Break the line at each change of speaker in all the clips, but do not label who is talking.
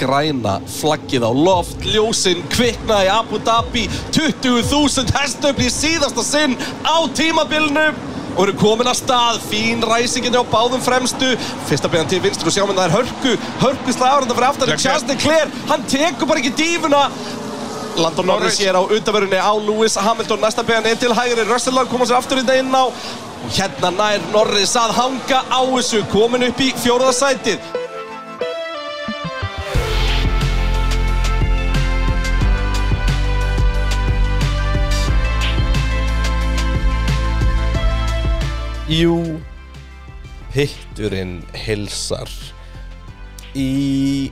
græna flaggið á loft, ljósinn kvikna í Abu Dhabi, 20.000 hestöfli í síðasta sinn á tímabilnu og eru komin að stað, fín ræsingin á báðum fremstu, fyrsta beðan til vinstri og sjáum en það er Hörku, Hörku slagur þetta fyrir aftan en
Leclerc.
Charles Leclerc, hann tekur bara ekki dífuna Landon Norris
Norris.
hér á undanverðinni á Lewis Hamilton, næsta beðan inn til hægri, Russell Lang koma sér aftur inn inn á og hérna nær Norris að hanga á þessu, komin upp í fjóruðasætið Jú, pitturinn hilsar í,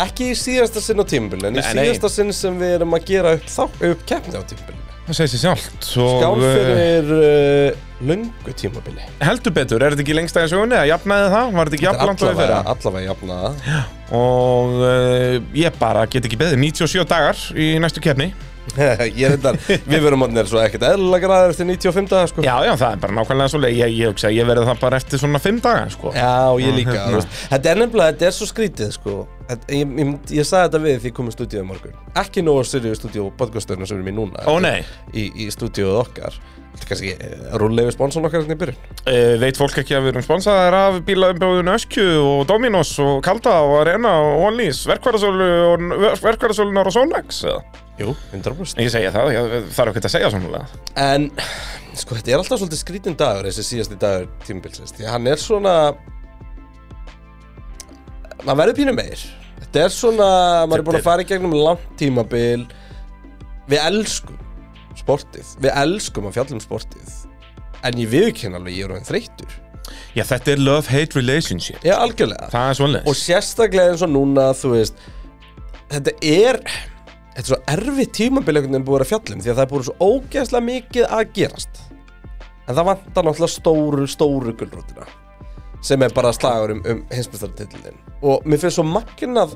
ekki í síðasta sinn á tímbilinu, en í
Nei, nei.
síðasta sinn sem við erum að gera upp, þá, upp keppni á tímbilinu.
Það segir sér sjálft
Skál
og eh,
fyrir uh, löngu tímabili.
heldur betur, er þetta ekki lengst aðeins sögunni eða jafnaði það, var þetta ekki
Þetta er
jafnland og við
allavega,
fyrra
allavega jafnaða.
og uh, ég bara get ekki beðið 97 dagar í næstu keppni
Ég er þetta, við verum orðinir svo ekkert eðlilega græðar eftir 95 daga, sko.
Já, já, það er bara nákvæmlega svo leið ég, ég, hugsa að ég verði það bara eftir svona 5 daga sko.
Já, og ég líka,
hérna.
þú veist, þetta er nefnilega, þetta er svo skrítið, sko Þetta- Ég, ég, ég sagði þetta við því ég kom í stúdíu í morgun Ekki nóg að styrja í stúdíu podcasturinn sem við erum í núna
Ó nei,
Í, í stúdíuð okkar Þetta er kannski eh, rúllegi sponsor okkar hérna í byrjun
uh, veit fólk ekki að við erum sponsaðar af bílaumbjóðun Öskju og Dominos og Kalda og Arena og Onlys verkvarðasölu og verkvarðasölunar og Sónlex
Jú, 100%
Ég segja það, ég þarf ekki að segja svona
En, sko, þetta er alltaf svolítið skrítin dagur Þessi síðasti dagur tímabilsins Því að hann er svona Maður verður pínu meir Þetta er svona, maður er búin að fara í gegnum langt tímabil Við elskum sportið Við elskum að fjalla um sportið En ég viðkynna alveg, ég er orðin þreyttur
Já, þetta er love-hate relationship
Já, algjörlega
Það er svona
og sérstaklega eins og núna þú veist þetta er þetta er svo erfið tímabil einhvern veginn búið að vera að fjalla um því að það er búið svo ógeðslega mikið að gerast en það vantar náttúrulega stóru, stóru gullrútina sem er bara slagur um, um hinsmestartillin og mér finnst svo magnað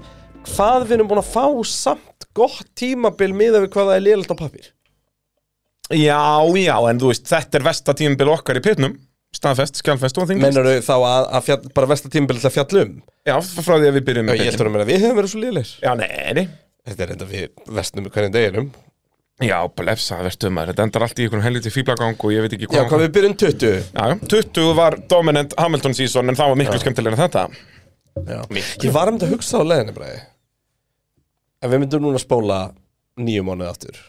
hvað við erum búin að fá samt gott tímabil miðað við hvað það er liðalt á pappir
Já, já, en þú veist, þetta er vesta tímabil okkar í pitnum Staðfest, skjálfest og þingast
mennur þau þá að, að fjall, bara versta tímabil til að fjalla um
Já, frá því að við byrjum
ég heldur að meina að við hefum verið svo liðleir
Já, nei, nei
þetta er enda við vestnum hvernig deginum
Já, blefsa, verðstu maður Þetta endar allt í einhvern helviti fíblagang og ég veit ekki
já
hvað
hvað við byrjum 20
Já, já, 20 var dominant Hamilton season en það var miklu skemmtilega en þetta
Ég var um þetta að hugsa á leiðinni bræði En við myndum núna að spóla nýju mánuði aftur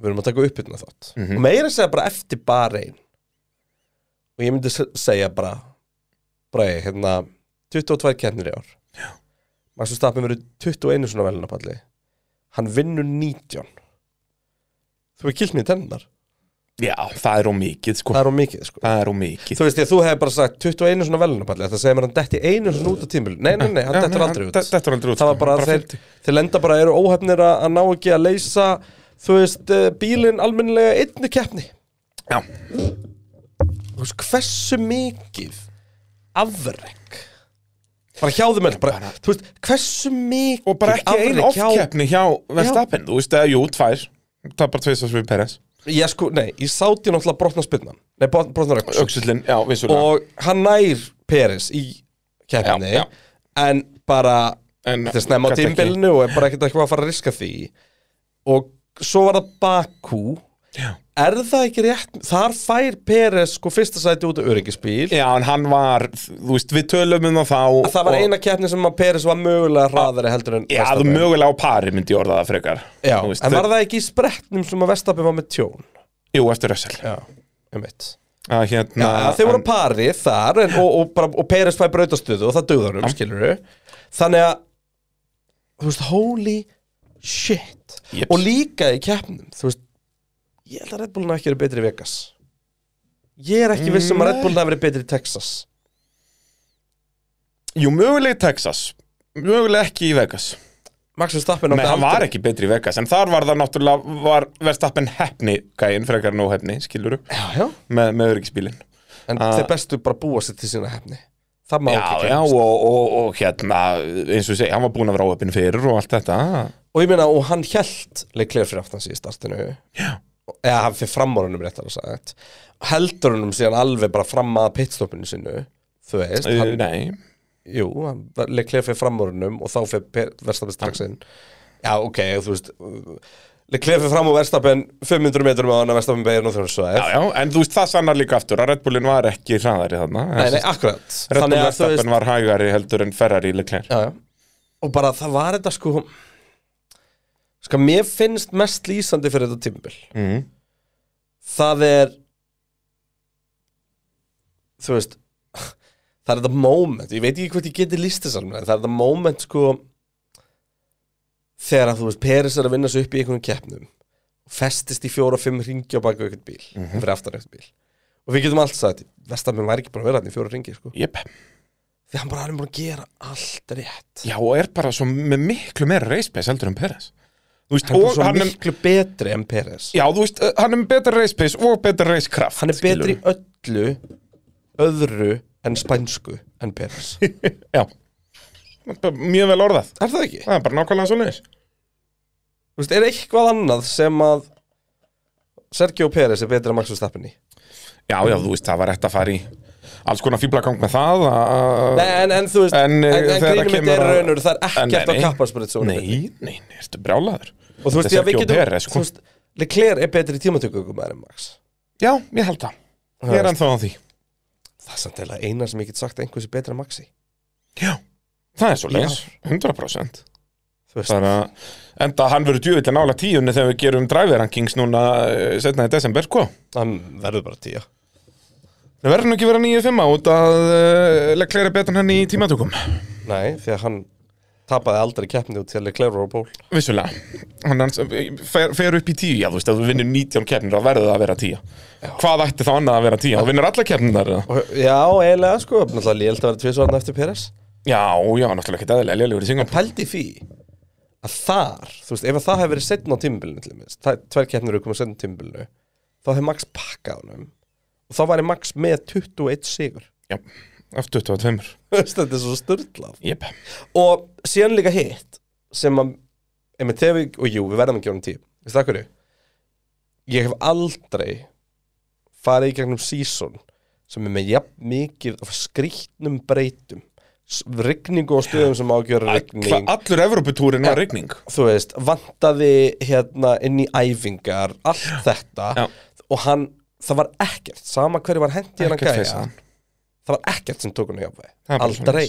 Við erum að taka uppbytna þátt Og meira að segja bara eftir bara einn Og ég myndi se- segja bara Bræði, hérna 22 keppnir í ár Max Verstappen verið 21 svona velunapalli Hann vinnur 19 Þú er kilt mér í tennar
Já, það er ómikið, sko
Það er á mikið sko
Það er ómikið
Þú veist ég, þú hefði bara sagt 21 svona velunapalli Það segir mér að hann detti einu svona út af tímul Nei, nei, nei, hann dettur aldrei út
Þetta er aldrei út sko.
það var bara að
Bara
þeir, þeir lenda bara eru óhefnir að, að ná ekki að leysa þú veist, eh, bílinn almennilega einni keppni
Já,
þú veist, hversu mikið afrek bara hjá þeim öll, bara, þú veist, hversu mikið
og bara ekki einu
afrek hjá-
off-keppni hjá Verstappen Þú veist, eða, jú, tvær Tapar tvisast við Peres
ég sko, nei, ég sátti náttúrulega brotna spinnan nei, brotna rökk
Öxullin, já, vissulega
og hann nær Peris í keppni
Já, já.
en bara
En
þetta er snemma á
gat ekki-
tímbilinu og er bara ekkert eitthvað að fara að riska því og svo var það Bakú
Já.
er það ekki rétt þar fær Peres sko fyrsta sæti út af öryggisbíl
Já, en hann var, þú veist, við tölum um það þá
það var
og-
eina keppni sem að Peres var mögulega hraðari heldur en
Já, þú
Verstappen.
mögulega á pari myndi ég orða það frekar
Já,
Þú veist,
en var
þau-
það ekki í sprettnum sem að Vestappi var með tjón
Jú, eftir Russell
já, um eitt
að, hérna,
þeir voru að
en-
pari þar en, og, og, bara, og Peres fær brautastöðu og það dögðar um, skilur þannig að þú veist, holy shit
Jeps.
og líka í keppnum þú veist, ég held að Red Bullin hafi ekki verið betri í Vegas ég er ekki viss um að Red Bullin hafi verið betri í Texas
Jú, mögulega í Texas Mögulega ekki í Vegas
Max Verstappen
Nei,
átti
hann var
aldrei-
ekki betri í Vegas En þar var það náttúrulega, var Verstappen hefni gæinn frekar en óhefni, skiluru
já, já.
með, með öryggisbílinn
en
Ah.
þeir bestu bara búa sér til sína hefni það má
Já,
ekki
já,
gleymast.
og, og, og hérna, eins og ég segi, hann var búinn að vera áöfinn fyrir og allt þetta
og ég meina, og hann held leiklegur fyrir aftan sig í startinu já eða hann fyrir framorunum réttar að sagt heldur honum síðan alveg bara fram að pitstoppinu sinu þú veist,
Uh,
hann,
Nei,
Jú, hann leiklega fyrir framúrunum og þá fyrir Verstappen strax inn Já, ok, þú veist Leiklega fyrir fram úr Verstappen 500 metrum á hann að Verstappen beigir nú þegar hann svo
Já, já, en þú veist það sannar líka aftur að Red Bullin var ekki hraðari þarna
Nei, nei, akkurat
Red Bull Verstappen var hægari heldur en Ferrari Leclerc
já, já. Og bara það var þetta sko Ska, mér finnst mest lýsandi fyrir þetta tímbil
mm.
Það er Þú veist Það er þetta moment, ég veit ekki hvort ég geti lýst þess alveg, það er þetta moment sko þegar að þú veist Peris er að vinna sig upp í einhvern keppnum festist í fjóra og fimm ringi á baku einhvern bíl, fyrir aftan einhvern bíl og við getum allt sagt, Vestamenn væri ekki bara að vera hann í fjóra ringi sko,
Jep,
því hann bara hann er búin að gera allt rétt
já, og er bara svo með miklu meira race pace heldur en Peres Þú veist,
hann er bara
og
svo
hann er
miklu betri en Peris
Já, þú veist, uh, hann er með betra race pace og betra race kraft
hann er betri í öllu öðru en spænsku en Peris,
Já Bara Mjög vel orðað
er það ekki?
Það er bara nákvæmlega svo leiðis
Þú veist, er eitthvað annað sem að Sergio Peris er betri en Max Verstappen í
Já, já, þú veist, það var rétt að fara í alls konar fýblagang með það að-
Nei, en, en þú veist,
En,
en,
eh,
en,
þegar
grínum
kemur
þetta er
að-
raunur, það er
En
ekkert
nei,
á
nei.
kapparsprið
Nei, nei, nei, ertu brjálaður
og þú veist,
Þetta
já,
er
við
Sergio
getum
Perez,
þú
sko.
veist, Leclerc er betri tímatökum en Max
Já, ég held það, ég er ennþá á því
það er samt eða eina sem ég get sagt að einhvers er betri en Maxi
Já, það er svo leiðis 100%
þú veist,
Bara, enda hann verður djöfilega nála tíunni þegar við gerum driver rankings núna eh, seinna í desember, sko
hann verður bara tíja
Það verður nú ekki vera 9-5 út að uh, leggleira betur hann í tímatökum
nei, því að hann tapaði aldrei keppni út til Leclerc og Pól
Vissulega Hann hans, fer, fer upp í 10, já þú veist, ef þú vinnur 19 keppnir þá verður það að vera 10 Hvað ætti þá annað að vera 10? Þú vinnur alla keppnir þar
og, já, eiginlega, sko, náttúrulega lélt að vera tvisvarna eftir Peres
Já, já, náttúrulega ekki aðeinslega lélegur í Singapur
pældi því að þar, þú veist, ef að það hefur verið setn á tímbilinu til þess, tvær keppnir eru komið setn á tímbilinu, þá hefur Max pakkað honum og þá væri Max með 21 sigur
Já, af 22
Þú veist, þetta er svo störtlað
Jep,
og síðan líka hitt sem að einmitt þegar við, og jú, við verðum ekki ánum tíu veist það hverju? ég hef aldrei farið í gegnum season sem er með jafn mikið af skrýtnum breytum s- rigningu og stöðum sem ágjöra rigning
allur Evróputúrin var rigning
þú veist, vantaði hérna inn í æfingar allt þetta
Já.
og hann, það var ekkert sama hverju var hendi hann
Ekkert
gæja
fesen.
það var ekkert sem tók hann í
Það er
jafnvægi
bara
aldrei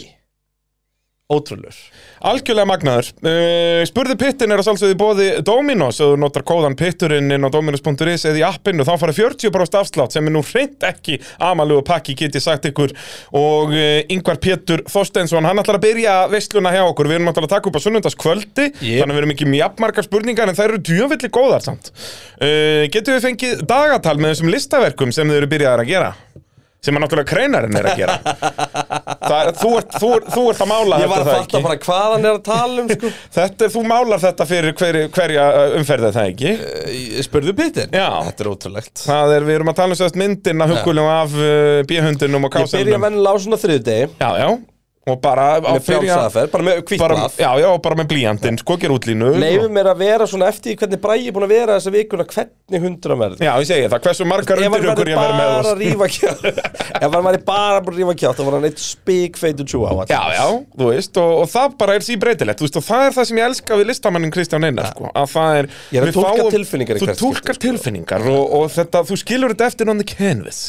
ótrúlur
Algjörlega magnaður uh, Spurði pittin er að sálsögðu bóði Dominos og þú notar kóðan pitturinn inn á dominos.is eða í appinu þá fara 40% afslátt sem er nú hreint ekki amalugu pakki get ég sagt ykkur og uh, yngvar Pétur Þorsteinsson hann ætlar að byrja veisluna hjá okkur við erum náttúrulega að taka upp á sunnundaskvöldi
Yep.
þannig við erum ekki mjafnmarkar spurningar en þær eru djöfillig góðar samt uh, Getum við fengið dagatal með þessum listaverkum sem þau eru byrjaðar að gera? sem að náttúrulega kreinarinn er að gera það, er- þú, ert, þú, ert, þú ert að
Ég
mála þetta,
var að
það
fatta
ekki?
bara hvað hann er að tala um sko.
Þetta er, þú málar þetta fyrir hver, hverja umferðið það ekki
Spurðu Pétur?
Já.
Þetta er ótrúlegt
Það er, við erum að tala um sérst myndin að huggulum af uh, bíhundinum og
Ég byrja
kásendum
vennilega á svona þriðdegi
Já, já, og bara á
með frjálsaðferð, bara með
bara,
kvítblað
Já, já, og bara með blíjandinn, sko, gera útlínu
Leifum mér að vera svona eftir því hvernig bræði búin að vera þessa vikuna hvernig hundra verður
Já, ég segi það, hversu margar
Ef hann
undirhugur
væri
ég verð með
bara að
oss
rífa kjátt Ef hann væri bara að rífa kjátt þá var hann eitt spikfeitur tjú á
Já, já, þú veist, og, og það bara er síbreytilegt, þú veist, og það er það sem ég elska við listamannin Kristján Einar, sko, að það er
Ég er að
við
túlka tilfinningar í
Þú
hvert skipti, sko.
tólkar tilfinningar og, og þetta, þú skilur þetta eftir on the canvas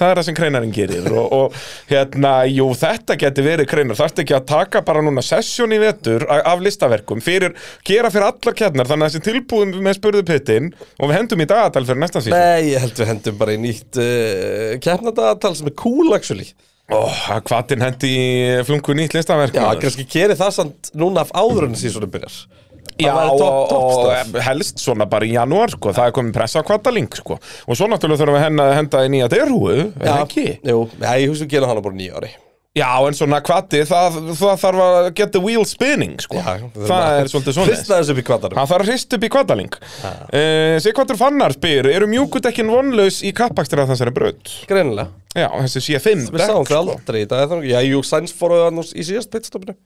Það er það sem kreinarinn gerir og, og hérna, jú, þetta geti verið kreinar þarfst ekki að taka bara núna sessjón í vetur a- af listaverkum fyrir, gera fyrir allar kjarnar, þannig að þessi tilbúðum með spurðu pittin og við hendum í dagatal fyrir næsta síðan
Nei, ég held við hendum bara í nýtt uh, keppnadagatal sem er cool actually
Ó, hvaðin hendi í flungu nýtt listaverk
Já,
maður.
kannski keri það samt núna af áður en síðan byrjar Það
Já,
væri topp-
og,
topp stuff.
og helst svona bara í janúar, sko, það er komið pressa á kvartaling, sko. Og svo náttúrulega þurfum við henn að henda í nýja derhúu, eða ekki?
Jú, já, ég hugsa um við gerum hana bara á nýja ári
Já, en svona kvati, það, það þarf að get the wheel spinning, sko. það er svolítið svona.
Hristna þessu upp í kvartarum
Hann þarf að hrist upp í kvartaling. Uh, Sigvartur Fannar spyr, eru mjúkudekkin vonlaus í kappakstur af þessari braut?
Greinilega
Já, þessi C5
Við sáum þau aldrei í dag er það nokkuð? Já, jú, Sainz fóruðu hann í síðast pitstopinu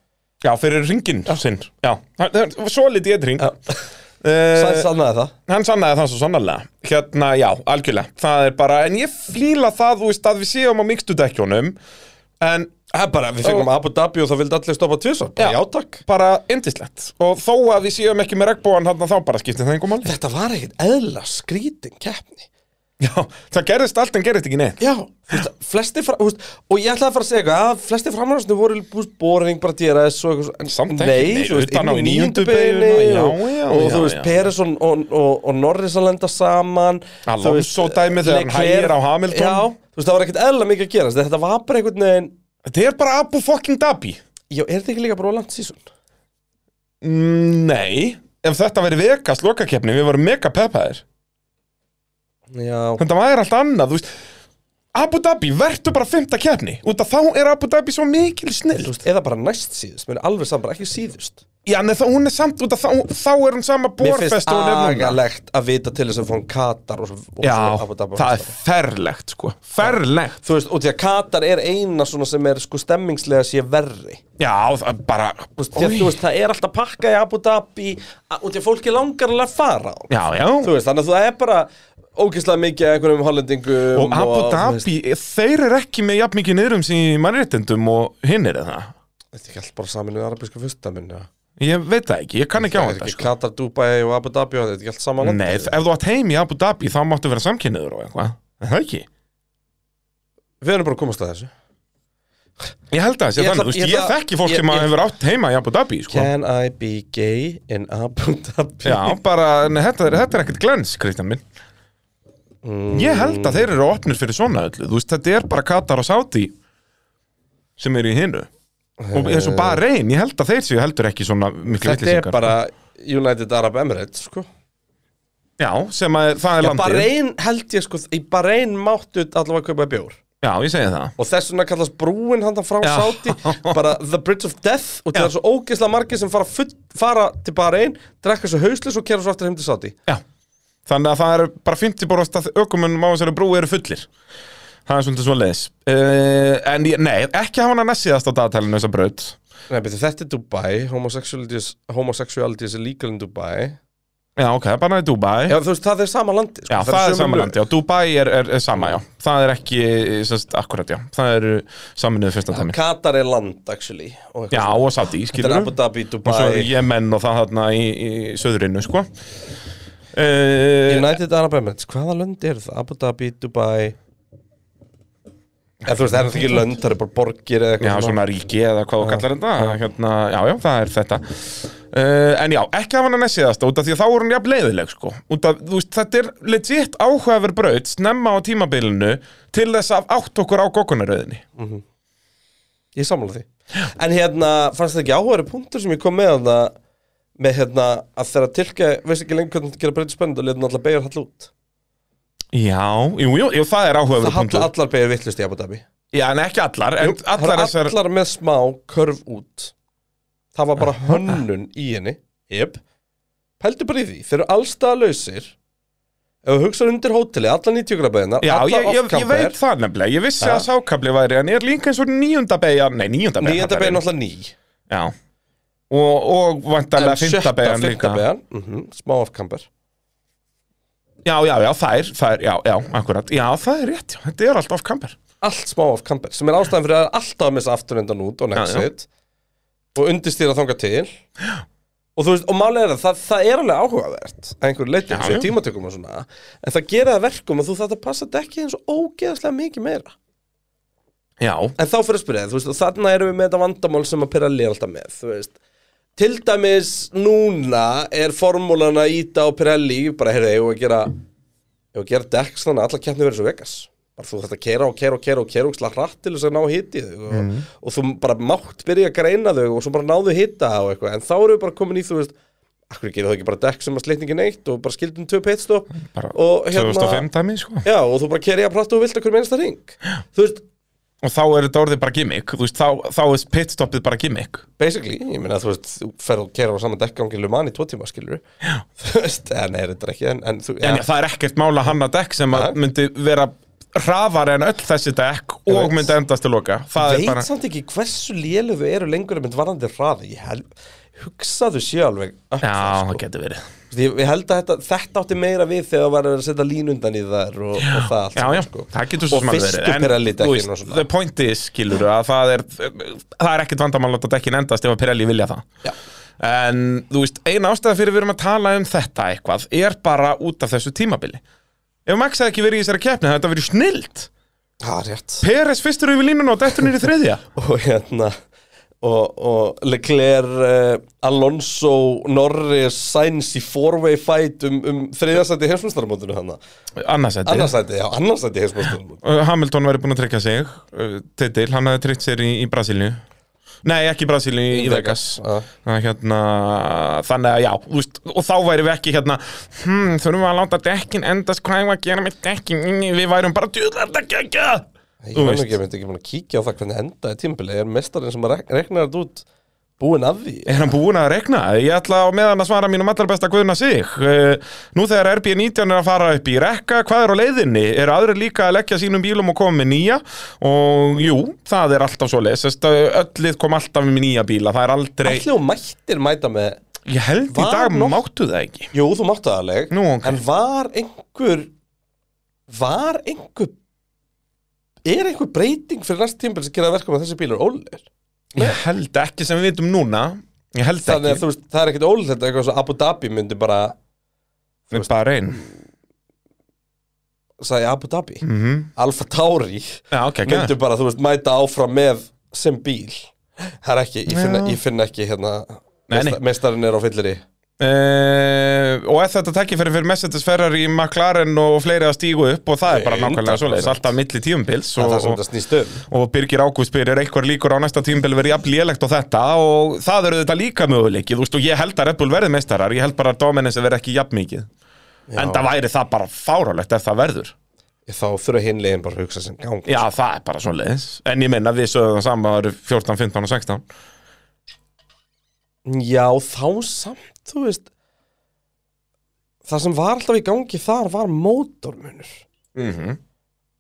Já, fyrir ringin sinn. Já, það er svo litið eitt ring. Uh,
Sainz annaði það
Hann sannaði það svo sannarlega Hérna, já, algjörlega Það er bara, en ég fíla það, þú veist, að við séum á mixtu dekkjónum En
Það er bara, við fengum Abu Dhabi og þá vildi allir stoppa tvisvar Bara
Já.
já, takk
bara indislegt og þó að við séum ekki með regnbóan þarna þá bara skiptir það engum máli
Þetta var ekkert eðla skrítin keppni
Já, það gerðist allt en gerðist ekki neitt
Já, þú veist, flesti fra, þú veist, og ég ætlaði að fara að segja eitthvað að flesti framhæðarsni voru þú veist, boring bara DRS og eitthvað svo- en
Samt ekki,
nei,
nei,
þú veist,
utan á
inn í níundu
níundu
beinu
beygju,
og,
já, já,
og
já,
þú veist,
já.
Peresson og, og, og Norris að lenda saman
Alonso
þú veist,
dæmið þegar hann
Leclerc-
hægir á Hamilton.
Já, þú veist, það var ekkert eðla mikið að gerast þetta var bara einhvern veginn
Þetta er bara Abu fucking Dhabi
Já, er þetta ekki líka bara of langt sísun?
Mm, Nei, ef þetta veri Vegas lokakeppni, við vorum mega peppaðir
Já,
Þetta væri allt annað, þú veist Abu Dhabi, verður bara fymta keppni Út af þá er Abu Dhabi svo mikil snill
þú veist, eða bara næst síðust, mér er alveg saman, bara ekki síðust
Já, en þá, hún er samt út af þá, þá er hún sama
Mér finnst
borfest og hún er núna
agalegt að vita til þess að fórum Katar og svo, og
Já,
svo Abu Dhabi og
það
svo-
er ferlegt, sko Ferlegt
þú veist, og því að Katar er eina svona sem er sko stemmingslega sé verri
Já, það er bara
Þú veist, því að
Oj.
þú veist, það er alltaf pakka í Abu Dhabi a- og því að fólki langar alveg að fara á
Já, já
þú veist, þannig að það er bara ógeðslega mikið af einhverjum hollendingum
Og Abu
þú veist,
Dhabi, þeir eru ekki með jafn mikið niðrum sem í mannréttindum og hinn er það
Þetta er ekki alltaf bara samin við arabíska fyrstamin ja.
Ég veit það ekki, ég kann ekki á
Það er
þetta
ekki
sko.
Katar, Dubai og Abu Dhabi og þetta er ekki allt saman
Nei, ef þú átt heim í Abu Dhabi þá máttu vera samkynniður og eitthvað Er Það ekki
Við erum bara að komast að þessu
Ég held að það sé
Ég
þannig,
ætla-
þú veist,
ég
ég,
ætla-
þekki fólk
ég-
sem að
ég-
hefur átt heima í Abu Dhabi, sko
Can I be gay in Abu Dhabi?
Já, bara, nei, þetta, er, þetta er ekkert glens, Kristján minn Ég held að þeir eru opnir fyrir svona öllu, þú veist, þetta er bara Katar og Saudi sem eru í hinu og eins og bara reyn, ég held að þeir séu heldur ekki svona miklu
Þetta er
vitleysingar.
bara United Arab Emirates, sko
Já, sem að það er
Já,
landið
Bahrein held ég sko, í Bahrein máttu allavega að kaupa bjór
Já, ég segi það
og þess vegna kallast brúin handan frá
Já.
sáti bara the bridge of death og það
Já.
er svo ógeðslega margir sem fara, full, fara til Bahrein, drekka svo hauslis og kera svo aftur heim til sáti
Já, þannig að það er bara 50 borast að ökumunum á þessari brú eru fullir Það er svolítið svo leiðis En ég, nei, ekki hafa hana næssiðast á dagatælinu þessa braut
Nei, beti, þetta er Dubai, homosexualities, homosexualities er legal in Dubai
Já, ok, bara í Dubai
Já, þú veist, það er sama landi sko.
Já, það
sömu
er
lög.
samanlandi, já, Dubai er, er, er sama, já Það er ekki, sérst, akkurat, já Það eru saminuðu fyrsta tæmi
Katar er land, actually og eitthvað
Já,
svona.
og Saudi,
Þetta er
skilur
Abu Dhabi,
Og svo
Dubai,
Jemen og það þarna í, í söðrinu, sko uh,
United Arab Emirates Hvaða lönd eru það? Abu Dhabi, Dubai En þú veist, það er náttúrulega ekki lönd, það eru bara borgir eða
Eh, Já,
eitthvað
svona ríki eða hvað þú kallar þetta hérna, Já, já, það er þetta uh, En já, ekki hafa hana næssiðast út af því að þá er hún jafn leiðileg sko. Út af, þú veist, þetta er legit áhugaver braut snemma á tímabilinu til þess að átt okkur á gokkunaröðinni
Ég samla því En hérna, fannst það ekki áhugaður punktur sem ég kom með hana, með hérna að þegar tilkja, veist ekki lengur hvernig það gera breytið spennandi og letur náttúrulega beigur hall út
Já, jú, jú, jú, það er áhugaver
Það hall
punktur
allar beigur vittlust í Abu Dhabi
Já, en ekki allar, en
Jú, Það
allar
eru
þessar
allar með smá körf út Það var bara hönnun í henni Jep Pældu bara í því, þeir eru allstað lausir Ef þú hugsaður undir hóteli, allar 90 grabaðinnar
Já,
allar
ég, ég, ég
off-camper,
veit það nefnilega, ég vissi
Ha?
að sákabli væri en er líka eins og nýjunda beigja, nei nýjunda beigja
Nýjönda beigja er náttúrulega ný
Já, og, og vantarlega
En
fymta
sjötta,
beigjan
fimmta
líka
beigjan mhm, Smá afkamper
Já, já, já, þær, þær, já, já, akkurat Já, það er rétt, já, þetta er allt off-camper
Allt smá afkamper Sem er ástæðan fyrir að það er alltaf að missa afturöndan út og nexit Og undirstýra þanga til Og þú veist, og málið er að það, það er alveg áhugavert að einhverju leyti
Já,
eins og í
já.
tímatökum og svona En það gera það verkum að þú þarft að passa dekki eins og ógeðaslega mikið meira
Já,
En þá fyrir að spyrja, þú veist, og þarna erum við með þetta vandamál sem að Pirelli er alltaf með, þú veist Til dæmis núna er formúlan að íta á Pirelli bara, heyrðu, eigum við að gera eigum við að gera dekk svona, að allar keppni verið svo Vegas bara þú þetta keira og keira og keira og keira og slag hratt til þess að ná hitt í þau og, og þú bara mátt byrja að greina þau og svo bara náðu hitta og eitthvað, en þá erum við bara komin í þú veist, akkur gerir það ekki bara dekk sem að slitningin eitt og bara skildum tvö pitstop
bara
og hérna-
2005 dæmi, sko
já, og þú bara keira í að prata og vilt okkur minnsta ring, þú veist
Og þá er þetta orðið bara gimmick, þú veist, þá, þá er pitstoppið bara gimmick
basically, ég meina þú veist þú ferð og kerar á saman dekkgangi Luman í tvo tíma skilur þú veist, en er þetta er ekki en, en þú,
En já, það er ekkert mála hanna dekk sem að
Nei.
myndi vera hraðar en öll þessi dekk
Ég
og
veit.
myndi endast til loka Það
veit
er bara,
samt ekki hversu lélu þau eru lengur en mynd varðandi hraði ég, hel, hugsaðu sé alveg upp þar,
Já, það
sko.
getur verið
Þú veist, ég, ég held að þetta, þetta átti meira við þegar það var að setja lín undan í þar og, og það allt
Já,
saman,
já,
sko.
það getur svo
Og
sem alveg
fyrstu Pirelli dekkin
þú veist,
og svona.
The point is, skilur að það er það er ekkert vandamál að láta dekkin endast ef að Pirelli vilja það
Já.
En, þú veist, eina ástæða fyrir við erum að tala um þetta eitthvað er bara út af þessu tímabili Ef Max hefði ekki verið í þessari keppni, það hefði þetta verið snilt
það er rétt
Peres fyrstur yfir línuna og dettur nýri þriðja
og hérna og, og Leclerc, uh, Alonso, Norris, Sainz í four-way fight um, um þriðasæti heimsmyndstarmóndinu hann
Annarsætti
annarsæti, já, annarsæti heimsmyndstarmóndinu
Hamilton væri búin að tryggja sig uh, titil, hann hefði tryggt sér í, í Brasilíu Nei, ekki í Brasilíu, í,
Í
Vegas,
Vegas, já.
Þannig að hérna, Þannig að já, þú veist, og þá væri við ekki hérna hmm, Þurfum við að láta dekkin endast hvað eigum við að gera með dekkin Við værum bara djúðlega þetta gegja
ég
Þú
veit
veist.
ekki, ég myndi ekki búin að kíkja á það hvernig endaði tímbilið, er mestarinn sem rek reknar þetta út búinn af því
Er hann búin að regna? Ég ætla á meðan að svara mínum allar besta guðna sig Eh, Nú þegar RB19 er að fara upp í rekka Hvað er á leiðinni? Er aðrir líka að leggja sínum bílum og koma með nýja? Og jú, það er alltaf eh, svo leis Öllið kom alltaf með nýja bíla Það er aldrei
allir og mættir mæta með
Ég held í
Var
dag
nokk-
máttu það ekki
jú, þú máttu það alveg
Nú, ok.
en var einhver var einhver er einhver breyting fyrir næst tímbilið sem gera að verka með þessi bílar ólir
Ég held ekki sem við vitum núna Ég held
Þannig að
ekki,
þú veist, það er ekkit ólíkt þetta eitthvað svo Abu Dhabi myndi bara
þú er bara einn
sagði Abu Dhabi,
mm -hmm.
Alfa Tauri
Já, ok, ekki
myndi bara, þú veist, mæta áfram með sem bíl Það er ekki, ég finna,
Já.
ég finna ekki hérna
Nei, nei.
Mestarinn er á fyllir í
Uh, og ef þetta takkifæri fyrir Mercedes Ferrari, McLaren og fleiri að stígu upp og það er bara
Nei,
nákvæmlega
100%.
svoleiðis, alltaf milli tíumbils
Það er
og,
það sem
og,
þetta snýst um
og Birgir Ágúst byrjar eitthvað líkur á næsta tíumbil verið jafn lélegt og þetta og það eru þetta líka möguleiki, þú veist og ég held að Red Bull verði meistarar, ég held bara að Dominance verði ekki jafn mikið, en það væri það bara fáralegt ef það verður
Þá þurfa hinlegin bara að hugsa sem gang
Já, það er bara svoleiðis, en ég minna við sögum það saman árið 14, 15 og 16
Já, þá samt, þú veist Það sem var alltaf í gangi þar var mótormunur
Mhm.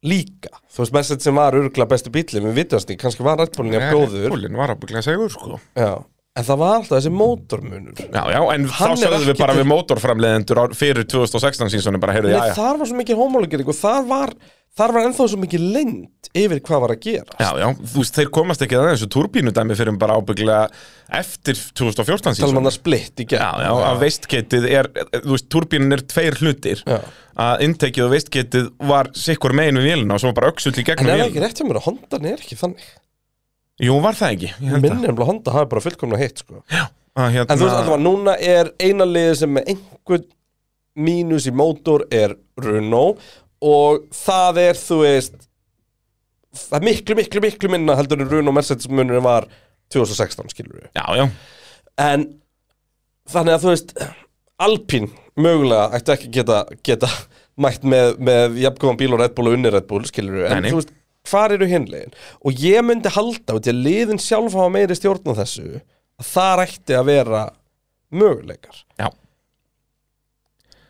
Líka Þú veist, Mercedes sem var örgla bestu bílum Við vitast því, kannski var Red Bullin jafn góður
Búlin var ábygglega segur sko
Já, en það var alltaf þessi mótormunur
Já, já, en
Hann er
þá sögðum við
ekki
bara
til-
við mótorframleðendur á- fyrir 2016 sínsoni bara, heyrðu, já,
Nei, þar var svo mikið homologering og þar var, þar var ennþá svo mikið lengd yfir hvað var að gera
já, já, þú veist, þeir komast ekki að þessu turbínudæmi fyrir bara ábygglega eftir 2014
Talum
sínsoni
hann að splitt um í
Já,
gegn
já, að veistgetið er, þú veist, turbínin er tveir hlutir
Já.
að inntekið og veistgetið var sikkur megin við vélina og svo var bara öxull í
En
gegnum
er það ekki
vélina
rétt hjá mér að Hondan er ekki þannig
Jú, var það ekki? Ég held að-
Minnir um að Honda hafi bara fullkomna hitt sko. En
að hérna-
þú veist alltaf að núna er eina liðið sem með einhvern mínus í mótor er Renault og það er þú veist það er miklu, miklu, miklu minna heldur en Renault Mercedes munurinn var 2016 skilur við
Já, já,
En þannig að þú veist Alpín mögulega ætti ekki að geta, geta mætt með, með jafnkóðan bíl og Red Bull og unni Red Bull skilur við, en
Nei, nei.
þú veist hvar eru hinlegin og ég myndi halda út í að liðin sjálf hafa meiri stjórn á þessu að þar ætti að vera möguleikar
já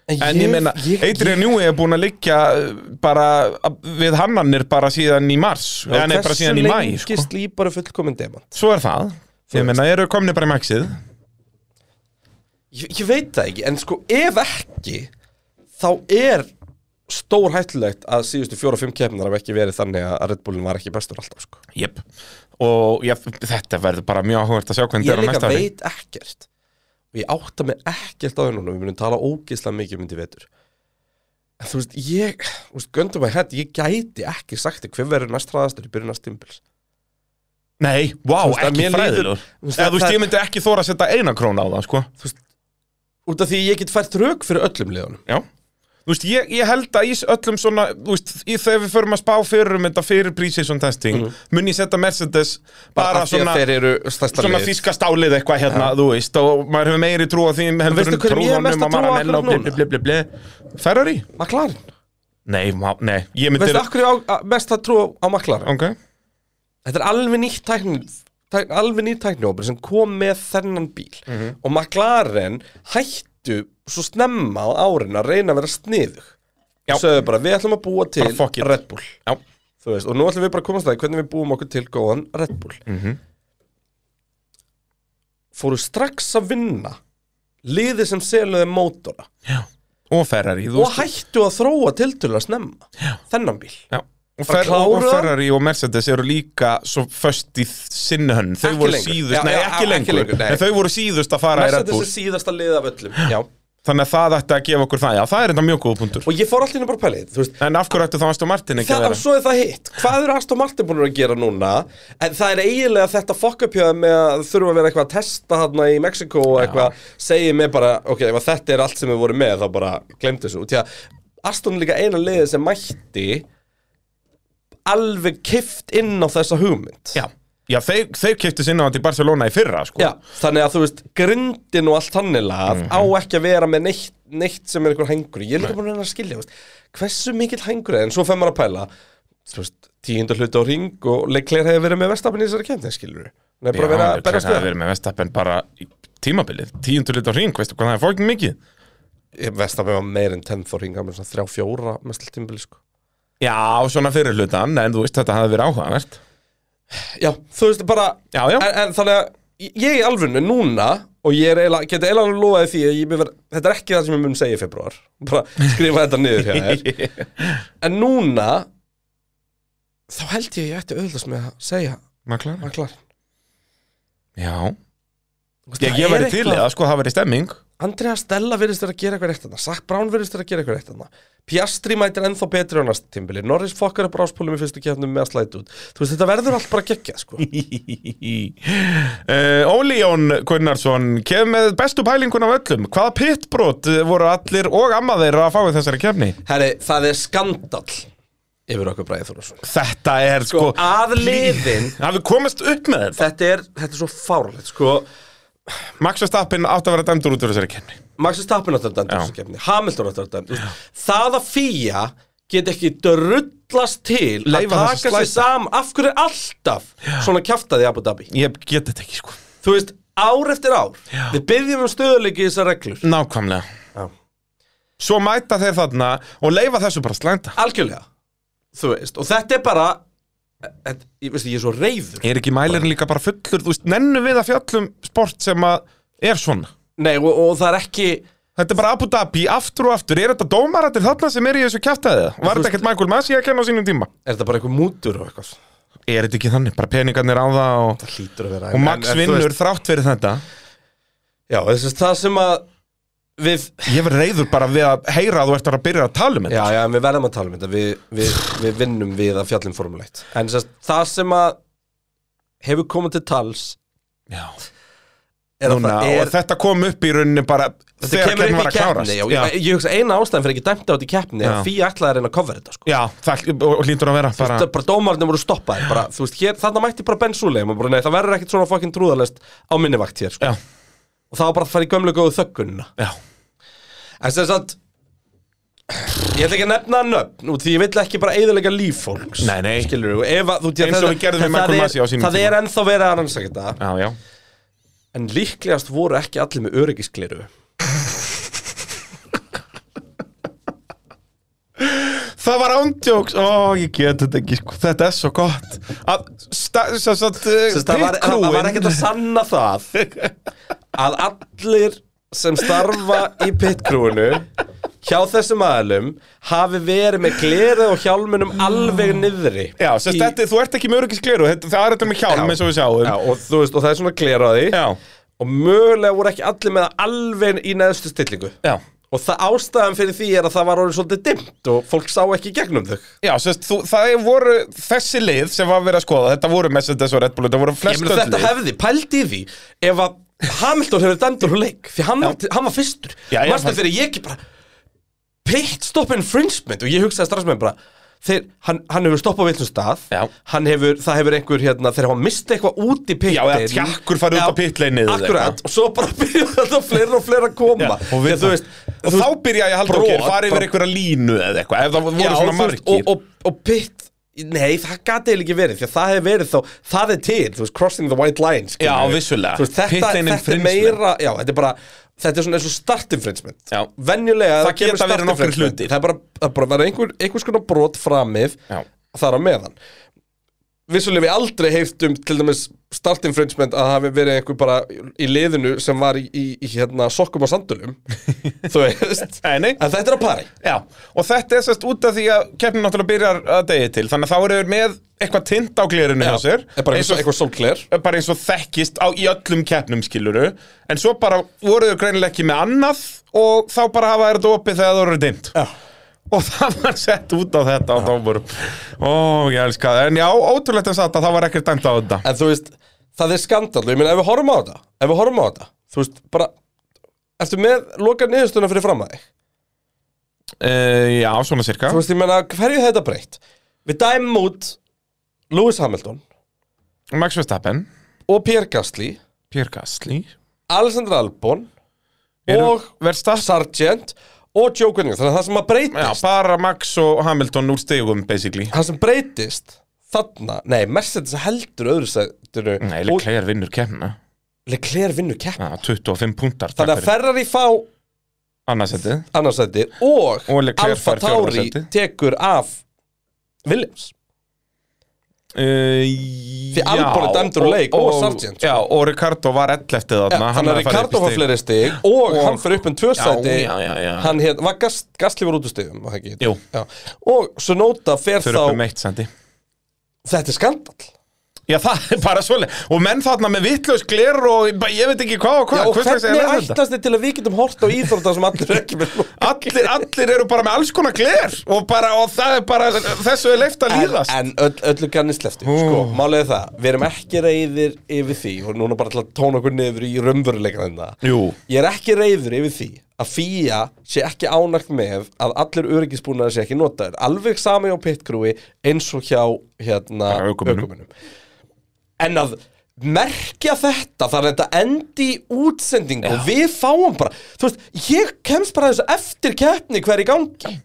En ég meina, Adrian Newey er búin að liggja uh, bara uh, við hannanir bara síðan í mars eða nei, bara síðan í mæ
Hversu
sko.
lengi slípar er fullkomin demant?
Svo er það
Þú
Ég
veist.
meina, eru komni bara í maxið
Ég, ég veit það ekki, en sko ef ekki þá er stór hættulegt að síðustu fjóra-fimm kefnar hafa ekki verið þannig að Red Bullin var ekki bestur alltaf sko
Jep Og ég, þetta verður bara mjög áhugert að sjá hvernig
ég líka
þetta er á næsta ári
veit ekkert og ég átta mig ekkert á það núna við munum tala ógeðslega mikið myndi vetur en þú veist, ég þú veist, göndum að hætt, ég gæti ekki sagt þér hver verður næst hraðastur í byrjun næst tímbils
Nei, vá,
veist, að
ekki
mér líður-
fræðilegur
þú veist,
Eða
það-
þú veist, ég myndi ekki þóra að setja eina krón á það, sko
út af því ég get fært rauk fyrir öllum liðunum
Já Þú veist, ég, ég held að í öllum svona, þú veist, í þegar við förum að spá fyrir um þetta fyrir pre-season testing, mun ég setja Mercedes
Mhm.
bara,
af því
svona
að þeir eru stærsta
svona
liðið.
þýska stálið eitthvað hérna, þú veist og maður hefur meiri trú á því
En veistu hverjum ég er mest að trúa akkurat núna?
núna? Ferrari?
McLaren,
Nei, má, nei, ég myndi
veistu af hverju á- að- mest að trúa á McLaren?
Ok,
Þetta er alveg nýtt tækni tæk, alveg nýtt tæknihópur sem kom með þennan bíl
Mhm.
og McLaren hættu svo snemma á árin að reyna að vera sniðug
Já.
Sögðu bara, við ætlum að búa til
Bara fuck it.
Red Bull
já,
Þú veist, og nú
Mhm.
ætlum við bara að komast að því hvernig við búum okkur til góðan Red Bull fóru strax að vinna liði sem seluði mótora
og Ferrari þú
og
veist.
hættu að þróa tiltölu að snemma Já. þennan bíl
Já. Og,
Bara
fer, og
klára.
Ferrari og Mercedes eru líka svo föst í sinni hönn þau
Ekki
voru
lengur.
síðust,
Já,
nei
já,
ekki
já,
lengur,
ekki lengur, nei.
en þau voru síðust að fara í Red
Mercedes
Bull
er síðasta liðið af öllum Já.
þannig að það ætti að gefa okkur það, já það er enda mjög góð punktur
og ég fór allir bara að pæla í þetta þú veist,
en af hverju ætti þá Aston Martin ekki að
það,
vera
svo er það hitt hvað eru Aston Martin búin að gera núna en það er eiginlega þetta fokkupjöð með að þurfa að vera eitthvað að testa þarna í Mexiko og eitthvað segir mig bara ok, ef að þetta er allt sem við vorum með þá bara glemdu þessu Því að Aston er líka eina liðið sem mætti alveg kift inn á þessa hugmynd
já, já þeir, þeir keftu sinna til Barcelona í fyrra sko. Mhm.
Já, þannig að þú veist, grindin og allt hannilað á ekki að vera með neitt, neitt sem er einhver hengur. Ég er líka búin að reyna að skilja, þú veist, hversu mikill hengur er, en svo fer maður að pæla, þú veist, tíundu hluti á ring og leikleir hefur verið með vestafinn í þessari kemni, skilur við. Nei, bara verið að berast
það
við.
verið með Vestapen bara í tímabilið tíundur lit á hring, veistu hvað það er fókin mikið
Vestafinn var meir en 10 á ring, hann var svona þrjá, fjóra mestal tímbili, sko.
já, svona fyrir hlutan, en þú veist þetta hafði verið áhugavert
Já, þú veist, bara,
já, já,
en, en þannig að ég- ég í alvunni núna og ég er eiginlega, geti eiginlega alveg lofaði því að ég mun vera, þetta er ekki það sem ég mun segja í februar bara skrifa þetta niður hjá þér En núna Þá held ég að ég ætti auðvitað með að segja
maður klara
Var klar
já, ég, ég væri til í það, sko, það verið stemming
Andrea Stella virðist vera að gera eitthvað rétt þarna Zach Brown virðist vera að gera eitthvað rétt þarna Piastri mætir ennþá betri á næsta tímbili Norris fokkar upp ráspólum í fyrstu kefnum með að slæta út Þú veist, þetta verður allt bara gekkja, sko
uh, Óli Jón Gunnarsson kemur með bestu pælingun af öllum hvaða pittbrot eh, voru allir og amma þeirra að fá í þessari kefni
Herri, það er skandall Yfir okkur bræðið Þórsson
þetta er sko,
Sko, að liðin
hafi komist upp með þetta
Þetta er, þetta er svo fárlegt, sko
Max Verstappen átt að vera dæmdur út úr þessari kefni
Max Verstappen átti að dæmdur þessu kefni Hamilton átti að dæmdur Það að fýja get ekki drullast til
Leyfa
að
þessu
taka sig
slæta.
saman af hverju er alltaf svona kjaftaði í Abu Dhabi
ég get þetta ekki sko
Þú veist, ár eftir ár við byggjum um stöðuleiki í þessar reglur
Nákvæmlega
Já.
Svo mæta þeir þarna og leifa þessu bara að slænda
Algjörlega Þú veist, og þetta er bara þetta, ég, veist, ég er svo reyður
Er ekki mælirinn líka bara fullur, þú veist, nennu við að fjallum sport sem að er svona
Nei, og, og það er ekki
Þetta er bara Abu Dhabi aftur og aftur Er þetta dómaratir þarna sem er í þessu kjæftæði? Var þetta ekkert Michael Masi að kenna á sínum tíma?
Er þetta bara eitthvað mútur og eitthvað
Er þetta ekki þannig, bara peningarnir á það og,
Það hlýtur að vera
og Max
En- en þú
vinnur
veist-
þrátt fyrir þetta
Já, þess að það sem að við
Ég verð reyður bara við að heyra að þú ert að byrja að tala um þetta
Já, já, en við verðum að tala um þetta Við, við, við vinnum við að fjallum formuleitt En sérst, það sem að hefur komið til tals
Já.
er að
Núna,
það
og
er
þetta kom upp í rauninni bara
Þetta
þegar
kemur
keppnin
upp
var
í
að klárast
keppni já, ég, ég hugsa eina ástæðan fyrir ekki dæmt á þetta í keppni
Já.
að Fía ætlaði að reyna að cover þetta sko.
Já, það og hlýtur að vera bara
bara, bara dómarnir voru stoppaði bara, þú veist, hér, þarna mætti bara Ben Suleim og bara, nei, það verður ekkert svona fokkin trúðalest á minni vakt hér sko.
Já,
og það var bara að fara í gömlu góðu þöggunna
já,
en sem sagt ég ætla ekki að nefna nöfn út því ég vill ekki bara eyðilega líf fólks
Nei, nei.
skilur við, ef að þú
Eins og við gerðum við Michael Masi á sínum
það
tíma.
er ennþá verið að rannsaka þetta
já, já.
en líklegast voru ekki allir með öryggiskleru
Það var ándjóks, ó, ég get þetta ekki, sko, þetta er svo gott Að, sta, svo, svo,
Sest, það, var, það það var ekkert að sanna það að allir sem starfa í pitkrúinu hjá þessum aðlum hafi verið með gleru og hjálmunum alveg niðri
Já, svo,
Í-
þetta, þú ert ekki með öryggiskleru, þetta- það er þetta með hjálm eins og við sjáum
Já, og, þú veist, og það er svona glera á því
já,
og mögulega voru ekki allir með það alveg í neðstu stillingu
já.
og það ástæðan fyrir því er að það var orðið svolítið dimmt og fólk sá ekki í gegnum þau
já svo, þú, það voru þessi lið sem var verið að skoða, þetta voru Mercedes og Red Bull, þetta voru
Ég
flest
meina,
öll
þetta
lið
hefði pælt í því ef að Hamilton hefur dæmdur úr leik því hann, var, hann var fyrstur
Já, já,
Manstu
fast-
þegar ég ekki bara pit stop infringement og ég hugsaði strax með mér bara þeir, hann, hann hefur stoppað við þessum stað
Já.
hann hefur, það hefur einhver hérna þegar hann misti eitthvað út í pitin
Já, eða tjakkur farið út á pitleinið eða
akkurat, og svo bara byrja þetta fleira og fleira að koma
Já, og,
Þegar
við,
þú veist,
og
þú
þá byrja ég að halda okkur,
brot,
fara yfir
bara-
einhverja línu eða eitthvað, ef það voru
Já,
svona
þú veist,
margir
og, og, og pitt Nei, það gati eiginlega ekki verið, því að það hefur verið þá, það er til, þú veist, crossing the white line skilur
Já,
við.
vissulega.
Þú veist, þetta,
Pit lane
þetta er
infringement.
meira, já, þetta er bara, þetta er svona eins og start infringement
Já.
Venjulega,
Það
kemur
geta verið
start
nokkrir
infringement,
hlutir.
Það er bara, það er bara verið einhver, einhvers konar brot framif
Já.
þar á meðan vissulega við aldrei heift um til dæmis start infringement að hafi verið einhver bara í liðinu sem var í, í, í hérna sokkum og sandulum þú veist
Nei, nei.
en þetta er að pari
Já, og þetta er sérst út af því að keppnin náttúrulega byrjar að degi til Þannig að þá eru þeir með eitthvað tint á glirinu hjá sér
er bara eitthvað, eitthvað solkler
bara eins og þekkist á í öllum keppnum skiluru En svo bara voru þau greinilega ekki með annað Og þá bara hafa þeir þetta opið þegar það voru dimt
Já.
Og það var sett út á þetta á dómurum Ó, ég elska það En já, ótrúlegt að það var ekkert dæmt á þetta
en þú veist, það er skandal ég meina ef við horfum á þetta ef við horfum á þetta, þú veist, bara ertu með loka niðurstöðuna fyrir fram að þig
uh, Já, svona cirka
þú veist, ég meina, hverju er þetta breytt við dæmum út Lewis Hamilton
Max Verstappen,
og Pierre Gasly
Pierre Gasly
Alexander Albon
Eru-
og
Verstappen
Sargent og Joe Gunning þannig að það sem að
Já,
breytist
bara Max og Hamilton úr stegum, basically
það sem breytist þarna, nei, Mercedes heldur öðru sættinu
Nei,
og
Leclerc vinnur kemna
Leclerc vinnur kepp
Já, 25 puntar
þannig að Ferrari fá
Annarsætti
annarsætti og,
Og Leclerc
Alfa
fær fjórða
Tauri
sæti.
tekur af Williams
uh,
Því Albon er dæmdur úr leik og Sargent, sko.
Já, og Ricardo var 11 þarna hann
þannig að
hafði farið upp í
Ricardo fá
stig.
fleiri stig og,
Og-
hann fyrir upp um tvö
Já,
sæti
já, já, já.
hann hér, var gast, gasli voru út úr stigum var það ekki?
Jú.
Já. og svo nota fer
Fyrir upp
þá
um eitt sendi
þetta er skandal
Já, það er bara svoleið Og menn þarna með vittlaus gler og bara ég veit ekki hvað og
Já,
hvað
og
Hvers vegna
hvernig
er þetta?
ætlast þið til að við getum hort á íþróttar sem allir er ekki með
Allir, allir eru bara með alls konar gler og, bara, og það er bara, þessu er leift að
En,
líðast
en öll, öllu kannist leftu, sko, málega það Við erum ekki reyðir yfir því Og núna bara til að tóna okkur niður í raunveruleika þetta
Jú.
Ég er ekki reyður yfir því Að fýja sé ekki ánægt með Að allir öryggisbúnaðar sé ekki notaðir Alveg sami á pitkrúi Eins og hjá, hérna,
Bara ökumunum.
ökumunum En að merkja þetta þar að þetta endi í útsendingu og við fáum bara, þú veist, ég kemst bara að þessu eftir keppni hver í gangi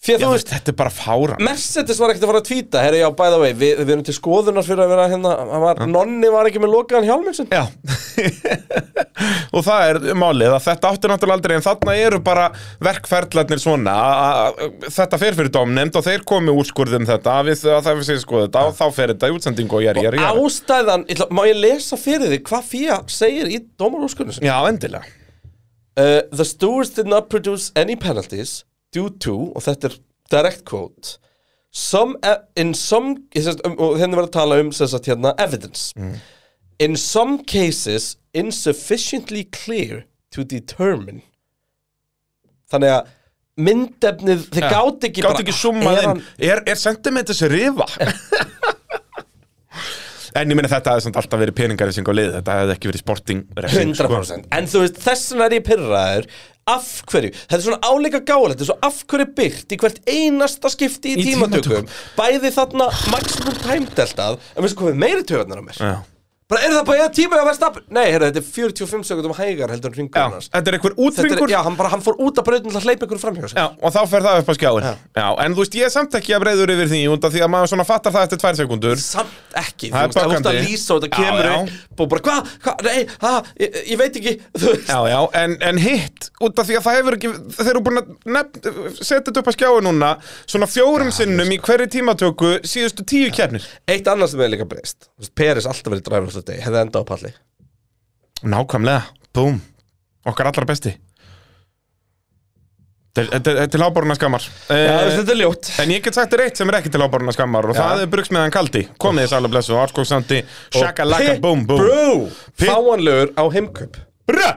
því að
Já,
þú
þú
veist,
veist, þetta er bara fáran
Mercedes var ekkert að fara að tvíta Herra, já, by the way, við, við erum til skoðunar fyrir að vera hérna hann var, Nonni var ekki með lokaðan hjálmixin
Já Og það er málið að þetta átti náttúrulega aldrei en þarna eru bara verkferðlarnir svona að- að- þetta fer fyrir domnefnd og þeir komi úrskurðum þetta að við að það við séum skoða þetta og þá fer þetta í útsendingu og jæri, jæri, jæri
Ástæðan, ég ætla, má ég lesa fyrir þig hvað Fía segir í dómarúskunni sinni
Já, endilega
uh, The stewards did not produce any penalties due to, og þetta er direct quote some, e- in some ég sést, um, og henni var að tala um sérst, hérna, evidence
Mm.
in some cases insufficiently clear to determine þannig að myndefnið, þið
Já,
gátt ekki
Gátt
bara,
ekki
er
summað inn
hann-
Er, er sentimentis rifa? en ég meina þetta hefði samt alltaf verið peningarising á lið Þetta hefði ekki verið sporting refsing, sko.
100% En þú veist, þess vegna er ég pyrraður Af hverju, þetta er svona áleika gálega Þetta er svo af hverju byggt í hvert einasta skipti í,
Í
tímatökum. Bæði þarna maximum time deltað En við sem komið meiri töðunar á mér
Já.
Bara er það bara eða tíma að verða stapp Nei, heyrðu, þetta er 45 sekundum hægar heldur en ringur
Já,
annars
Þetta er einhver
Þetta
útringur
er, já, hann bara, hann fór út að brautin til að hleypa ykkur framhjá sér
Já, og þá fer það upp á skjáin Já. en þú veist, ég er samt ekki að breyður yfir því út af því að maður svona fattar það eftir tvær sekundur
Samt ekki, þú
Það er
veist, það er að
böggandi.
lýsa og þetta
Já,
kemur
já.
upp Og bara, hvað, hvað, nei, ha, ég, ég veit ekki Þú veist,
Já, já, en, en hitt, út af því að það hefur ekki þeir eru búin að nefn, setja þetta upp á skjáin núna svona fjórum sinnum í hverri tímatöku síðustu tíu keppnir
eitt annars sem er líka breyst Þú veist, Peris alltaf verið dræfur þessu deg, hefði enda á palli
Nákvæmlega, búm Okkar allra besti Þetta er- Þetta er- þetta er láboruna skammar
Já, þú
Eh,
veist, þetta er ljótt
En ég get sagt þér eitt sem er ekki til áboruna skammar og það er brugsmiðan kaldi, komið þess alveg blessu Árskóksandi, shakalaka, búm, búm
Brú Fáanlegur á heimkaup
Brö!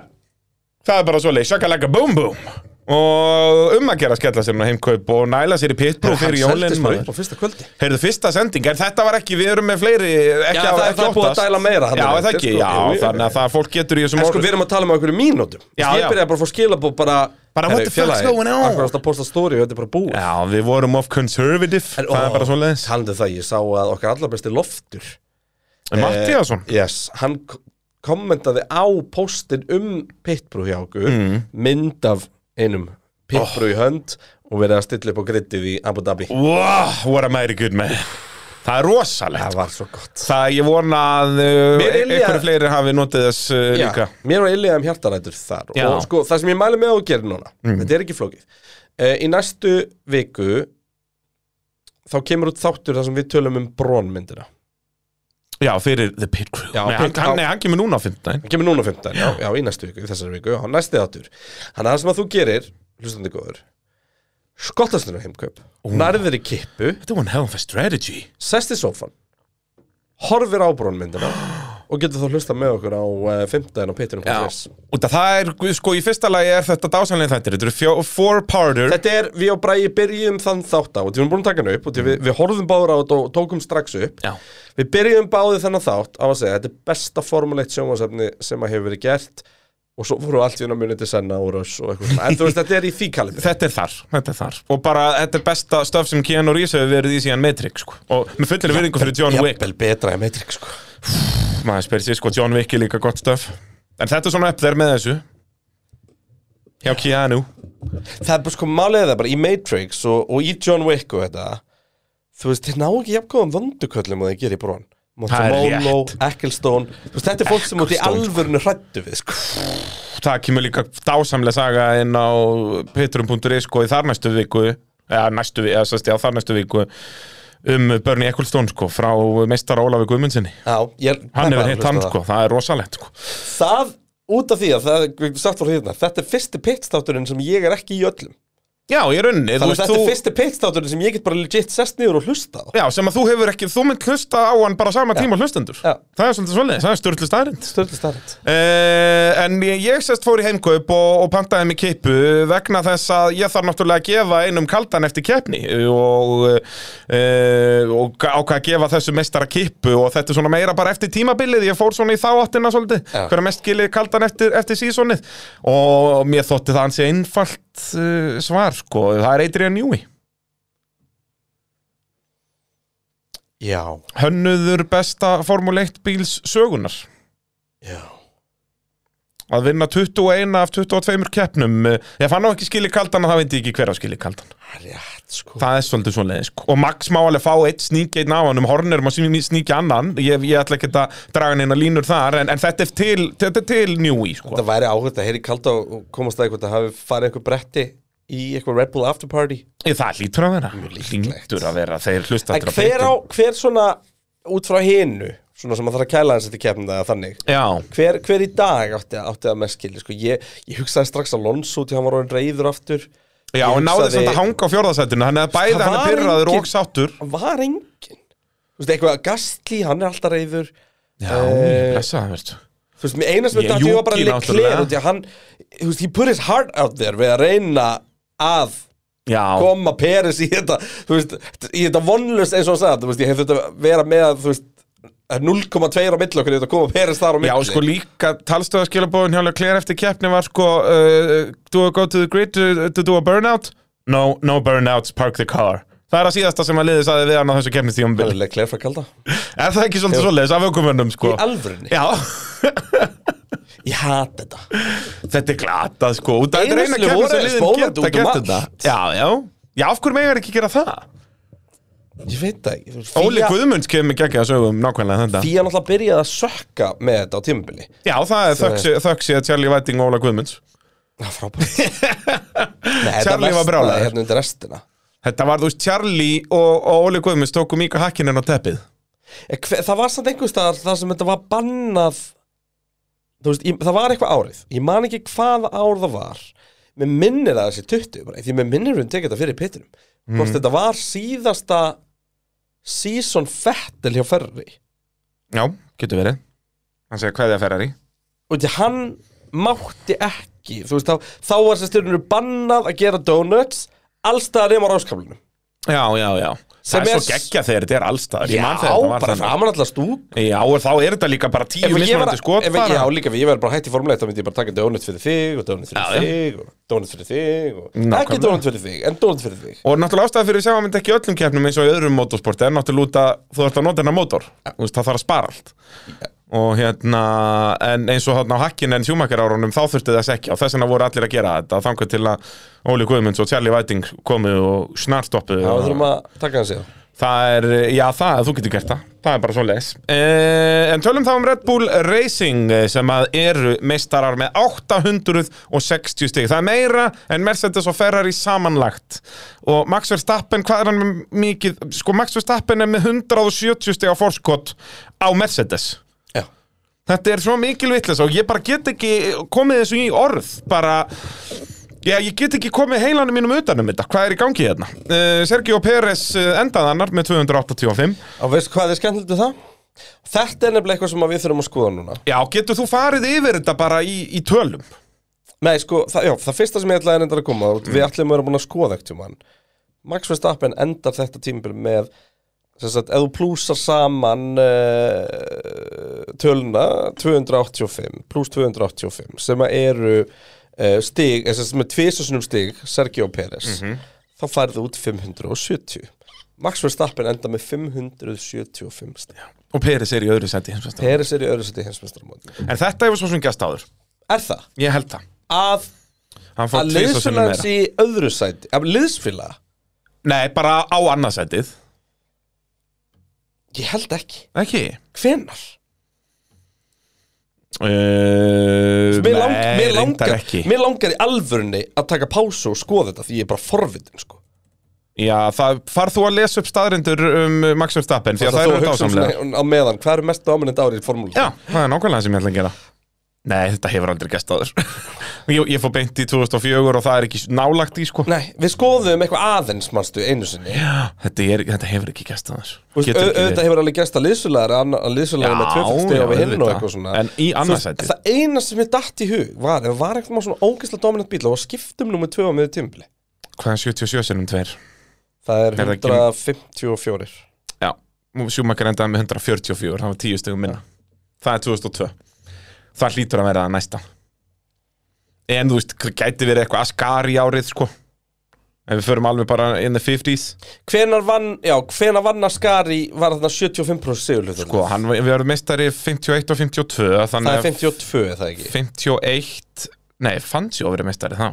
Það er bara svo leið, shakalaka boom boom Og um að gera að skella sér nú heimkaup og næla sér í pitbrú fyrir jólinn maður.
á fyrsta kvöldi
Heyrðu, fyrsta sending, en þetta var ekki, við erum með fleiri ekki,
Já, það er- það er búið að dæla meira
Já,
þarna
er það
eftir,
ekki,
sko.
já,
Jú, jú,
þannig að það fólk getur í þessum
En sko, við erum að tala um einhverju mínútum
Já, já.
Ég byrjaði bara að fá skilabóð bara
Bara, what the fuck's going on?
Akkur ást að posta story og þetta er bara búið
Já, við vorum of conservative, það er bara svo leiðis
Talandi um það, ég sá að okkar allar besti loftur Eh.
Mattiasson,
Yes, hann k- kommentaði á postin um pitbrú hjá okkur
Mm.
Mynd af einum
Oh.
pitbrú í hönd Og verið að stilla upp á grittið í Abu Dhabi
wow, what am I good man Það er rosalegt
Það var svo gott
Það ég vona að uh,
Mér Ilja-
einhverju fleiri hafi notið þess uh,
Já,
líka
Mér var illið um hjartarætur þar
Já.
Og sko, það sem ég mæli með að þú gerir núna Þetta er ekki flókið uh, Í næstu viku Þá kemur út þáttur þar sem við tölum um brónmyndina
Já, fyrir The Pit Crew
Já,
Nei, hann,
Pit- já.
hann, nei, hann kemur núna á 15
Hann kemur núna 15, já, já, í næstu viku, í þessari viku, á næsti þáttur. Þannig að það sem að þú gerir, hlustandi góður, skottast hennar heimkaup, nærðir í kippu,
Þetta var hell of a strategy
sest í sófan, horfir á brónmyndina og getur þá hlusta með okkur á uh, 15 og pittinum.
Já, út að það er, sko, í fyrsta lagi er þetta dásanlega þættir Þetta eru fjó, four parter
Þetta er, við á Bræði byrjum þann þátt á og við erum búin að taka hann upp og því við, við horfum báður á þetta og tókum strax upp
Mm. Já.
Við byrjum báði þennan þátt á að segja þetta er besta formuleitt sjónvarsefni sem að hefur verið gert og svo voru allt í hérna munið til senna og röss og eitthvað svona en þú veist þetta er í því kalibri
Þetta er þar, þetta er þar Og bara, þetta er besta stöf sem Keanu Reeves hefur verið í síðan Matrix, sko Og með fullir virðingu fyrir John Wick
Jafnvel betra en Matrix sko
Maður spyrir sér, sko, John Wick er líka gott stöf En þetta er svona upp þær með þessu Hjá Keanu
Það er bara sko málið er það bara í Matrix og, og í John Wick og þetta þú veist þeir ná ekki jafngóðum vönduköllum og þeir gera í brón
Það er
Montemolo, Ecclestone Þú veist, Þetta er fólk sem út í
Ecclestone, sko.
alvörinu hrættu við sko
það kemur líka dásamlega saga inn á petrum.is sko í þar næstu viku eða næstu viku, eða sérst ég á þar næstu viku um Bernie Ecclestone sko frá meistara Ólafi Guðmundsinni
Já, ég,
hann
peppaður
hefur
að hlusta
hitt
á
hann
það.
sko, það er rosalegt sko
Það, út af því að það, við sagt voru hérna, þetta er fyrsti pitstátturinn sem ég er ekki í öllum.
já, ég runni, þú
Þannig að
veist
þetta er
þú
fyrsti pitstátturinn sem ég get bara legit sest niður og hlusta á.
já, sem að þú hefur ekki, þú mynd hlusta á hann bara sama tíma og hlustendur,
Já.
það er svolítið svolítið það er störtlust aðrind
Stöldi starrend.
Uh, en ég, ég sérst fór í heimkaup og, og pantaði mig kippu vegna þess að ég þarf náttúrulega að gefa einum kaldan eftir keppni og, uh, og ákvað að gefa þessu mestara kippu og þetta er svona meira bara eftir tímabilið, ég fór svona í þá áttina svolítið,
Já.
hver er mest gilið kaldan eftir, eftir sísonið og mér þótti það ansi einfalt uh, svar sko, það er Adrian Newey
Já.
hönnuður besta Formule 1 bíls sögunar
Já.
að vinna 21 af 22 keppnum eh, ég fann á ekki skili kaldan að það veit ég ekki hver á skili kaldan
Það er rétt, sko.
það er svolítið sko. svo leiðis og Max má alveg fá eitt sník einn á hann um hornerum og sníkja annan ég, ég ætla ekki að draga neina línur þar en, en þetta er til, þetta er til Newey sko.
Það væri áhugt að heyri kalda og komast að eitthvað að hafi farið einhver bretti í eitthvað Red Bull after party.
Ég, það hlýtur að vera
líklegt.
hlýtur að vera, þeir hlusta
En hver á, hver svona, út frá hinu, svona sem að þarf að kæla hans eftir kefnum það þannig.
já,
Hver, hver í dag átti, átti að mest skilja, sko, ég, ég hugsaði strax að Lonsu til hann var orðin reyður aftur
já
Ég
og náði
hugsaði-
samt að hanga á fjórðasættinu hann er bæði
Það
hann er
var
pyrraður
engin-
og sáttur
var engin Þú veist, eitthvað Gastli, hann er alltaf reyður
já,
Eh,
blessa það verður
Þú veist, eina sem
Ég-
þetta átti var bara
Yuki náttúrulega.
Leclerc út í að hann, þú veist, he put his heart out there við að reyna að
já,
koma Peres í þetta þú veist, í þetta vonlust eins og hann sagði þú veist, ég hef þetta vera með að, þú veist það er 0,2 á milli okkur, þetta koma Peres þar á milli
Já, sko líka talstöðaskilabóðin hjá Leclerc eftir keppni var sko uh, Do I go to the grid to, to do a burnout? No, no burnouts, park the car Það er að síðasta sem að liði saði við hann á þessu keppnistíum
Hann er Leclerc frá kalda
Er það ekki svolítið svoleiðis af aukumönnum sko?
Í alvörunni,
Já,
ég hat þetta
þetta er glatað sko Út af Þetta er
Einu
eina
sinni
keppni
voru
sem
þeir
liðin
spólandi
geta
út um
gert
allt.
þetta Já, já Já, af hverju megar ekki gera það?
Ég veit það ekki þú veist,
Óli
Fía-
Guðmunds kemur ekki að sögum nákvæmlega þetta
Fía náttúrulega byrjaði að sökka með þetta á tímabili
Já, það er þökk sé- þökk sé að Charlie Whiting og Óla Guðmunds
Já, frábært Nei, þetta
Charlie var
versnaði
brjálaður.
Hérna undir restina
Þetta var þú veist Charlie og, og Óli Guðmunds tóku Mika Hakkinen á teppið
Eh, hve- Það var samt einhvers staðar þar sem þetta var bannað Þú veist, ég, það var eitthvað árið Ég man ekki hvaða ár það var Mér minnir að þessi 20 bara, Því mér minnir hún tekið þetta fyrir pittinum
Mm.
Hvort þetta var síðasta Season Fettel hjá Ferri
Já, getur verið Hann segir hvað er það Ferrari
Og því hann mátti ekki Þú veist, þá, þá var þessi stjórnur bannað að gera donuts Allstaðar nema ráskaflunum
Já, já, já
Sem
Það
er
er svo
s-
geggja þegar þetta er allstaðar Ég
Já,
man þegar þetta var
bara
þannig
framan allar stúk
Já, og þá er þetta líka bara tíu
Ef ég var,
mismunandi skot
ef, já,
bara
líka, ef ég verður bara hætt í formuleitt þá myndi ég bara taka donut fyrir þig og donut
Já, já.
fyrir þig og donut fyrir þig og ekki
Nákvæmlega.
donut fyrir þig, en donut fyrir þig
Og náttúrulega ástæða fyrir að sjá að mynda ekki í öllum keppnum eins og í öðrum motorsporti er náttúrulega út að þú ert að nota hennar mótor Þú veist, það þarf að spara allt Og hérna, en eins og hérna á hakkin en sjúmakar árunum þá þurfti þess ekki og þess vegna voru allir að gera þetta þangar til að Óli Guðmunds og Charlie Whiting komu og snarstoppuðu
Já, við
og-
þurfum að taka hann síðan
Það er, já það, þú getur gert það Það er bara svo leis En tölum þá um Red Bull Racing eh, sem að eru meistarar með 860 stig Það er meira en Mercedes og Ferrari samanlagt Og Max Verstappen, hvað er hann með mikið? Sko Max Verstappen er með 170 stig á forskot á Mercedes
Já
Þetta er svo mikil vitleis og ég bara get ekki komið þessu í orð bara Já, ég get ekki komið heilanum mínum utanum þetta, hvað er í gangi hérna? Uh, Sergio Pérez eh, endaði annar með 285
Og veist hvað er skemmtilegt við það? Þetta er nefnilega eitthvað sem að við þurfum að skoða núna
Já, getur þú farið yfir þetta bara í, í tölum?
Nei, sko, það, já, það fyrsta sem ég ætlaði reyndar að koma mm. Við ætlum að vera búin að skoða ekkert um hann Max Verstappen endar þetta tímabil með sem sagt, ef þú plúsar saman uh, töluna 285 plús 285 sem að eru uh, stig, eða sem er tvisasunum stig Sergio Pérez
Mhm.
þá færðu út 570 Max Verstappen endar með 575 stig
Og Pérez er í öðru seti En
Pérez er í öðru seti hinsmestramóti
þetta hefur svo sem gæst áður
Er það?
Ég held það
Að
Hann fór
að
tvisvar
liðsfélag
sinnum meira.
sé í öðru sæti af liðsfélag
Nei, bara á annað setið
Ég held ekki
Ekki
Hvenar?
uh,
Mér, lang, mér, langar,
ekki
mér langar í alvörunni að taka pásu og skoða þetta því ég er bara forvitin sko.
Já, það farð þú að lesa upp staðrindur um eh, Max Verstappen Því að
þú
það eru
hugsar um
dásamlega
svona á meðan, hvað eru mest dominant árið í formúlu?
Já, það er nákvæmlega sem ég ætla að gera Nei, þetta hefur aldrei gæst áður ég, ég fór beint í 2004 og það er ekki nálagt í sko
Nei, við skoðum eitthvað aðeins manstu einu sinni
Þetta, er, þetta hefur ekki gæst áður
Þú veist, au- Auðvitað hefur alveg gæst að liðsulegar að liðsulegar með tvöfald steg á við hinn og eitthvað svona
En í
Þú veist,
annarsæti
Það eina sem ég datt í hug var ef var eitthvað svona ógeðslega dominant bíl og skiptum nummer 2 á miður tímbili
Hvaðan 77 sinnum tveir
Það er
Er það ekki-
154
Já, sjúmakar endaði með 144 Það var 10 stegum minna Það er 2002 Það hlýtur að vera það næsta En þú veist, gæti verið eitthvað Ascari árið sko En við förum alveg bara in the 50s
Hvenar vann, já, hvenar vann að skari var þarna 75% sigurlutur
Sko, hann, við erum meistari 51 og 52
Það
Þannig
er
að
52, er það ekki?
51 Nei, fannst ég að vera meistari þá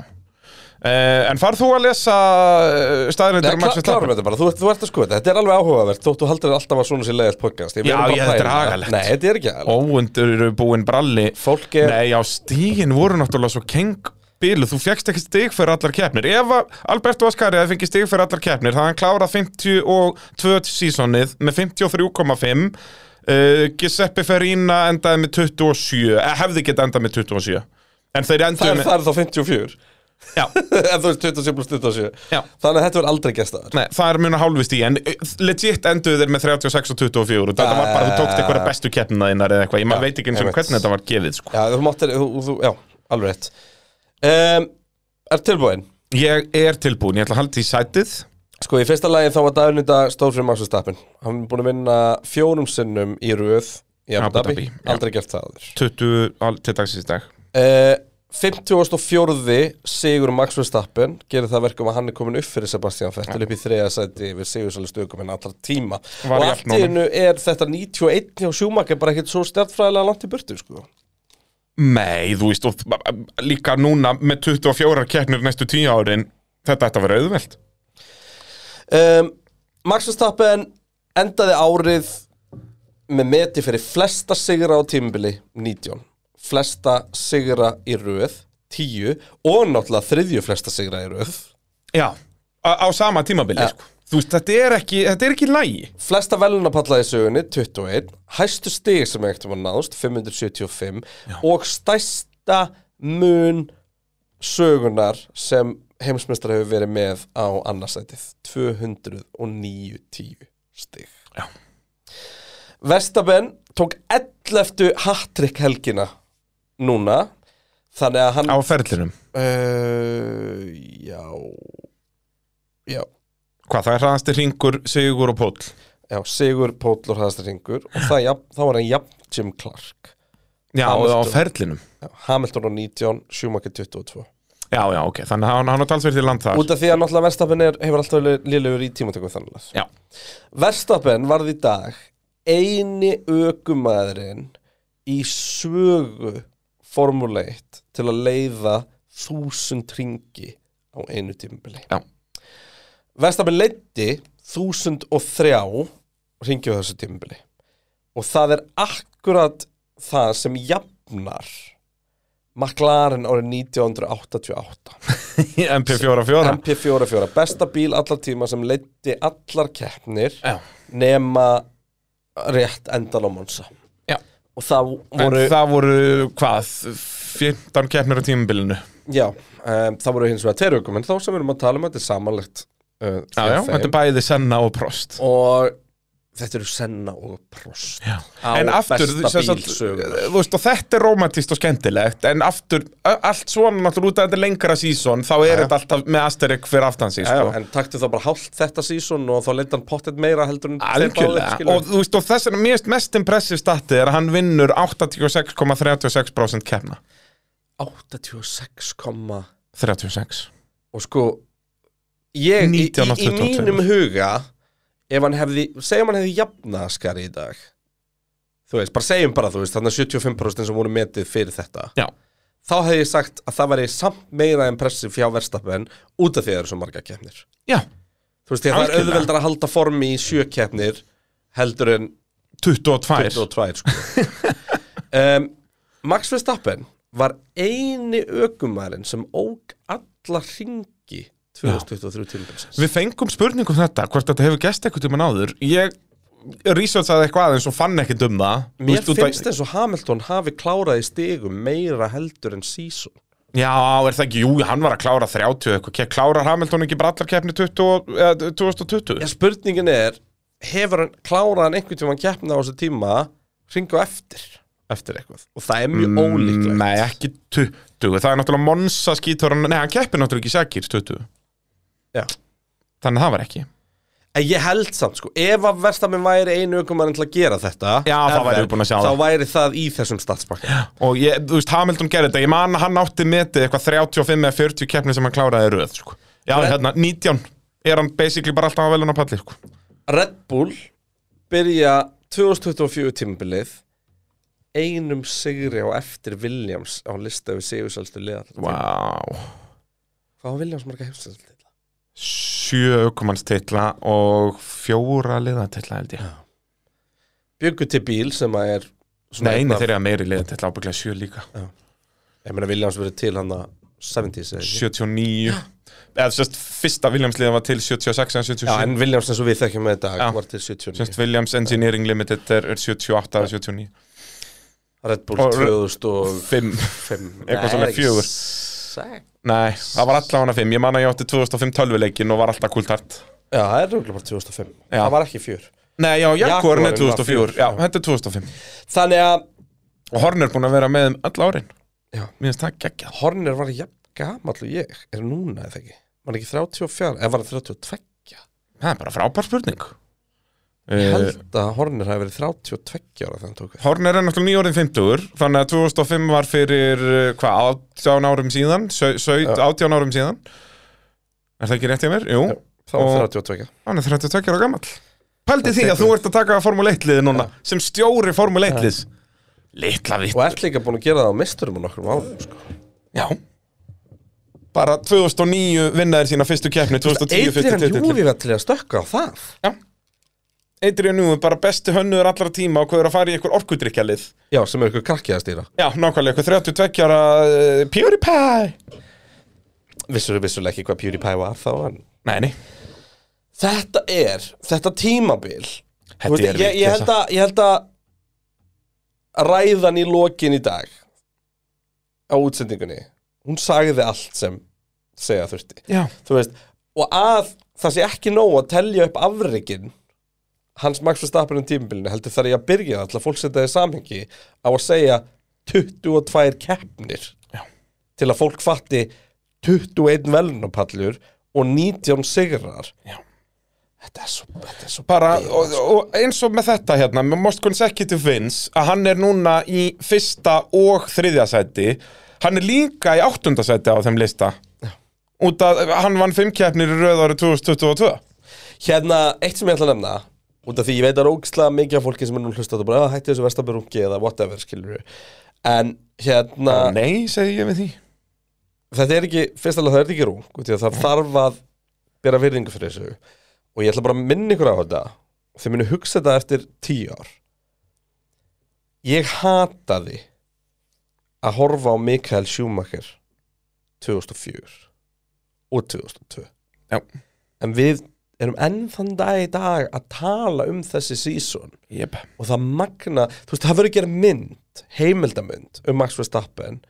Uh, en farð þú að lesa uh, staðrindur
Nei,
um
klá,
Max
klárum
Verstappen?
þetta bara, þú, þú ert að skoða þetta, þetta er alveg áhugavert þótt þú haldir alltaf að svona sér leiðilt podcast Ég
Já,
verður bara
ég-
að
þetta er
pæla.
agalegt.
Nei, þetta er ekki agalegt
Óundur eru búin bralli
Fólk er,
Nei, já, stígin voru náttúrulega svo kengbilu Þú fjekkst ekki stíg fyrir allar keppnir Ef að Alberto Ascari hefði fengið stíg fyrir allar keppnir Það hann klárað 52 sísonið með 53,5 uh, Giuseppe Ferrina endaði með 27 eh, Hefði getað endað með 27 En þeir
það
enduðu
er,
með
það er þá 54
Já,
En þú veist 27 plus 27
Já.
Þannig að þetta verður aldrei gestaður
Nei, það er muna hálfi stíð, en eh, legit enduðu þeir með 36 og 24 Þetta var bara, þú tókst einhverja bestu keppnina þínar eða eitthvað Ég maður veit ekki eins og
Ah. einmitt.
hvernig þetta var gefið sko.
Já, þú máttir, þú, þú, já, alveg rétt um, Er tilbúin?
Ég er tilbúin, ég ætla að halda í sætið
Sko, í fyrsta lagi þá var dagurinn í dag stór fyrir Max Verstappen Hann er búin að vinna fjórum sinnum í röð í Abu
Abu
Dhabi,
Dhabi, já.
aldrei gert það aður
20 al- til dagsins í dag
uh, 54. sigur Max Verstappen gerir það verkum að hann er komin upp fyrir Sebastian Vettel upp í þriða sæti við sigursælistu ökuminn allra tíma
Var
og
í
allt í
allt
hennu er þetta 91 hjá Schumacher bara ekkert svo stjartfræðilega langt í burtu sko.
Nei, þú veist, og b- b- líka núna með 24 keppnir næstu 10 árin Þetta ætti að vera auðvelt
um, Max Verstappen endaði árið með meti fyrir flesta sigra á tímubili 19 flesta sigra í röð 10 og náttúrulega þriðju flesta sigra í röð
Já, á, á sama tímabili
Ja.
sko. Þú veist, þetta er ekki, þetta er ekki lægi
Flesta velunapalla í sögunni, 21 Hæstu stig sem ekkert var náðst, 575 Og stæsta mun sögunar sem heimsmeistar hefur verið með á annarsætið 290 stig
Já.
Vestaben tók 11. hattrick helgina núna Þannig að hann
Á ferlinum
uh, Já Já
Hvað, það er hraðasti ringur, sigur og póll
Já, Sigur Póll og Hraðastar Ringur og það, jafn, þá var hann jafn Jim Clark
Já, á
Hamilton.
ferlinum
Já, Hamilton á 19, Schumacher 22
Já, já, ok, þannig að hann, hann á talsverði land þar
Út af því að náttúrulega Verstappen er, hefur alltaf liðlegur í tímatökum þannig
Já,
Verstappen varð í dag eini ökumæðurinn í sögu Formule 1 til að leiða þúsund ringi á einu tímabili
Já.
Verstappen leiddi 2003 ringjum þessu tímabili og það er akkurat það sem jafnar McLaren árið 1988
MP44
MP44, besta bíl allar tíma sem leiddi allar keppnir
Já.
nema rétt endan á Monsa
Já.
og það
En
voru
það voru, hvað, 15 keppnir á tímabilinu
já, um, það voru hins vegar tveir aukumenn þá sem við erum að tala um þetta er samanlegt uh,
Já,
hjá
já,
þeim.
þetta er bæði Senna og Prost
og þetta eru Senna og Prost
Já.
á
en aftur,
besta
sem eh,
bílsögu
þú veist, og þetta er romantist og skemmtilegt en aftur, ö- allt svona náttúrulega út af þetta er lengra sísón, þá er þetta alltaf með asterik fyrir aftan sín, sko
en taktu þá bara hálft þetta sísón og þá leiddi hann pottet meira heldur en þeir báðir,
Algjörlega,
skilur.
og þú veist, og þess er mest, mest impressiv statið er að hann vinnur 86,36% keppna
86, komma-
36
og sko ég, í, í, í
1922.
mínum huga ef hann hefði, segjum hann hefði jafnaskari í dag þú veist, bara segjum bara þú veist þannig að 75% sem voru metið fyrir þetta
Já,
þá hefði ég sagt að það væri samt meira impressiv fjá verstappen út af því að það eru svo marga keppnir
já,
þú veist, því að það er
Algjörlega.
auðveldar að halda formi í sjö keppnir heldur en
22
22 sko. um, Max Verstappen var eini ökumærin sem óg alla hringi 2023 tímabilsins
Við fengum spurningu um þetta, hvort þetta hefur gest eitthvað tíma náður Ég researchaði eitthvað aðeins og fann ekkert um það Þú
Mér
veist, út að-
finnst eins og Hamilton hafi klárað í stigum meira heldur en season
Já, er það ekki, jú, hann var að klára 30 eitthvað Ke- Klárar Hamilton ekki bara allar keppni 20 og- eða 2020?
Já, spurningin er hefur hann klárað hann einhvern tímann keppna á þessu tíma hringu eftir
Eftir eitthvað
og það er mjög ólíklegt
Mm, Nei, ekki 20 Það er náttúrulega Monsa skítur hann Nei, hann keppir náttúrulega ekki Sækir 20
Já.
Þannig að það var ekki
En ég held samt sko, ef að Verstappen væri einu ökumærin til að gera þetta
Já, þá
ef
værum
er,
við búin að sjá
Þá
það.
væri það í þessum statsbakka
Og ég, þú veist, Hamilton gerði þetta Ég man að hann átti metið eitthvað 35 eða 40 keppni sem hann kláraði í röð sko. Já,
Red-
hérna, 19 Er hann basically bara alltaf að veluna palli sko.
Red Bull byrja 2024 tímabilið einum sigri á eftir Williams á lista við sigursælstu liðar
Vá
Hvað var Williams marga heimsælstu?
Sjö aukumannstitla og fjóra liðatitla held ég
Byggu til bíl sem að er svona
Nei,
einn
nei,
af-
þeir eru að meiri liða til ábygglega 7 líka
Ég meina Williams verið til hann að 70s eða ekki?
79 Eða sérst, fyrsta Williams liða var til 76 en
Já,
77
en Williams eins og við þekkjum með þetta
Já.
var til 79
Sérst, Williams Engineering Limited er, er 78 eða 79
Red Bull
og-
2005
5 Eitthvað
Nei,
svona
ekki
fjögur.
sex.
Nei, það var alltaf hana 5 Ég man að ég átti 2005 tölvuleikin og var alltaf kultart
Já, það er röglega bara 2005
Já.
Það var ekki fjör
Nei, já, Jaguarinn
Jaguarinn
er
var
2004
fjör.
Já, þetta er 2005
Þannig að
Og Horn er búin að vera með um öll árin
Já.
Mér finnst það geggjað
Horner var jafn gamall og ég er núna eða ekki var hann ekki 34, eða var hann 32
Það er bara frábær spurning
ég
Eh,
held að Horner hafi verið 32 ára þegar hann tók við
Horner er náttúrulega nýjórðin 50 þannig að 2005 var fyrir uh, hvað, 18 árum síðan sau- sau-
Já.
18 árum síðan Er það ekki rétt hjá mér? Jú,
Já. þá var hann
Og-
32
hann er 32 ára gamall Paldi
Það
því að
tekur-
þú ert að taka Formule 1 liði núna sem stjóri Formule 1 liðs Litla vitt
og ert líka búin að gera það á misturum og nokkrum árum sko.
Já Bara 2009 vinnaðir sína fyrstu keppni 2010 fyrstu
Adrian
titill
Júvi var til að stökka á það
Eitri og nú bara bestu hönnuður allra tíma og hvað er að fara í ykkur orkudrykjalið
já, sem er ykkur krakkið að stýra
Já, nákvæmlega, ykkur 32 ára uh, PewDiePie
vissur vissulega ekki hvað PewDiePie var þá en...
Nei, nei
þetta er, þetta tímabil
Þetta
Þú veist,
er sko.
ég, ég, held að, ég held að ræðan í lokin í dag á útsendingunni hún sagði allt sem segja þurfti
Já
Þú veist, og að það sé ekki nóg að telja upp afreikin hans Max Verstappen um tímabilinu heldur þar ég að byrja það til að fólk setja það í samhengi á að segja 22 keppnir
Já.
til að fólk fatti 21 velunapallur og 19 sigrar
Já.
þetta er svo, þetta er svo
bara,
bilað,
og, og eins og með þetta hérna með Most Consecutive Wins að hann er núna í fyrsta og þriðja sæti hann er líka í áttunda sæti á þeim lista út að hann vann fimm keppnir í röð árið 2022
Hérna, eitt sem ég ætla að nefna út af því ég veit að rókslega mikið af fólki sem er nú hlustað og bara "Ah, hætti þessu vestaburungi eða whatever skilur en hérna,
Nei, segi ég við því
þetta er ekki fyrst alveg það er ekki rung, út í að það þarf að bera virðingu fyrir þessu og ég ætla bara að minna ykkur á þetta og þið munu hugsa þetta eftir tíu ár ég hataði að horfa á Mikael Schumacher 2004 og 2002
Já.
en við erum enn þann dag í dag að tala um þessi season
Jep.
og það magna, þú veist, það verður að gera mynd heimildamynd um Max Verstappen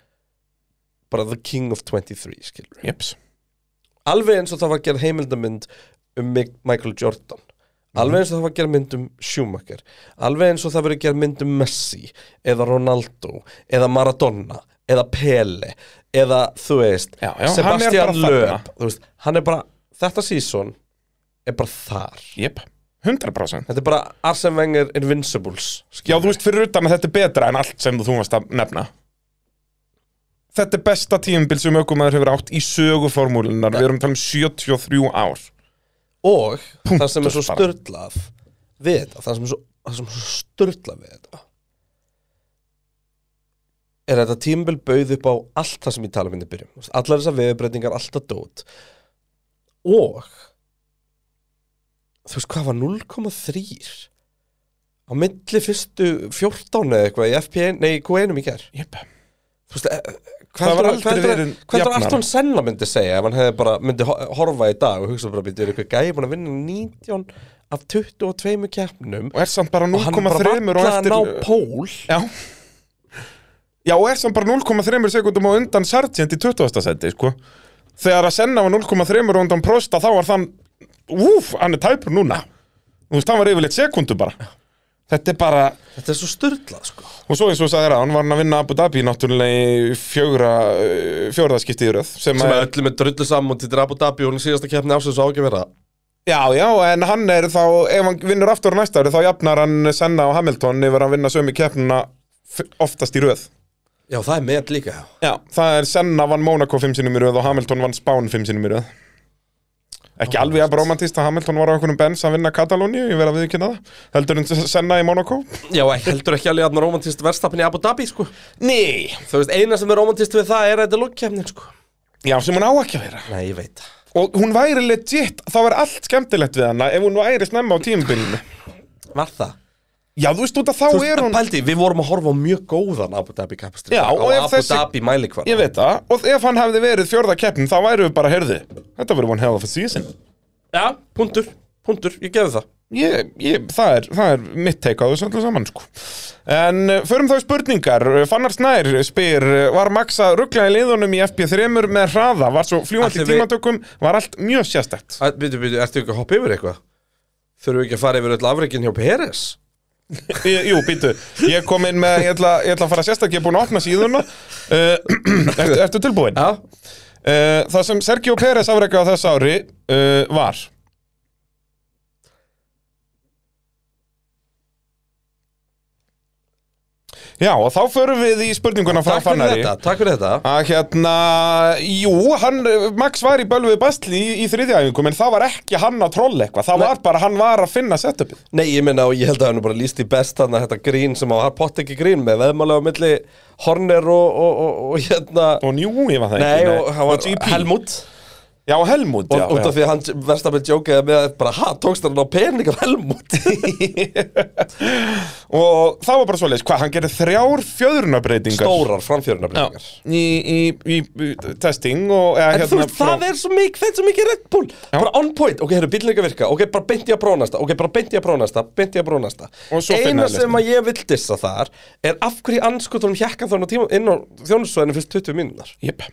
bara the king of 23 skilur
Jeps.
alveg eins og það var að gera heimildamynd um Mick- Michael Jordan
Mhm.
alveg eins og það var að gera mynd um Schumacher alveg eins og það verið að gera mynd um Messi eða Ronaldo eða Maradona eða Pele eða þú veist
Já, já, hann er bara
Sebastian
þarna.
Lööp þú veist, hann er bara, þetta season er bara þar
Jep. 100%.
þetta er bara Arsene Wenger Invincibles
Já, þú veist fyrir utan að þetta er betra en allt sem þú varst að nefna Þetta er besta tímabil sem aukumæður hefur átt í söguformúlunar Við erum að tala um 73 ár
og það sem er svo
bara.
störtlað við þetta, það sem er svo, það sem er svo störtlað við þetta er þetta tímabil bauð upp á allt það sem ég tala um minni byrjum Þú veist, allar þessar veðurbreytingar, alltaf dót og þú veist hvað var 0,3 á milli fyrstu 14 eða eitthvað í FP1, nei, Q1 í ger
Jep.
þú veist, eh,
Það
hvað
var
heldur-
aldrei
hvað heldur
verið
hvað heldur
jafnara.
Arton Senna myndi segja ef hann hefði bara myndi ho- horfa í dag og hugsa bara býtið ykkur gæði búin að vinna 19 af 22 keppnum
Og er samt bara
og hann bara
0,3 og
valla að
eftir
ná pól
Já Já, og er samt bara 0,3 sekundum á undan Sargent í 20. seti, sko Þegar að senna var 0,3 og undan Prosta þá var þann Úf, hann er tæpur núna Þú veist, hann var yfirleitt sekundu bara Þetta er bara
þetta er svo styrlað sko
Og svo eins og sagði hann var hann að vinna Abu Dhabi náttúrulega í fjögra, fjórðaskipti í röð sem,
sem að
er,
öllum er drullu saman til Abu Dhabi og hún er síðasta keppni ásins á ekki að vera
Já, já, en hann er þá, ef hann vinnur aftur á næsta ári þá jafnar hann Senna og Hamilton yfir að vinna sömu keppnuna f- oftast í röð
já það er með líka
Já, það er Senna vann Monaco fimm sinum í röð og Hamilton vann Spán fimm sinum í röð Ekki alveg að romantist að Hamilton var á einhvernum bens að vinna Katalóni, ég verð að viðkynna það heldur en Senna í Monaco
já ekki- heldur ekki alveg að maður romantist verðstapin í Abu Dhabi sko
Nei
þú veist eina sem er romantist við það er að þetta er lókkeppnin sko
Já, sem hún á ekki að vera
nei ég veit það.
Og hún væri legit, þá er allt skemmtilegt við hana ef hún væri snemma á tímabilinu.
var það
Já, þú veist út að þá
Þú
er
veist,
hún...
pældi, við vorum að horfa á mjög góðan Abu Dhabi kappastrik
Já,
á
og ef
Abu
þessi-
Dhabi mælikvarna
Ég veit það, og ef hann hefði verið fjörða keppn, þá væri við bara, heyrðu, þetta verður one hell of a season.
Já, punktur, punktur, ég gefi það
Ég, ég, það er, það er mitt teika á þessu öllu saman, sko. En uh, förum þá í spurningar. Uh, Fannar Snær spyr, uh, var Max að ruggla í liðunum í FP3 með hraða, var svo fljúandi
Ætli
í
við-
tímatökum, var allt mjög sérstætt.
Býtu, býtu, ertu ekki að hoppa yfir eitthvað? Þurfum við ekki að fara yfir öll afreikin hjá Peres?
Ég- Jú, býtu, ég kom inn með, ég ætla, ég ætla að fara sérstaklega, ég er búin að opna síðuna. Uh, ertu, ertu tilbúin?
Já
Uh, það sem Sergio Pérez afrekaði á þess ári uh, var Já, og þá förum við í spurninguna frá
Takk fyrir
Fannari
þetta, takk fyrir þetta
að hérna, jú, hann, Max var í bölvið basli í, í þriðjæfingum en það var ekki hann að trolla eitthvað það
Nei.
var bara, hann var að finna setupið
Nei, ég minna og ég held að hann er bara líst í best þannig að þetta grín sem að hann pott ekki grín með veðmálega á milli Horner og, og, og, og hérna
og njú, ég var það
Nei,
ekki
og hann var
GP.
Helmut
Já, og Helmut,
og
já,
út af
já.
því að hann verðstafið jókaði með að bara, ha, tókst hann á pening af Helmut
og það var bara svoleiðis, hvað, hann gerði þrjár fjöðrunabreitingar
Stórar framfjörunarbyggingar
í, í, í, í testing og eða, hérna,
En þú veist, það er svo mikið, þetta er svo mikið Red Bull Bara on point, ok, hérna, bílinn ekki að virka Ok, bara beint ég að prónasta, ok, bara beint ég að prónasta Beint ég að prónasta
Og svo finna
Eina
þeir
sem að ég vill dissa þar Er af hverju anskutunum hjekka þannig tíma Inn á þjónusvæðinu fyrst 20 mínúnar
Jep,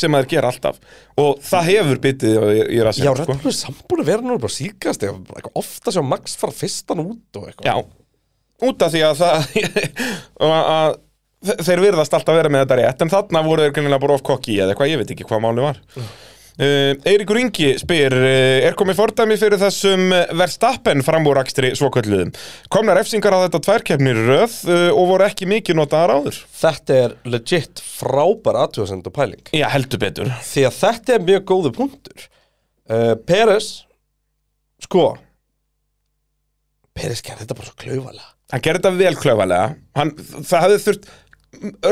sem að þeir gera alltaf og það hefur bitið í, í rassinn sko.
Já, Red Bull er sambúin að vera nú bara síkast Ég bara eitthvað ofta sjá Max fara fyrstan út og eitthvað
Já, út af því að það að, að, þe- þeir virðast alltaf vera með þetta rétt en þarna voru þeir greinilega bara of kokki eða eitthvað, ég veit ekki hvað máli var Uh, Eiríkur Ingi spyr uh, Er komið fordæmi fyrir þessum eh, Verstappen framúrakstri svokvöldluðum Komnar efsingar á þetta tværkeppnir röð uh, og voru ekki mikið notaðar áður
Þetta er legit frábær aðtjóðsend og pæling
Já, heldur betur
því að þetta er mjög góðu punktur uh, Peres sko Peres gerði þetta bara svo klaufalega
Hann gerði þetta vel klöfalega hann, Það hefði þurft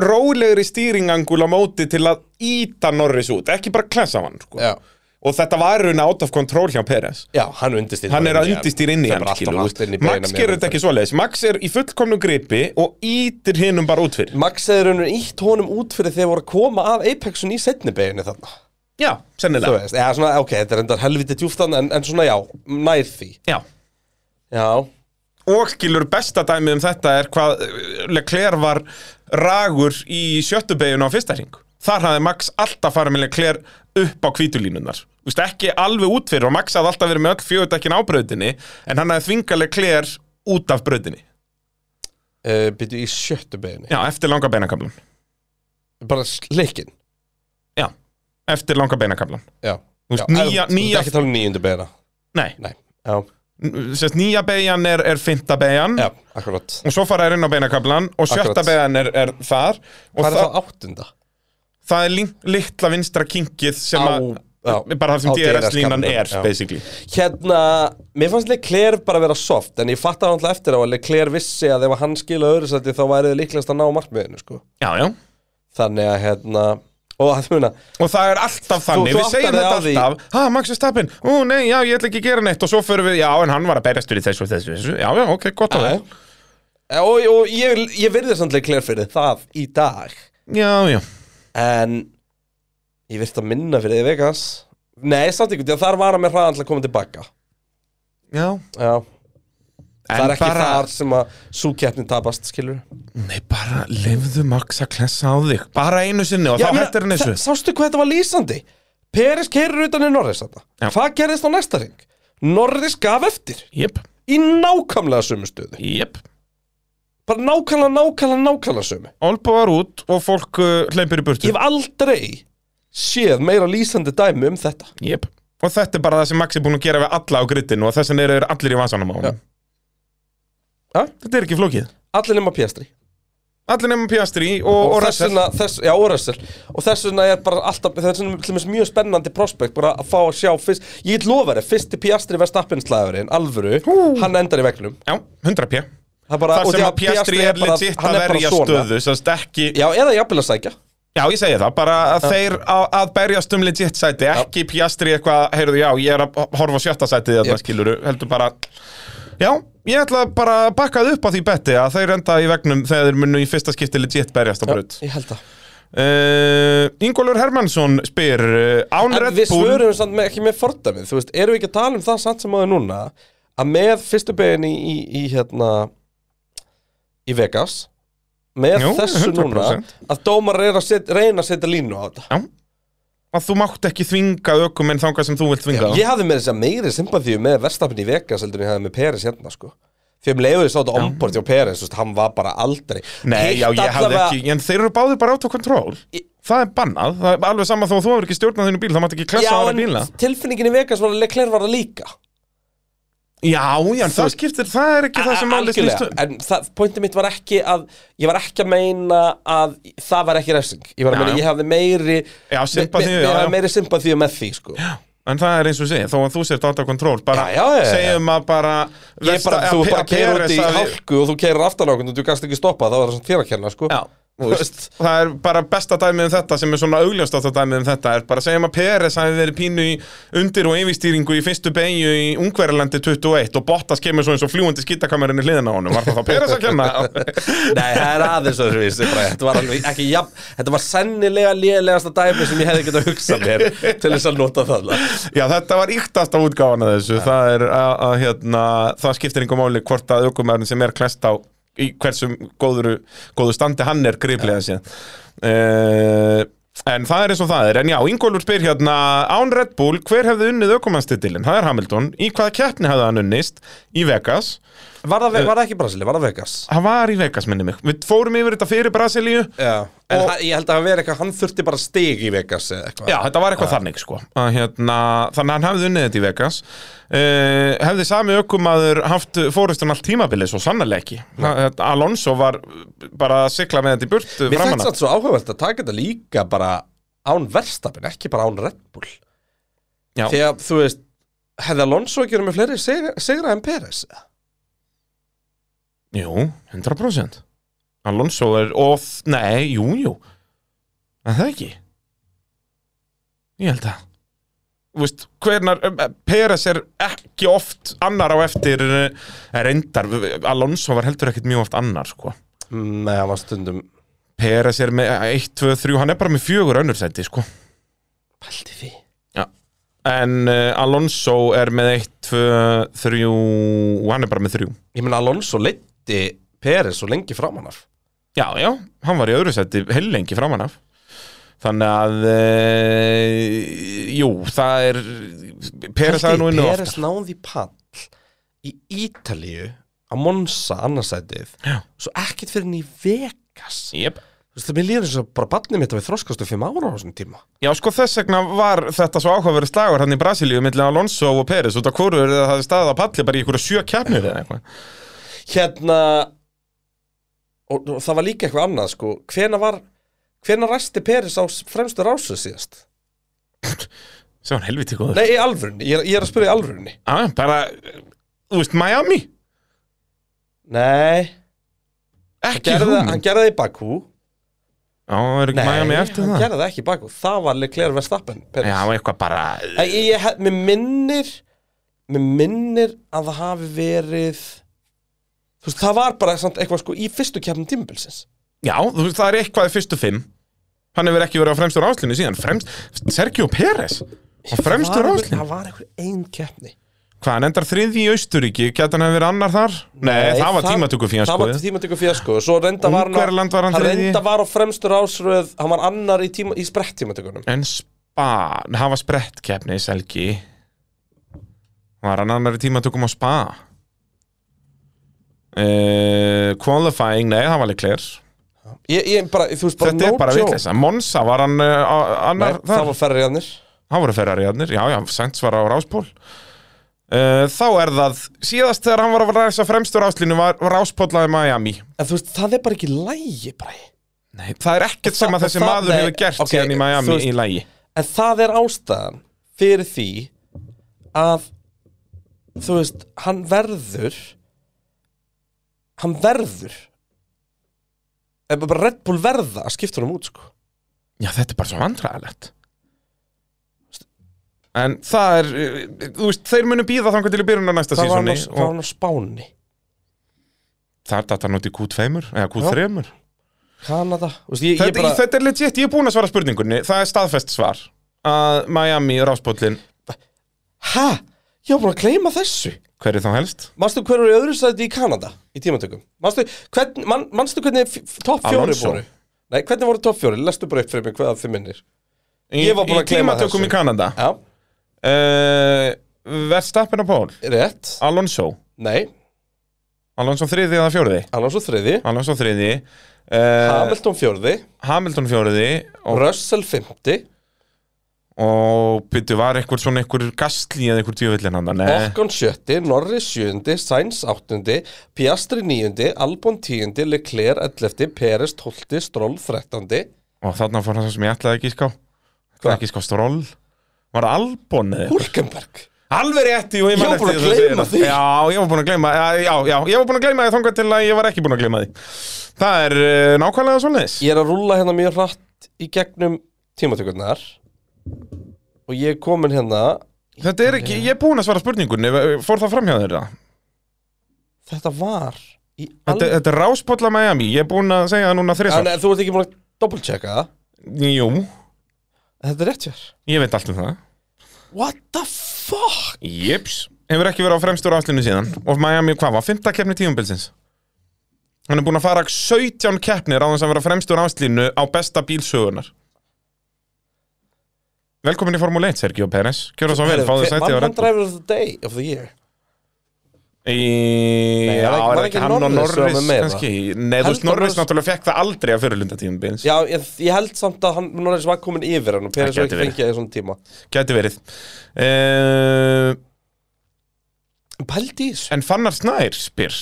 rólegri stýringangul á móti til að íta Norris út, ekki bara klesa hann sko.
Já.
og þetta var raun out of control hjá Peres
Já, hann undistýr
hann er að undistýr inn í hann skilur
Max
þú. Max
hérna.
gerir þetta ekki svoleiðis Max er í fullkomnu gripi og ítir hinnum bara út fyrir
Max hefði raunir ítt honum út fyrir þegar voru að koma að Apexun í setni beginu þarna
já,
Þú
sennilega
veist, eða svona, ok, þetta er endar helviti djúftan en, en svona já, nær því
já.
Já,
og skilur besta dæmi um þetta er hvað eh, Leclerc var ragur í sjöttu beiginu á fyrsta hring þar hafði Max alltaf farið með Leclerc upp á kvítulínunar Vist, ekki alveg út fyrir og Max hafði alltaf verið með öll fjögudekkin á brautinni en hann hafði þvingað Leclerc út af brautinni
uh, byrju í sjöttu beginu
já, eftir langa beinakablan
Bara sleikin
já, eftir langa beinakablan
Já,
Þú
já
veist, nýja-
en- þú
nýja-
ert ekki að tala um nýjundu begina
nei,
Nei, já,
sérst nýja beigjan er, er fynda beigjan
já, akkurat
og svo fara þær inn á beinakablan og sjötta
Akkurat.
beigjan er, er þar og
Hvað
það,
er það áttunda?
það er lin- litla vinstra kinkið sem
Á-
að
já,
bara þar
á
sem DRS-línan
DRS-kantinum,
er sko.
já.
basically
Hérna, mér fannst Leclerc bara vera soft En ég fattaði alltaf eftir á að Leclerc vissi að ef hann skila öðru sætti Þá værið þið líklegast að ná markmiðinu, sko
já, já.
Þannig að, hérna Og að muna,
og það er alltaf þannig,
þú
við
áttar
segjum
þig
þetta
á því-
alltaf ha, Max Verstappen, ú nei, já, ég ætla ekki að gera neitt og svo förum við, já, en hann var að berjast fyrir þessu og þessu, þessu, já, já, ok, gott að
Já.
það
eh, og, og ég, ég virði samt Leclerc fyrir það í dag
já, já,
En ég virti að minna fyrir þið vegas Nei, samt ykkur, því að þar var hann með hraðan til að koma tilbaka
já
Já, það er
en
ekki
bara,
þar sem að súkeppni tapast, skilur
nei, bara lefðu Max að klessa á þig bara einu sinni og
Já,
þá
meina,
hættir hann
þa-
þessu
Sástu hvað þetta var lýsandi? Peris keirir utan í Norris þetta.
Já.
Hvað gerðist á næsta ring? Norris gaf eftir
jep,
í nákvæmlega sömu stöðu.
jep
Bara nákvæmlega, nákvæmlega, nákvæmlega sömu.
Olbúar út og fólk uh, hleypir í burtu
Ég hef aldrei séð meira lýsandi dæmi um þetta.
Jep. Og þetta er bara það sem Max er búin að gera við alla á grittinu og þess vegna eru þeir allir í vasanum á hann.
Ja.
Þetta er ekki flókið.
Allir nema Piastri.
Allir nefnum Piastri og, og,
Og,
og
þess
Russell.
vegna, þess, já, og Russell. Og þess vegna er bara alltaf, það er svona til dæmis mjög spennandi prospekt bara að fá að sjá fyrst, ég lofa þér, fyrsti Piastri verðstappinslæðurinn, alvöru, hann endar í vegnum.
Já, 100 p.
Það bara,
Þar
og
sem
því
að Piastri er
bara-
legit
hann
að
er bara
verja
svona.
stöðu, sérst ekki...
Já, eða jafnvel að sækja.
Já, ég segi það, bara að þeir að, að berjast um legit sæti, ekki Piastri eitthvað, heyrðu, já, ég er að horfa á sjötta sætið þarna,
Jep.
yep. skiluru, heldur bara... Já, ég ætla bara að bakka þið upp á því betti að þeir enda í vegnum þegar þeir munu í fyrsta skipti legit berjast á braut.
Ég held það.
Uh, Ingólfur Hermannsson spyr uh, Án
En
Red
við
Bull
svörum samt með, ekki með fordæmið, þú veist, erum við ekki að tala um það samt sem áður núna að með fyrstu begin í, í, í hérna í Vegas með
Jú,
þessu
100%.
núna að dómar er að set, reyna að setja línu á þetta
Já, að þú mátt ekki þvinga ökum en þangað sem þú vilt þvinga þá.
Ég hafði með þess að meiri sympathíu með verstafn í Vegas heldur en ég hafði með Peres hérna sko því um leiðu ég sá þetta ombord hjá Peres þú veist, hann var bara aldrei
Nei,
Hitt
já, ég hafði
allavega-
ekki En þeir eru báðir bara out of control
Í-
Það er bannað, það er alveg sama þó að þú hefur ekki stjórnað þínu bíl Það mátt ekki klessa á
Já,
aðra bíla
en tilfinningin í Vegas var að Leclerc var það líka
Já, já, en það skiptir, það er ekki það sem máli snýst
Algjörlega,
um
en það, pointið mitt var ekki að ég var ekki að meina að það var ekki refsing ég var að
Já,
meina,
já.
ég hafði meiri
Já, sympathíu,
me- me-
já,
ég
já.
hafði meiri sympathíu með því, sko já,
En það er eins og segja, þó að þú sért out of control Bara
Já, já, já, já.
segjum að bara
ég bara, þú bara keirir út í hálku og þú keirir aftan á okkur og þú gast ekki stoppa, þá er það svona þér að kenna, sko
Já,
Þú veist.
það er bara besta dæmið um þetta sem er svona augljóstátt dæmið um þetta er bara að segjum að Peres hafi verið pínu í undir og yfirstýringu í fyrstu beigju í Ungverjalandi 21 og Bottas kemur svo eins og fljúandi skýttakamerinn í hliðina á honum var það þá Peres að kenna?
Nei, það er aðeins öðruvísi bara. Þetta var alveg ekki jafn Þetta var sennilega lélegasta dæmi sem ég hefði getað hugsað mér til þess að nota það
Já, þetta var yktast á útgáfana þessu það er að, að hérna, það skiptir einhver máli hvort að aukumærin sem er klest á í hversum góðuru, góðu standi hann er griplega síðan uh, En það er eins og það er En já, Ingólfur spyr hérna Án Red Bull, hver hefði unnið aukumannstitilin? Það er Hamilton, í hvaða keppni hefði hann unnist? Í Vegas
Var það, var það ekki Brasili, var það Vegas?
Hann var í Vegas, minni mig Við fórum yfir þetta fyrir Brasilíu
Já, en
Og-
hann- ég held að hann veri eitthvað, hann þurfti bara stig í Vegas eða eitthvað
Já, þetta var eitthvað þannig sko að, hérna, Þannig að hann hefði unnið þetta í Vegas uh, Hefði sami ökumaður haft fórustun allt tímabilið svo sannarlega ekki Ha- þetta- Alonso var bara að sigla með þetta í burt
Mér finnst
framanna
þetta svo áhugavert að taka þetta líka bara án verstafin, ekki bara án Red Bull
Já.
Þegar, þú veist, hefði Alonso ekki verið með fleiri sigra, sigra en Peres
Jú, 100% Alonso er of, nei, jú, jú En það ekki Ég held að þú veist, hvernar, Peres er ekki oft annar á eftir eh, reyndar, Alonso var heldur ekkit mjög oft annar, sko
Mm, Nei, hann var stundum
Peres er með 1, 2, 3, hann er bara með fjögur önnur seti, sko
Pældi því
En uh, Alonso er með 1, 2, 3 og hann er bara með 3
Ég meina Alonso leiddi Peres svo lengi framan af
Já, já, hann var í öðru seti heilengi framan af Þannig að, e, jú, það er, Peres aðeins nú innu
Peres
oftar
náði í pall í Ítalíu á Monsa annarsætið
Já.
svo ekkert fyrir henni í Vegas
Jep.
Þú veist, mér líður eins og bara barnið mitt að við þroskastu fimm ára á þessum tíma
Já, sko þess vegna var þetta svo áhugaverið slagur hann í Brasilíu millir Alonso og Peres út af hvoru er það staðið að palli bara í einhverju sjö kjarnir eða eitthvað
Hérna og, og það var líka eitthvað annað sko Hvena var, hvena ræsti Peres á s- fremstu rásu síðast?
Sem hann helviti góður
Nei, í alvörunni, ég, er- ég er að spyrja í alvörunni
ah, Bara, þú veist, Miami
Nei, hann
Ekki
gerði, það-
hugmynd
hann gerði það í Bakú
Já, er
Nei,
ekki Miami eftir
hann
það?
gerði það ekki í Bakú Það var Leclerc Verstappen Peres
Já, eitthvað bara
Æ, ég, ég, hef- mér minnir mér minnir að það hafi verið þú veist, það var bara samt eitthvað sko í fyrstu kefnum tímabilsins
Já, þú veist, það er eitthvað í fyrstu fimm Hann hefur ekki verið á fremstur áslunni síðan fremst, Sergio Pérez Á
Það
fremstur
var einhver-
áslunni
það var einhver ein kefni
Hvað, hann endar þriði í Austuríki Gæti hann hefur verið annar þar? Nei, það var tímatöku fyrir
það var tímatöku fjasko og svo reynda var hann á-
Ungverjaland var hann
hann
þriðji.
reynda var á fremstur ásröð hann var annar í, tíma, í sprett tímatökunum
En spa, nei, það var sprett keppni í Selgi Var hann annar í tímatökum á spa uh, Qualifying, nei, það var leiklir
ég, ég bara, þú veist, bara
Þetta
no
er bara
joke.
vitleisa Monsa var hann uh, á-
Nei,
annar
það var ferriðanir
Það voru ferrariðarnir, já, já, Sainz var á ráspól uh, Þá er það Síðast þegar hann var að ræsa fremstur áslínu var, var ráspólaði Miami
en þú veist, það er bara ekki lægi bara.
Nei, það er ekkert
Og
sem
það-
að þessi
og það-
maður
nei,
hefur gert
ok,
síðan í Miami
þú veist-
í lægi
en það er ástæðan fyrir því að þú veist, hann verður hann verður eða bara Red Bull verða að skipta honum út sko
Já, þetta er bara svo vandræðilegt En það er, uh, þú veist, þeir munu býða þangar til í byrjun á næsta
það var hann
sísoni
á, það var
og
hann á Spáni
það er þetta nút í Q2 eða Q3
Kanada Þú veist, ég,
þetta,
ég bara,
þetta er legit, ég er búinn að svara spurningunni Það er staðfest svar að Miami ráspólinn,
hæ? Ég var búin að gleyma þessu
hver er þá helst?
Manstu hver var í öðru sæti í Kanada í tímatökum? Manstu, hvern, man, manstu hvernig f- f- topp fjóri
Alonso.
voru? Nei, hvernig voru topp fjóri? Lestu bara upp fyrir mig hvað þið minnir Ég var búinn að gleyma
Í tímatökum
þessu.
í Kanada
Já,
uh, Verstappen og Pól
rétt
Alonso
Nei,
Alonso þriði eða fjóriði
annars og þriði
Alonso þriði uh,
Hamilton fjórði,
Hamilton fjóriði og,
Russell fymti
og byrju var eitthvað svona eitthvað gastli eða eitthvað djöfellin hann Nei,
Okkon sjötti, Norris sjöundi, Sainz áttundi Piastri níundi, Albon tíundi Leclerc ellefti, Peres tólti Stroll þrettandi
og þarna fór hann sem ég ætlaði ekki ská
Hvað?
ekki ská stról Var það Albon eða? eitthvað?
Hulkenberg
Alveg rétti, jú, ég
Ég
man
var búinn að
eftir þú segir
gleyma
það.
því.
Já, ég var búin að gleyma, já, já, já, ég var búin að gleyma því þangað til að ég var ekki búin að gleyma því Það er uh, nákvæmlega svoleiðis
Ég er að rúlla hérna mjög hratt í gegnum tímatökurnar og ég er komin hérna
Þetta er ekki, ég er búin að svara spurningunni, eh, fór það framhjá þeirra?
þetta var í
Þetta,
alveg
þetta er ráspólla Miami, ég er búinn að segja það núna þrisvar.
Þú ert ekki múin að doppelchecka það
Jú,
Þetta er rétt hér
ég veit allt um það.
What the fuck
Jips. Hefur ekki verið á fremstur áslunni síðan. Og Miami, hvað var, fymta keppni tíumbilsins? Hann er búinn að fara 17 keppnir á þess að vera á fremstur áslunni á besta bílsögunar. Velkomin í Formule 1, Sergio Pérez. Gjör það svo vel, fáðu sæti á
One
reynd.
driver of the day of the year
Í...
Nei,
Já,
var ekki-
er
var
ekki
ekki
hann og
Norris sem var
Norris,
með það?
kannski. Nei, þú
Heldur
veist, Norris
Norris-
náttúrulega fekk það aldrei að fyrirlunda tíumbilins.
Já, ég, ég held samt að hann Norris var komin yfir hann og Peres
Það
var
gæti
ekki
verið.
fengið í svona tíma
Gæti verið. Uh,
En pældi í þessu
En Fannar Snær spyr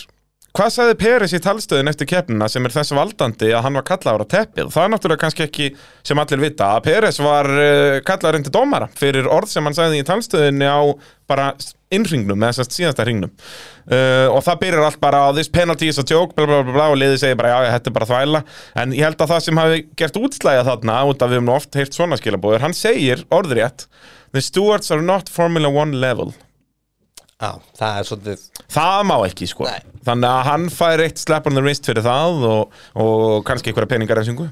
Hvað sagði Peris í talstöðin eftir keppnina sem er þess valdandi að hann var kallaður á teppið? Það er náttúrulega kannski ekki sem allir vita eh, að Peris var uh, kallaður undir dómara fyrir orð sem hann sagði í talstöðinni á bara s- innringnum, eða sérst síðasta hringnum uh, og það byrjar allt bara á this penalty is a joke, bla bla bla bla og liðið segir bara já, já, þetta er bara þvæla en ég held að það sem hafi gert útslæja þarna út af við höfum nú oft heyrt svona skilabóður, hann segir orðrétt the stewards are not Formula 1 level
Já, það er svolítið
það má ekki sko
Nei.
þannig að hann fær eitt slap on the wrist fyrir það og, og kannski einhverja peningar að syngu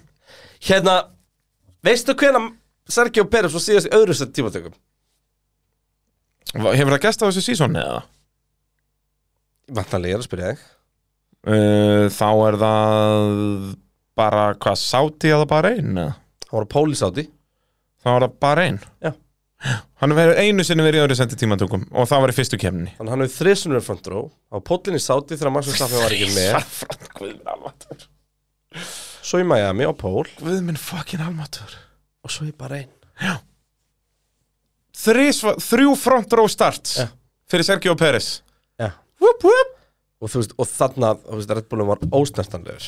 Hérna, veistu hvena Sergio Pérez var síðast í öðru sett tímatökum?
hefur það gæst á þessu sísónu eða?
Vantanlega, ég er að spyrja þig
Uh, þá er það bara hvað sáti eða bara einn eða?
Hann var að pólís á því
þá er það bara einn
Já.
hann hefur einu sinni verið í öðru sendi tímatökum og það var í fyrstu kemni
Þannig hann hefur þrisunum verið front row Hann var pólinn í sáti þegar Max Verstappen var ekki með
Guðminn
Svo í Miami á pól
fucking almatur
Og svo í bara einn
þrjú front row starts
Já.
fyrir Sergio Pérez
Já
whoop, whoop.
Og þú veist, og þarna, þú veist, Red Bullum var ósnertanlegur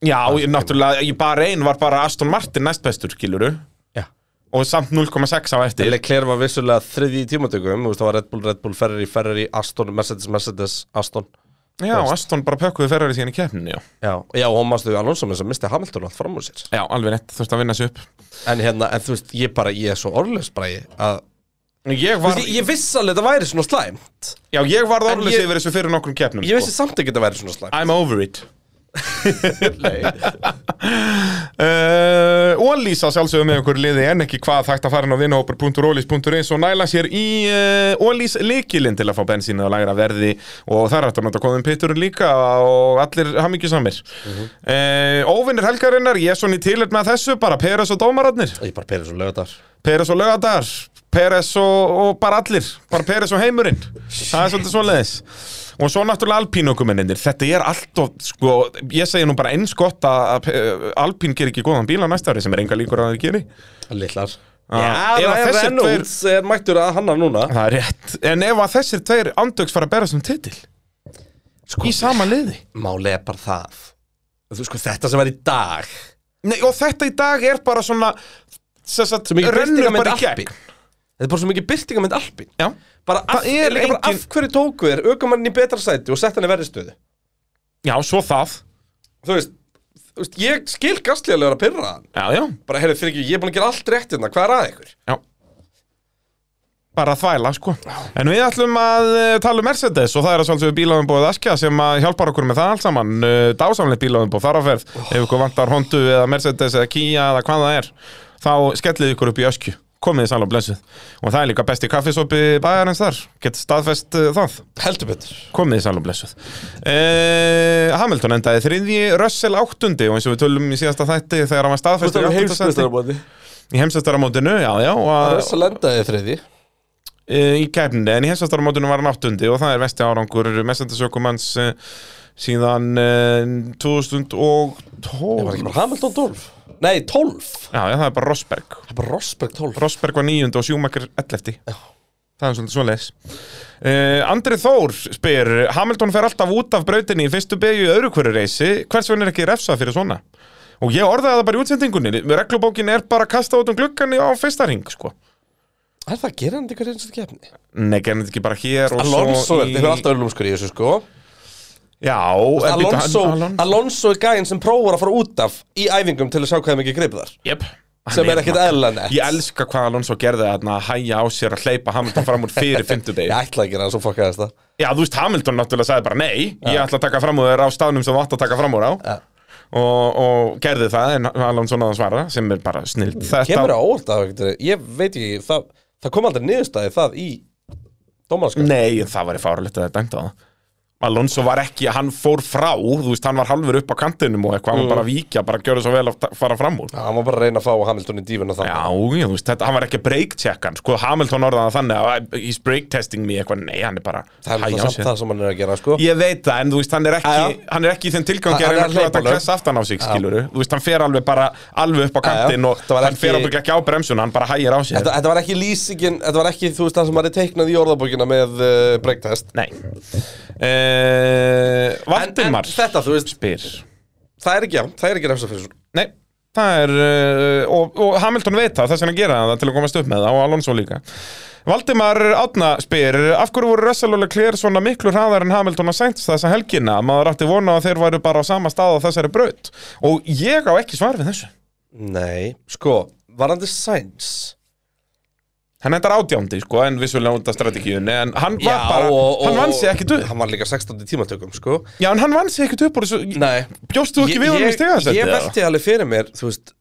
Já, ég, náttúrulega, ég bara einn var bara Aston Martin næstbestur, skiluru
Já
og samt 0,6 á eftir
Leclerc var vissulega þriði í tímatökum Þú veist, það var Red Bull, Red Bull, Ferrari, Ferrari, Aston, Mercedes, Mercedes, Aston
Já, Aston bara pökkuði ferrari síðan í keppninu, já
Já, já og mástu Alonso með þess að misti Hamilton allt fram úr sér
Já, alveg nett, þurfti að vinna sér upp
En hérna, en þú veist, ég bara, ég er svo orðlaus bara ég að
Ég
Þú
var,
veist, ég, ég vissi alveg að þetta væri svona slæmt
já, ég var
En
orðlis
ég-
yfir þessu fyrir nokkrum keppnum sko.
Ég vissi samt ekki að þetta væri svona slæmt
I'm over it
Nei.
Uh, Ólís að sjálfsögðu með okkur liði en ekki hvað þægt að fara inn á vinahópur.ólís.is og næla sér í uh, Ólís likilinn til að fá bensínu og lægra verði og þar ættu að nota kóðum pitturinn líka og allir hamingjusamir uh
Mhm.
Óvinnir helgarinnar, ég er svona í tilhætt með þessu bara Peres og Dómararnir
Ég bara perið svo lögadar
Peres og Lögadar, Peres og, og bara allir, bara Peres og heimurinn það er svolítið svoleiðis og svo náttúrulega alpínokumenninir, þetta er allt og, sko, ég segi nú bara eins gott að, að Pe- alpín ger ekki góðan bíla næsta ári sem er enga líkur að það geri
Lillar
Ah.
Já,
Ef að
Ryan
þessir
Reynolds er mættur að hanna núna
það er rétt, en ef að þessir tveir andöks fara að berast um titil
Sko,
í sama liði
Máli er bara það Þú sko, þetta sem er í dag
Nei, og þetta í dag er bara svona þess að
Svo mikið
rennur
byrtingamynd
bara í gegn
Alpin Þetta er bara svo mikið byrtingamynd Alpin
Já.
Bara af,
Það er
er líka bara
engin-
af hverju tóku þér Ökumann í betra sæti og sett hann í verri stöðu
já, svo það
Þú veist, þú veist ég skil gastlega að pyrra hann
já, já,
Bara, heyrðu, fyrir ekki, ég er búin að gera allt rétt hérna Hvað er að ykkur?
Já bara að þvæla sko en við ætlum að eh, tala um Mercedes og það er að svolítið bílaðumbóð Askja sem að hjálpar okkur með það allt saman Eh, dásamlegt bílaðumbóð þaraferð ef ykkur vantar Hondu eða Mercedes eða Kia eða hvað það er þá skellið ykkur upp í Öskju komið þið sæl og blessuð og það er líka besti kaffisopi bæjarins þar getur staðfest eh, það
Heldur betur
komið þið sæl og blessuð uh, Hamilton endaði þriðji Russell áttundi og eins og við tölum í síðasta þætti þegar hann var staðfest
um
í heimsastarmótinu já, já, og að-
Þess að lenda þið þriði
uh, í kefni en í hensastarumótunum var hann áttundi og það er vesti árangur mestendasökumanns uh, síðan uh, 2012
Ég var ekki bara Hamilton 12 Nei, 12
Já, já, það er bara Rosberg
Það er bara Rosberg 12
Rosberg var níundi og Sjúmakar 11
Já.
Það er svolítið svoleiðis uh, Andri Þór spyr Hamilton fer alltaf út af brautinni í fyrstu beigju í öðru hverju reysi Hvers vegna er ekki refsað fyrir svona? Og ég orðaði það bara í útsendingunni Reglubókin er bara að kasta út um gluggan á fyrsta ring sko.
Er það að gera hann eitthvað eins og kefni?
Nei, gerðum þetta ekki bara hér og
Alonso,
svo
þetta er alltaf ölumskur í þessu sko
Já, en býttu, hann-
Alonso,
Alonso-
Alonso er gæinn sem prófar að fara út af í æfingum til að sjá hvað mikið greip þar
Jep
sem er ekkert eðlanett
Ég elska hvað Alonso gerði þarna að hæja á sér að hleypa Hamilton fram úr fyrir
Ég
fimmtudegi
ætla ekki hann, svo fokkaðist það
Já, þú veist, Hamilton náttúrulega sagði bara nei Ég ætla að taka fram úr þér á staðnum sem þú átt að taka fram úr á
Ja.
og, og gerði það en Alonso náða að svara sem er bara snild
Mm, Kemur á óvart að ég veit ekki það, það kom aldrei niðurstaði það í dómarskar
Nei, en það var í fáralegt að það dæmt á það Alonso var ekki, hann fór frá Þú veist, hann var halfur upp á kantinum og
Mm.
eitthvað Hann var bara að víkja, bara að gjöra svo vel að ta- fara fram úr
Hann var bara að reyna að fá Hamilton í dífuna það
Já, já, þú veist, þetta, hann var ekki að break checkan Sko, Hamilton orðaði það þannig að he's break testing me eitthvað Nei, hann er bara
Það er
hæja á
samt
sér.
það sem hann er að gera sko
Ég veit það, en þú veist, hann er ekki,
Jæja.
hann er ekki í þeim tilgangi
Hann
að
er
reyna að kláta að
hleypalög.
klessa aftan á sig, skiluru Þú veist, hann fer alveg bara alveg upp á
Jæja.
kantinn og
Þetta var
hann
ekki-
fer ábygglega ekki á bremsuna, hann bara hægir á sér
Þetta, þetta var ekki lýsingin, þetta var ekki þú veist það sem hann er teiknað í orðabókina með uh, bregtest
Nei uh,
en
Valdimar Eh,
þetta, þú veist,
spyr
það er ekki, já, það er ekki refsa fyrir svona
Nei Það er, uh, og, og Hamilton veit það, þess vegna gera hann það til að komast upp með það og Alonso líka. Valdimar Átna spyr, af hverju voru Russell og Leclerc svona miklu hraðar en Hamilton og Sainz þessa helgina? Maður átti vona að þeir væru bara á sama stað á þessari braut. Og ég á ekki svar við þessu.
Nei, sko, varandi Sainz
Hann endar átjándi, sko, en vissulega út af strategíunni, en hann var bara, hann vann sig ekki upp.
Hann var líka 16. tímatökum, sko
Já, en hann vann sig ekki upp úr þessu,
Nei,
bjóst þú ekki við honum í stegaðsætti?
Ég velti alveg fyrir mér, þú veist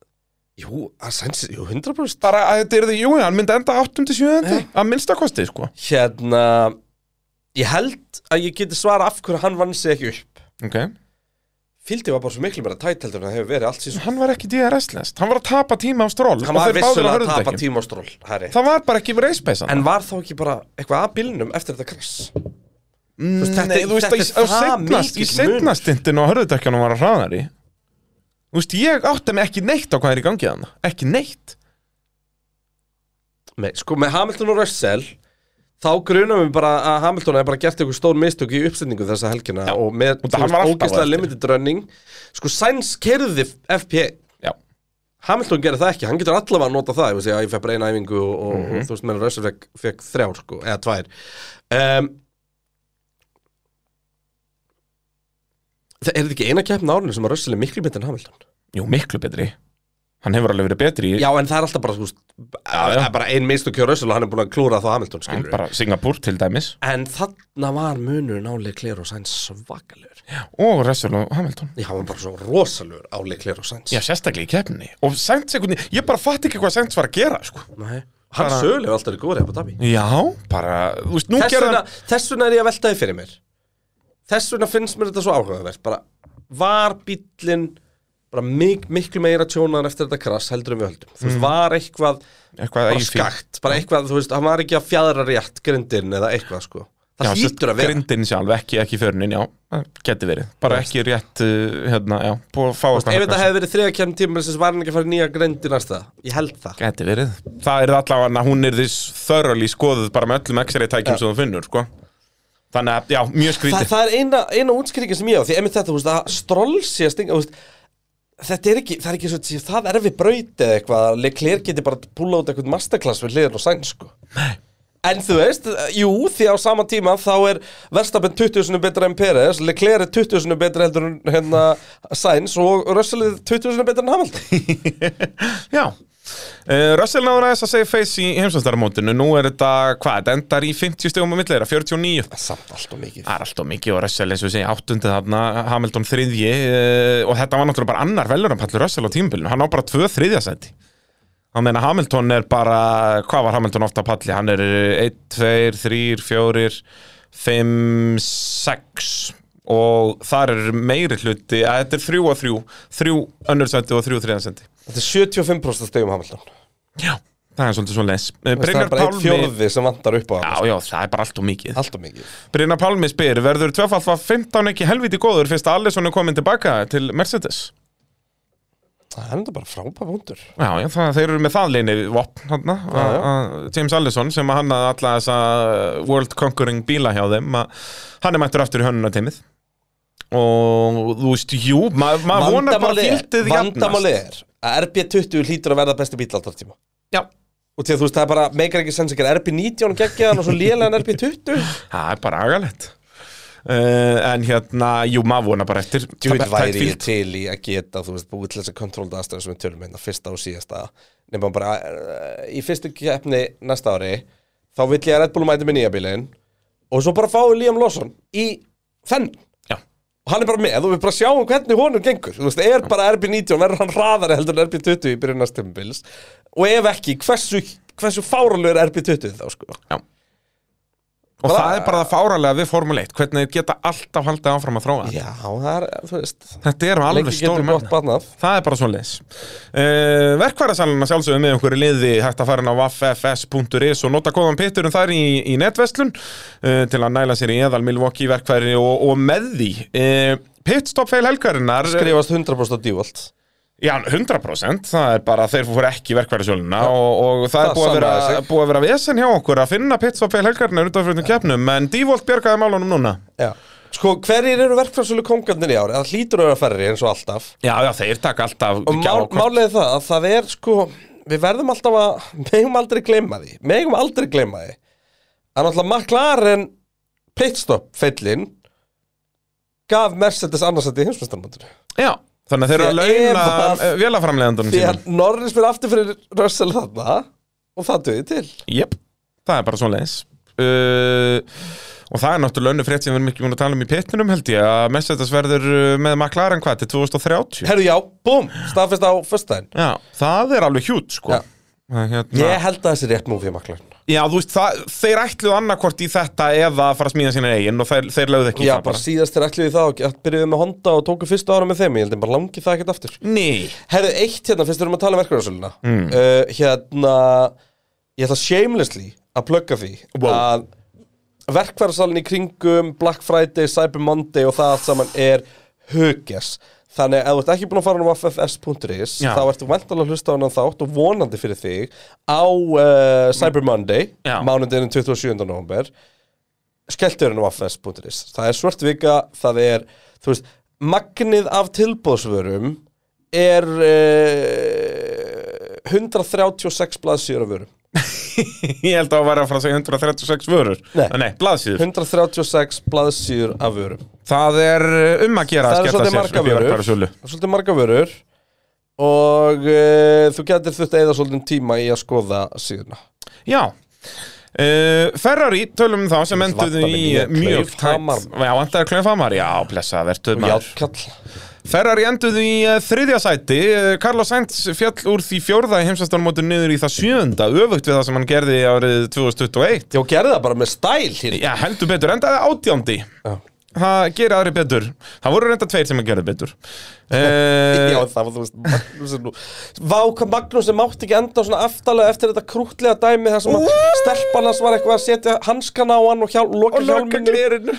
Jú, að Sainz, jú, 100%
bara að þetta er því, jú, hann myndi enda 87. að minnstakosti, sko.
Hérna, ég held að ég geti svara af hverju hann vann sig ekki upp
Ok.
Fyldi var bara svo miklu meira tætt heldur en það hefur verið allt síðan
Hann var ekki DRS-lest, hann var að tapa tíma á stról
Hann var vissulega að tapa tíma á stról, herri
Það var bara ekki við reisbeisan
En var þá ekki bara eitthvað að bílnum eftir þetta krass?
Mm, Nei,
veist, þetta-
þú veist,
þetta
í-
er
á
það
seinna- í
mikill
setnastindin og hörðutekjanum var hann hraðari Þú veist, ég átti mig ekki neitt á hvað er í gangi þannig Ekki neitt
Nei, sko, með Hamilton og Russell Þá grunum við bara að Hamilton hefði bara gert eitthvað stór mistök í uppsetningu þessa helgina
Já,
og með
það hann var alltaf á
ógislega
eftir.
limited running Sko, Sainz kerði FP1
Já,
Hamilton gerði það ekki, hann getur allavega að nota það ég, veist, já, ég fekk bara eina æfingu og, og,
Mhm.
og þú veist meðan Russell fekk, fekk þrjár sko, eða tvær um, Það er þetta ekki eina keppn árinu sem að Russell er miklu betur en Hamilton
jú, miklu betri Hann hefur alveg verið betri í
Já, en það er alltaf bara, þú veist,
Já, já.
það er bara ein mistök hjá Russell og hann er búin að klúra það Hamilton
hann
skilur
bara Singapur til dæmis
En þarna var munur nálega klir og sæns svakalegur
Og Russell og Hamilton
Já, hann var bara svo rosalegur álega klir og sæns
Já, sérstaklega í keppninni Og Sainz einhvern veginn, ég bara fatt ekki hvað Sainz var að gera, sko
Nei, hann sögulegur alltaf er góður eða bara
Já, bara, þú veist, nú
þess
gerði
vegna,
hann
þess vegna er ég að velta þið fyrir mér Þess vegna finnst mér þetta svo áhugavert bara, Var bíllinn bara mik miklu meira tjónaðan eftir þetta krass heldur en við höldum Þú veist, var eitthvað
Eitthvað
bara
Mm. í fíl.
skakt, bara eitthvað, þú veist, hann var ekki að fjadra rétt grindin eða eitthvað, sko Það
Já,
hlýtur að vera
Grindin sjálf, ekki, ekki förunin, já, það geti verið Bara ekki rétt, uh, hérna, já, búið að fá
Ef þetta hefði verið þriða kemd tíma sem var hann ekki að fara í nýja grindi næsta Ég held það
Geti verið Það er allavega að hún er því þörrali skoðuð bara með öllum x-ray tækjum sem þú finnur, sko Þannig að, já, mjög
Það,
skrítið
það er eina, eina útskýringin sem ég á Því einmitt þetta, þú veist, að stról sé að stinga þú veist, Þetta er ekki, það er ekki svo að sé Það er við braut eða eitthvað Leclerc geti bara púla út eitthvað masterclass Við hliðin og sæn, sko Nei. En þú veist, jú, því á sama tíma Þá er Verstappen 20 sinni betra en Peres Leclerc er 20 sinni betra heldur en hérna, Sainz og Russell er 20 sinni betra en Hamilton
Já Uh, Russell náður aðeins að segja face í heimsvæmstaramótinu Nú er þetta, hvað, þetta endar í 50 stegum og millera, 49
Samt allt og mikið
Það er alltaf mikið og Russell eins og við segja áttundið þarna, Hamilton þriðji eh, og þetta var náttúrulega bara annar velunarpallur Russell á tímabilinu, hann á bara tvö þriðjasæti hann meina Hamilton er bara hvað var Hamilton ofta palli, hann er 1, 2, 3, 4 5, 6 og þar er meiri hluti, að þetta er 3 og 3 3 önnursæti og 3 þriðjasæti
Þetta er 75% stegum Hamilton
já, það er svolítið svo les
Það er
Brynjar
bara eitt
Pálmi
fjórði sem vantar upp á
Já,
hann
já, það er bara allt og mikið
Allt og mikið
Brynna Pálmi spyr, verður tvöfald var 15 ekki helviti góður fyrst að Alisson er komin tilbaka til Mercedes?
Það er enda bara frábæð vundur
Já, já, það, þeir eru með það leini vopn hann,
Já, já.
James Allison sem að hannaði alla þessa uh, World Conquering bíla hjá þeim að, hann er mættur aftur í hönnuna teimið og þú veist, jú maður ma maður vonar bara
Vandamálið er-
fylgdið
Vandamálið er að RB20 hlýtur að verða besti bíl alltaf tíma
Já,
Og til að þú veist, það er bara, meikar ekki sens ekki RB19 geggjaðan og svo lélegan RB20
það er bara agalegt uh, en hérna, jú, maður vonar bara eftir
Djúið
tæ- tætt
væri
fylgd.
ég til í að geta, þú veist, búið til þess að kontróla aðstæðum sem við tölum hérna fyrsta og síðasta Nefnum bara, eh, í fyrstu keppni næsta ári Þá vill ég að Red Bull mæti með nýja bílinn Og svo bara fáið Liam Lawson í þenn
Já,
Og hann er bara með og við bara sjáum hvernig honum gengur Þú veist, er bara RB19, verður hann hraðari heldur en RB20 í byrjun næstum bils Og ef ekki, hversu, hversu fáralur RB20 þá, sko
já Og
Bara-
það er bara það fáralega við Formule 1 hvernig þeir geta alltaf haldið áfram að þróa þetta.
Já, það er, þú veist
Þetta er alveg
Lengi
stór
getur
mann
gott barnað
Það er bara svo leis uh, Verkværasalina sjálfsögum með einhverju liði hægt að fara inn á www.ffs.is og nota kóðan pitturum þar í, í netveslun uh, til að næla sér í eðal Milwaukee verkværi og, og með því uh, Pitstop feil helgarinnar
Skrifast 100% djúvalt
Já, 100% það er bara að þeir fóru ekki í verkværisöluna og, og það, er
Það
búið að,
sannaði
vera,
sig.
búið að vera vesen hjá okkur að finna pitstop feil helgarinnar út af fyrir keppnum en Dívolt bjargaði málunum núna
Já Sko, hverjir eru verkfærsölu kongarnir í ári? Það hlýtur að vera færri eins og alltaf
Já, já, þeir taka alltaf
Og mál, málið er það að það er sko Við verðum alltaf að, megum aldrei gleyma því Megum aldrei gleyma því En náttúrulega McLaren pitstop feillin Gaf Mercedes annarsætti í heimsmyndstarmöndinu
Já, þannig að þeir eru að
Því að
launa
ef að-
eh, vélaframleiðandunum
Því
sínum
að Norris fyrir aftur fyrir Russell þarna Og það duði til
Jep, það er bara svona leins uh, Og það er náttúrulega önnu frétt sem við erum ekki múin að tala um í pittinum held ég að Mercedes verður uh, með McLaren hvað til 2030
Herru já, búm, staðfest á föstudaginn
Já, það er alveg hjút sko
Já.
já. Hérna,
Ég held að þessi rétt múfi í McLaren
já, þú veist, það, þeir ætluðu annarkvort í þetta eða að fara að smíða sína eigin og þeir, þeir lögðu ekki í
Já,
það
bara síðast þeir ætluðu í það og gett- byrjuðu með Honda og tóku fyrsta ára með þeim Ég held að bara langi það ekkert aftur
Nei,
Herðu, eitt hérna, fyrst við erum að tala um verkefnarsöluna
Mm.
uh, Hérna, ég ætla shamelessly að plugga því
Wow.
að verkfærasalinn í kringum Black Friday, Cyber Monday og það allt saman er hugjas Þannig að ef þú ert ekki búin að fara á ffs.is
Já.
þá ertu vantalega að hlusta á hann þátt og vonandi fyrir þig á uh, Cyber Monday,
Já.
mánudaginn 27. november skellturinn á ffs.is það er svört vika, það er þú veist, magnið af tilbóðsvörum er uh, 136 blaðsýður af vörum
ég held að það væri að fara að segja 136 vörur
Nei.
Nei blaðsýður
136 blaðsýður af vörum
Það er uh, um að gera
það er
að skella
svolítið
sér
marga
upp í verkbæra
vörur
sölu.
það er svolítið marga vörur og uh, þú getur þurft að eða svolítið tíma í að skoða síðuna
Já Uh, Ferrari, tölum um þá sem enduðu
vantar
í
mig nýja
mjög
klaufhamar.
tætt- Já, vantar að klöfhamar, já, blessa, verður maður
Játkall
Ferrari enduðu í uh, þriðja sæti uh, Carlos Sainz fjall úr því fjórða heimsastarmótur niður í það sjöunda öfugt við það sem hann gerði árið 2021
Já, gerði það bara með stæl hér
Já, heldur betur, endaði átjándi
Já,
Það gerir aðri betur Það voru reynda tveir sem að gera betur uh,
Já, það var þú veist Magnús er nú Vá, hvað Magnús sem mátti ekki enda svona aftalega eftir þetta krútlega dæmi þar sem að stelpan hans var eitthvað að setja hanskan á hann og hjál, loka hjálminu
glerinu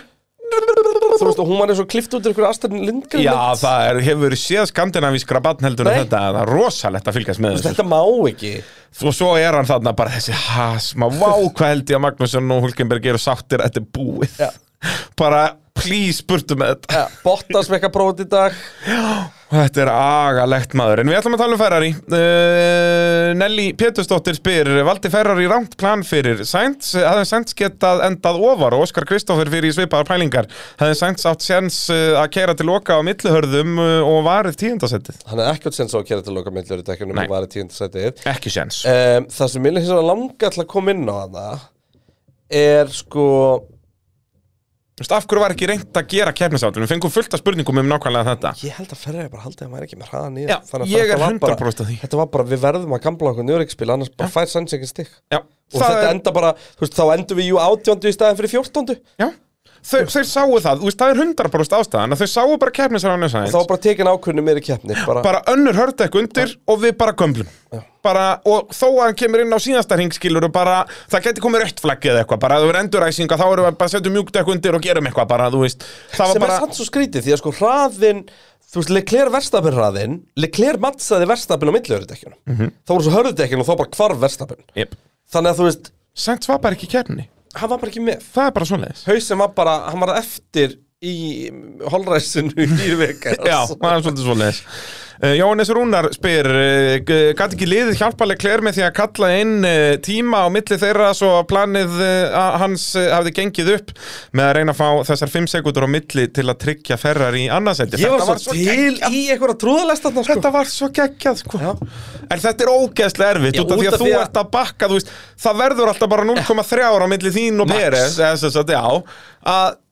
Þú veist, og hún var eins og klift út í einhverju aðstæðin lindgrin
Já, það er, hefur verið séð skandinavískra batn heldur en
Nei.
þetta, það er rosalegt að fylgjast með þessu
Þetta má ekki
og svo er hann þarna bara þessi hasma, vá hvað held ég að Magnússon og Hulkenberg eru sáttir, þetta er búið
Já.
bara please burtu með þetta
ja, Bottas með eitthvað prófið í dag
Þetta er agalegt maður, en við ætlum að tala um Ferrari uh, Nelly Pétursdóttir spyr Valdi Ferrari rámt plan fyrir Sainz, hafði Sainz getað endað ofar og Óskar Kristófur fyrir í svipaðar pælingar hafði Sainz átt séns eh, að kera til loka á milluhörðum eh, og varið tíundasettið
Hann er ekkert sens á að kera til loka myndlur í tekjunum
Nei.
og var í tíundasætið
Ekki séns
um, Það sem mér hins vegar langa til að koma inn á hana er sko
Þú veist, af hverju var ekki reynd að gera keppnisáttun? Við fengum fullt af spurningum um nákvæmlega þetta.
Ég held að Ferrari bara haldið að maður ekki með hraða nýja
Já, ég er 100%
bara,
að því.
Þetta var bara, við verðum að gambla okkur njörgspil annars bara fær Sainz ekki stig
Já,
Og
það
þetta
er,
enda bara, þú veist, þá endum við jú átjóndu í staðin fyrir fjórtóndu
já. Þau, þeir sáu það, þú veist, það er 100% ástæðan að þau sáu bara keppnisáttun
Þá var bara tekin ákvörðinu meiri keppni bara,
bara önnur hörta ekki undir og við bara gömlum bara, og þó að hann kemur inn á síðasta ringskilur og bara, það geti komið rött flaggi eða eitthvað, bara ef það verður enduræsinga þá erum við bara að setja mjúkt ekki undir og gerum eitthvað bara, þú veist, það var
Sem er
bara
sann svo skrítið, því að sko hraðin Þú veist, Leclerc verstafinn hraðin Leclerc mattsaði verstafinn á milliörudekkjunum mm
Mhm.
-hmm. Þá voru svo hörðudekkjun og þá bara hvarf verstafinn
yep.
Þannig að þú veist,
Sainz var bara ekki í kjærni,
hann var bara ekki með
það er bara svoleiðis
Hauðsinn var bara, hann var eftir í holræsinu í vekas
Já, það er svolítið svoleiðis Uh, Jóhannes Rúnar spyr uh, Gat ekki liðið hjálpaleg klær með því að kalla inn uh, tíma á milli þeirra svo að planið uh, að hans uh, hafði gengið upp með að reyna að fá þessar 5 sekundur á milli til að tryggja ferrar í annarsætti
Ég var svo, til í einhverja trúðalesta þarna, sko.
Þetta var svo geggjað sko.
Já.
En þetta er ógeðslega erfitt
Já,
út af því að þú ert að bakka þú veist, Það verður alltaf bara 0,3 ára á milli þín og eh,
Max.
Peres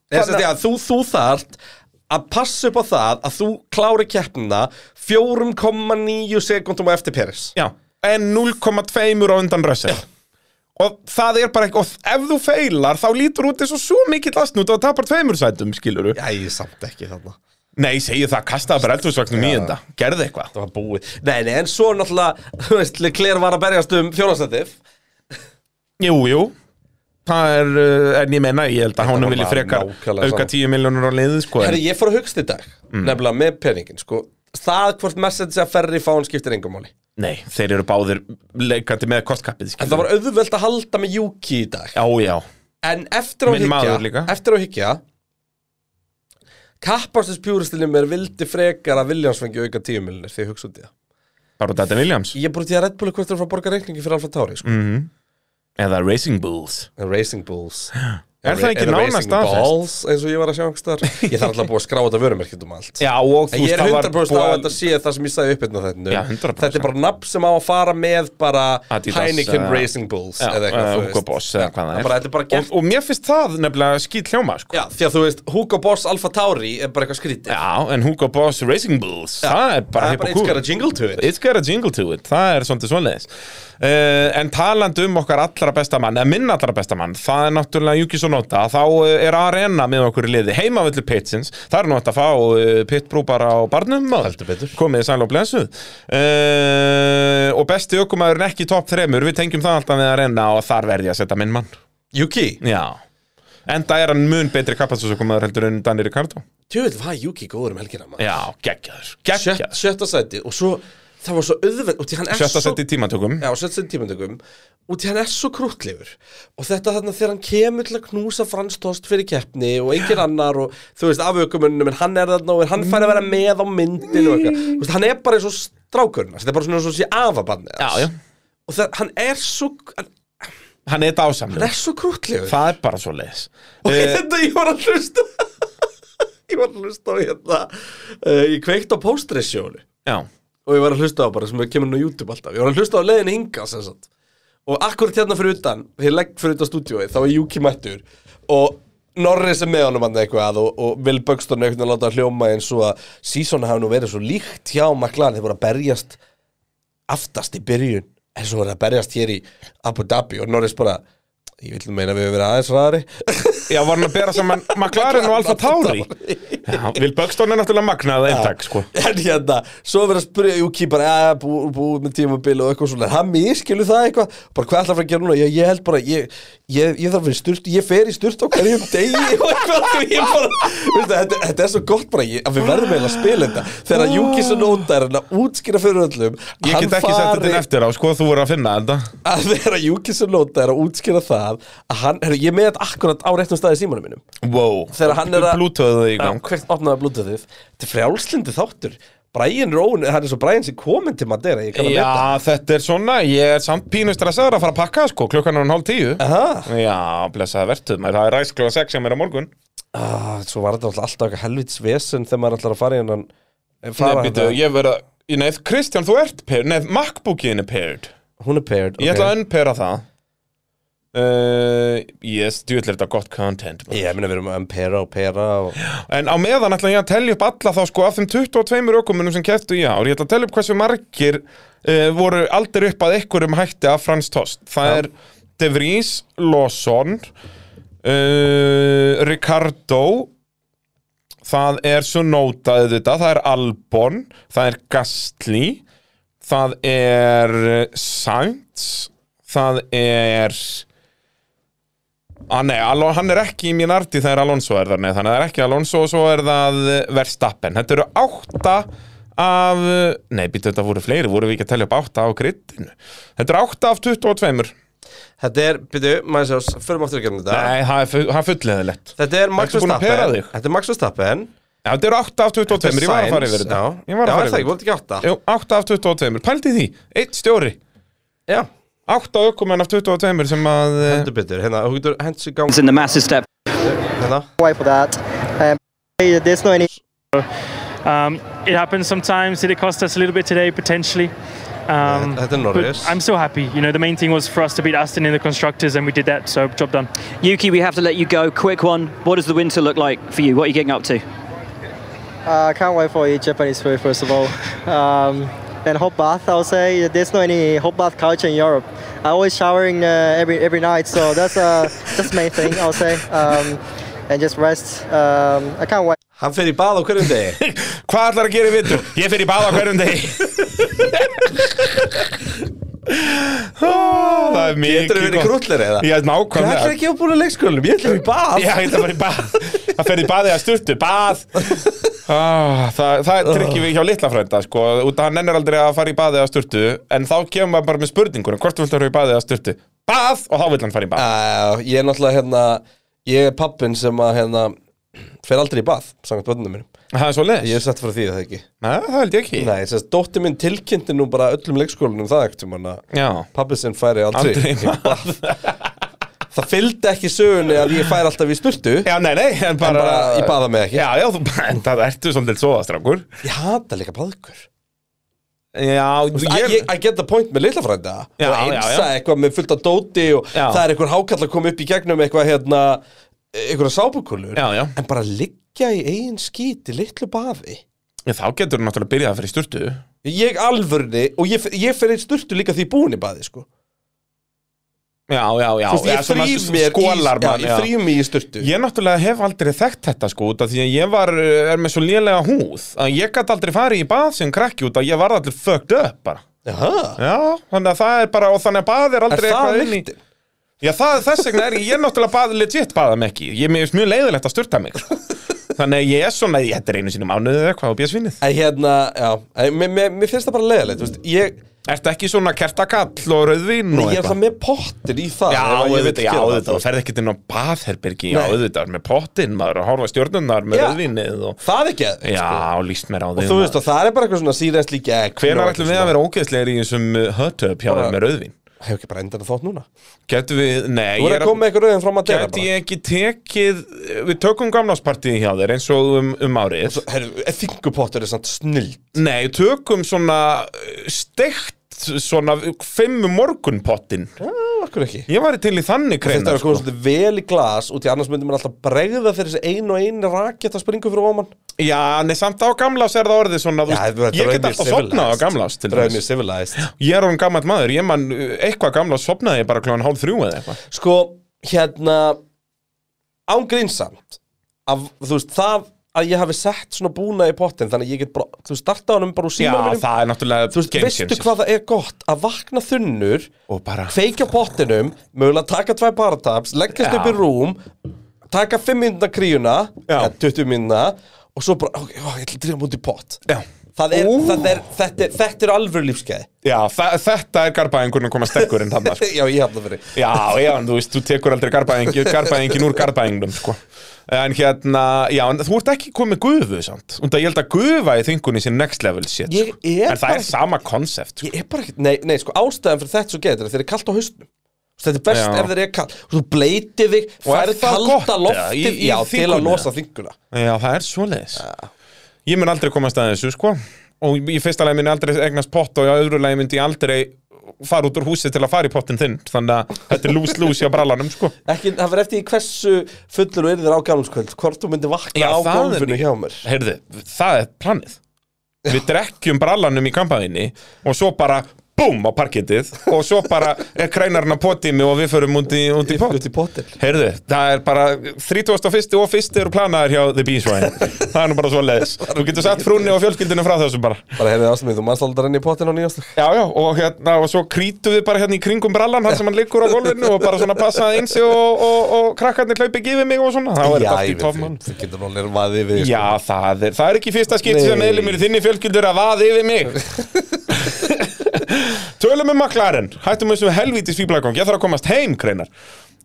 Nei, sem sagt, já,
Þannig
þú, þú þart að passa upp á það að þú klári keppnina 4,9 sekundum á eftir Peris
Já, en 0,2 á undan rössið Og það er bara ekki, og ef þú feilar þá lítur út eins og svo mikill lastnút og tapar tveimur sætum, skiluru
Já, ég samt ekki þarna
Nei, segi það, kastaði bara eldhúsvagnum í þetta, gerði eitthvað
Það var búið Nei, nei, en svo náttúrulega, þú veist, Leclerc var að berjast um fjórastættif
Jú, jú, það er, uh, en ég menna, ég held að
var
honum vilji
bara
frekar
nákvæmlega
auka
sama.
10 miljónur á leiði, sko en-
Herri, ég fór að hugsa í dag, nefnilega með peningin, sko Það hvort message að ferri fá hann skiptir engum máli
Nei, þeir eru báðir leikandi með
En
kostkappið,
það
skiluru
var auðvelt að halda með Juki í dag
Já, já,
En eftir á
Minn maður
higgja
líka.
Eftir á higgja Kappastins pjúristinni mér vildi frekar að Williams fengi auka tíumilinir þegar ég hugsa út í það
Bara út af þetta Williams
Ég er bara út í að Red Bull er hvort þeir frá að borga reikningi fyrir Alfa Tauri
Mm.
sko.
Eða Racing Bulls
En Racing Bulls
Er það ekki
Eða
nánast
Racing
staðfest?
Balls eins og ég var að sjá einhvers staðar. Ég þarf alltaf að búa að skrá þetta vörumerkitt um allt
Já, og
En ég er
það var
100% á
búið
að
að-
þetta sé það sem ég sagði upp hérna þetta
Já, 100%.
Þetta er bara nafn sem á að fara með bara
Adidas,
Heineken
eða-
Racing Bulls
Já,
eða eitthvað
eða
þú
Hugo
veist.
Boss eða hvað það
Það
er.
bara, þetta er bara
og,
gert
og mér finnst það nefnilega skýt hljóma sko.
Já, því að þú veist, Hugo Boss Alfa Tauri er bara eitthvað skrítið
Já, en Hugo Boss Racing Bulls Það er
Það er
bara hipp
bara it's
og
got
kúl
a jingle to it
It's got a jingle to it, það er svolítið svoleiðis uh, En talandi um okkar allra besta mann Eða minn allra besta mann Það er náttúrulega Juki Sonota Þá eh, er arena með okkur í liði Heimavöldu pitsins Það er nú hægt að fá eh, pitbrú bara á barnum maður.
Heldur betur.
Komið sæl og blensuð uh, Og besti ökumæðurinn ekki í topp þremur Við tengjum það alltaf með arena Og þar verði ég að setja minn mann
Yuki,
Já Enda er hann mun betri kappatsúsukumaður heldur en Danny Ricardo
tjóðvill, hvað Yuki góður um helgina maður
Já, geggjaður
Sjött-
Geggjaður
Sjötta sæti og svo, það var svo auðveld og því hann er
Sjötta
svo
sett í tímatökum
Já, sjötta sæti í tímundökum og því hann er svo krútlegur og þetta þarna þegar hann kemur til að knúsa franstost fyrir keppni og engin annar og þú veist afaukumunum en hann er þarna og hann fær að vera með á myndin og eitthvað Þú veist, hann er bara eins og strákurinn hans, þetta er bara svona eins og sé afabanni
Já, já
og það, hann er svo hann
Hann er dásamlega
er svo krútlegur
Það er bara svo leiðis
Ok,
Eh.
þetta ég var að hlusta Ég var að hlusta á hérna uh, Ég kveikt á póstreissjónu
Já
Og ég var að hlusta á bara sem kemur nú á YouTube alltaf Ég var að hlusta á leiðin hinga sem sagt Og akkurat hérna fyrir utan Þegar ég legg fyrir utan stúdíói Þá er Juki mættur Og Norris er með honum hann eitthvað Og, og Will Buxton er eitthvað að láta hljóma eins og að Seasona hafi nú verið svo líkt hjá McLaren Þeir voru að berjast aftast í byrjun en svo voru að berjast hér í Abu Dhabi Og Norris bara Ég vil meina að við höfum verið aðeins ræðari
Já, var hann að bera saman McLaren og Alfa Tauri Já, Vil Böggstón er náttúrulega magnað eintak, sko
En hérna, svo verður að spyrja Júki bara, ja, búið bú, með tímabil og eitthvað svona Hann miskilu það eitthvað, bara hvað ætlar að fara að gera núna Ég, ég held bara, ég, ég, ég þarf að vera í sturt Ég fer í sturt á hverjum degi og eitthvað Því ég bara, veistu, þetta, þetta er svo gott bara ég, að við verðum eiginlega að spila þetta Þegar Júki sem nóta er hann að útskýra fyrir öllum
Ég
hann
get ekki sett þetta inn
fari-
eftir á, sko, þú voru að finna þetta
að þegar Júki sem nóta er að útskýra það að hann, herru, ég er með þetta akkurat á réttum staði í símanum mínum
Wow,
Þegar hann er að-
Blútöðu í
Já,
gang
hvert opnaði blútuðið Þetta er frjálslindi þáttur Brian Róun, það er svo Brian sem komin til Madeira Ég kann að meta
Já, þetta er svona, ég er samt pínu stressaður að fara að pakka, sko, klukkan er hann hálf tíu
Aha.
Já, blessaði vertuð, maður, það er ræsklega sex hjá mér á morgun
ah, Svo var þetta alltaf- alltaf eitthvað helvits vesen Þegar maður ætlar að fara í hennan eh,
Nei,
fara
býtu,
þarna.
ég verið að Nei, Kristján, þú ert paired Nei, MacBookin er paired
Hún er paired
Ég
ok.
ætla að unpaira það Uh, yes, djúðlega þetta gott content maður.
Ég meina við erum að pera og pera og...
En á meðan ætla ég að tellja upp alla þá sko af þeim 22 ökumunum sem keftu í ár Ég ætla að tellja upp hversu margir uh, voru aldrei upp að einhverjum hætti af Frans Tost Það er De Vries, Lawson uh, Ricardo Það er Sunoda auðvitað, það er Albon Það er Gastli Það er eh, Sainz Það er Ah, nei, Alon, hann er ekki í mín arti þegar Alonso er þar neð, þannig að það er ekki Alonso og svo er það eh, Verstappen. Þetta eru átta af, nei, býttu þetta voru fleiri, voru við ekki að telja upp átta á grittinu. Þetta eru átta af 22.
Þetta er, byrju, maður sjá, s- förum aftur ekki um þetta
Nei, það er, fu- það er fullleðilegt.
Þetta er Max
Ertu búin að pera
Verstappen
þig?
Þetta er Max Verstappen
Já, þetta eru átta af 22, ég var að fara yfir þetta.
Já,
Ég
Já, er
var að fara
það ekki,
yfir
voru þetta
þetta.
ekki átta
Jú, átta af 22, pældi því, eitt stjóri,
Já,
átta ökumenn af 22 sem að... eh,
þetta byrju, hérna, hún getur hent sig í gang
in the massive step
Hérna,
why for that. Um, there's no any
Um, it happens sometimes. Did it cost us a little bit today, potentially? Um,
þetta er
but
Norris
I'm so happy. You know, the main thing was for us to beat Aston in the constructors, and we did that. So job done.
yuki we have to let you go quick one what does the winter look like for you what are you getting up to
uh, can't wait for a Japanese food first of all. Um, and hot bath, I'll say there's no any hot bath culture in Europe. I always showering uh, every every night, so that's uh that's the main thing I'll say. Um, and just rest. Um, I can't wait.
Hann fer í bað á hverjum degi
Hvað ætlar að gera í vittur? Ég fer í baða hverjum degi Ó, Það er mikið
Getur þau verið
gott.
krútlir eða?
Já,
Hvað ætlar
nákvæmlega
ekki að búin að leikskólanum? Ég ætlar í bað
Já, ég ætla að fara í bað Það fer í baði að sturtu, bað ah, Það, það er tryggjum við hjá litla frænda sko, út að hann nennir aldrei að fara í baði að sturtu en þá kemur maður bara með spurningunum hvort þú vilt að fara í baði að sturtu Bað, og þá vill hann fara í bað
Uh, ég er náttúrulega hérna Ég er pappin sem að hérna fer aldrei í bað, samkvæmt bönnum mínum
Það er svo
Ah. Ég
leis
er sett fyrir því að það ekki
Nei, það held ég ekki
Nei, þess að dóttir minn tilkynnti nú bara öllum leikskólanum það ekkert um að
Já
Pappi sinn færi aldrei,
Aldrei í
í bað Það fylgdi ekki sögunni að ég færi alltaf í sturtu
Já, nei, nei, en bara,
bara í baða mig ekki.
Já, já, þú, en það ertu svolítið svo strákur
Ég hata líka baðkur
Já,
Þú veist, I, I get the point með litla frænda
Já,
og
já,
einsa
já.
eitthvað með fullt af dóti og
Já.
það er einhver hákall að koma upp í gegnum eitthvað hérna einhverja sápukulur
Já, já.
en bara liggja í eigin skíti litlu baði
Já, þá getur þú náttúrulega byrjað að fyrir sturtu
ég alvörni og ég, ég fer einn sturtu líka því búin í baði sko
Já, já, já
Þú veist,
já,
ég
svona
þrýf mér
skólar
í, já,
mann,
ég þrýf mér í sturtu
Ég náttúrulega hef aldrei þekkt þetta sko út af því að ég var, uh, er með svo lélega húð að ég gat aldrei farið í bað sem krakki út að ég var allir fucked up bara
Jaha.
Já, þannig að það er bara, og þannig að bað er
er
aldrei
það
inn í-
lyktin?
Já, það, þess vegna er ég, ég náttúrulega bað, legit baða mig ekki Ég mér finnst mjög leiðilegt að sturta mig sko. Þannig að ég er svona, ég þetta er einu sinni í mánuði eða eitthvað og bjöð svinnið
en hérna, já, en mér, mér, mér finnst það bara leiðilegt, þú veist, ég
Ertu ekki svona kertakall og rauðvin og
ég er alltaf með pottir í það
Já,
ef að ég
auðvitað,
vil
já,
gera það,
auðvitað,
þú
og
veist.
ferð ekki til ná baðherbergi, já,
Nei.
auðvitað, með pottinn, maður, og horfa á stjörnurnar með
Já.
rauðvinnið og
það er ekki að
Já, líst mér á því
Og þú veist að það er bara eitthvað svona sírænsli gegn
Hvenar ætlum við að vera ógeðslegir í þessum höttöp hjá þeim
Bara-
með rauðvín?
Hefur ekki bara endan að þátt núna
Getum við,
Þú
nei, ég
voru
er
að koma með eitthvað rauðin frá Madeira
Gæti ég ekki tekið, við tökum gamláspartíði hjá þér eins og um, um árið
Herru, þingupottur er samt snill
Nei, tökum svona uh, steikt, svona fimm morgunpottin
Akkur ekki
Ég væri til í þannig sko.
Þetta
kreina
er að koma svolítið vel í glas Út í annars myndum maður alltaf bregða fyrir þessi ein og ein rakett að springa fyrir óman
Já, nei, samt á gamlás er það orðið svona, þú veist, ég get alltaf sopnað á gamlás til
Dröðum ég
þess
civilized
Ég er orðin gammalt maður, ég man uh, eitthvað gamlás sopnaði ég bara kljóðan hálf þrjú eða eitthvað
Sko, hérna Ángrinsamt Af, þú veist, það að ég hafi sett svona búna í pottin Þannig að ég get bara, þú veist, starta honum bara úr
Já,
síma
það er náttúrulega
Þú veist,
game
veistu
changer.
hvað það er gott að vakna þunnur
Og bara
kveikja á pottinum, mögulega taka tvæ barataps, leggjast
Já.
upp í rúm taka 5 minúna kríuna
Já.
eða 20 minúna og svo bara, ok, ó, ég ætla að drífa múti í pott
Já.
það er, það er, þetta er, þetta er alvöru lífskeið
Já, þa þetta er garbaðingurinn að koma stekkurinn þarna sko.
já, ég hafði fyrir
Já, já, en þú veist, þú tekur aldrei garbaðingin, garbaðingin úr garbaðingnum sko. En hérna, já, en þú ert ekki komið gufu samt Unda, Ég held að gufa í þingunni sé next level shit
Ég
sko.
er
En það
bara-
er sama konsept sko.
ég er bara ekkert, nei, nei, sko, ástæðan fyrir þetta svo getur er að þeir eru kalt á haustum Þetta er best
Já.
ef þeir eru kalt Þú bleytir þig,
er
færð
það gott,
kalda
eða?
loftið
Í- í
Já, til
þynguna?
að losa þinguna
Já, það er svoleiðis Ég mun aldrei komast að þessu, sko Og í fyrsta lagi mun ég aldrei egnast pott Og í öðru lagi myndi ég aldrei fara út úr húsi til að fara í pottin þinn Þannig að þetta er lús-lús hjá brallanum, sko
Ekki, það fyrir eftir í hversu fullur og yrðir á gamlskvöld Hvort þú myndir vakna á
það er-
gólfinu hjá mér
Heyrðu, það er planið Við drekkjum brallanum í kampaðinni Og svo bara, búm, á parkettið Og svo bara er kreinarinn að poti mig Og við förum út í, út í pott
Út í pottin
Heyrðu, það er bara 31. og 1. eru planaðir hjá The Bees Ryan Það er nú bara svo leiðis Þú getur satt frúnni og fjölskyldinu frá þessu bara
Bara heyrðið ástumið, þú manst aldrei renni í pottin á nýjastök
Já, já, og hérna, og svo krítum við bara hérna í kringum brallan hann sem hann liggur á golfinu og bara svona passaði eins og, og, og krakkarnir hlaupi ekki yfir mig og svona, þá er þetta allt í tófmann
Þú getur nú alveg vaðið sko. við
Já, það er, það er ekki fyrsta skipt
Nei.
sem eðlum mér í þinni fjölskyldur að vaði yfir mig Tölum um McLaren, hættum þessum helvíti svíblækong, ég þarf að komast heim, kreinar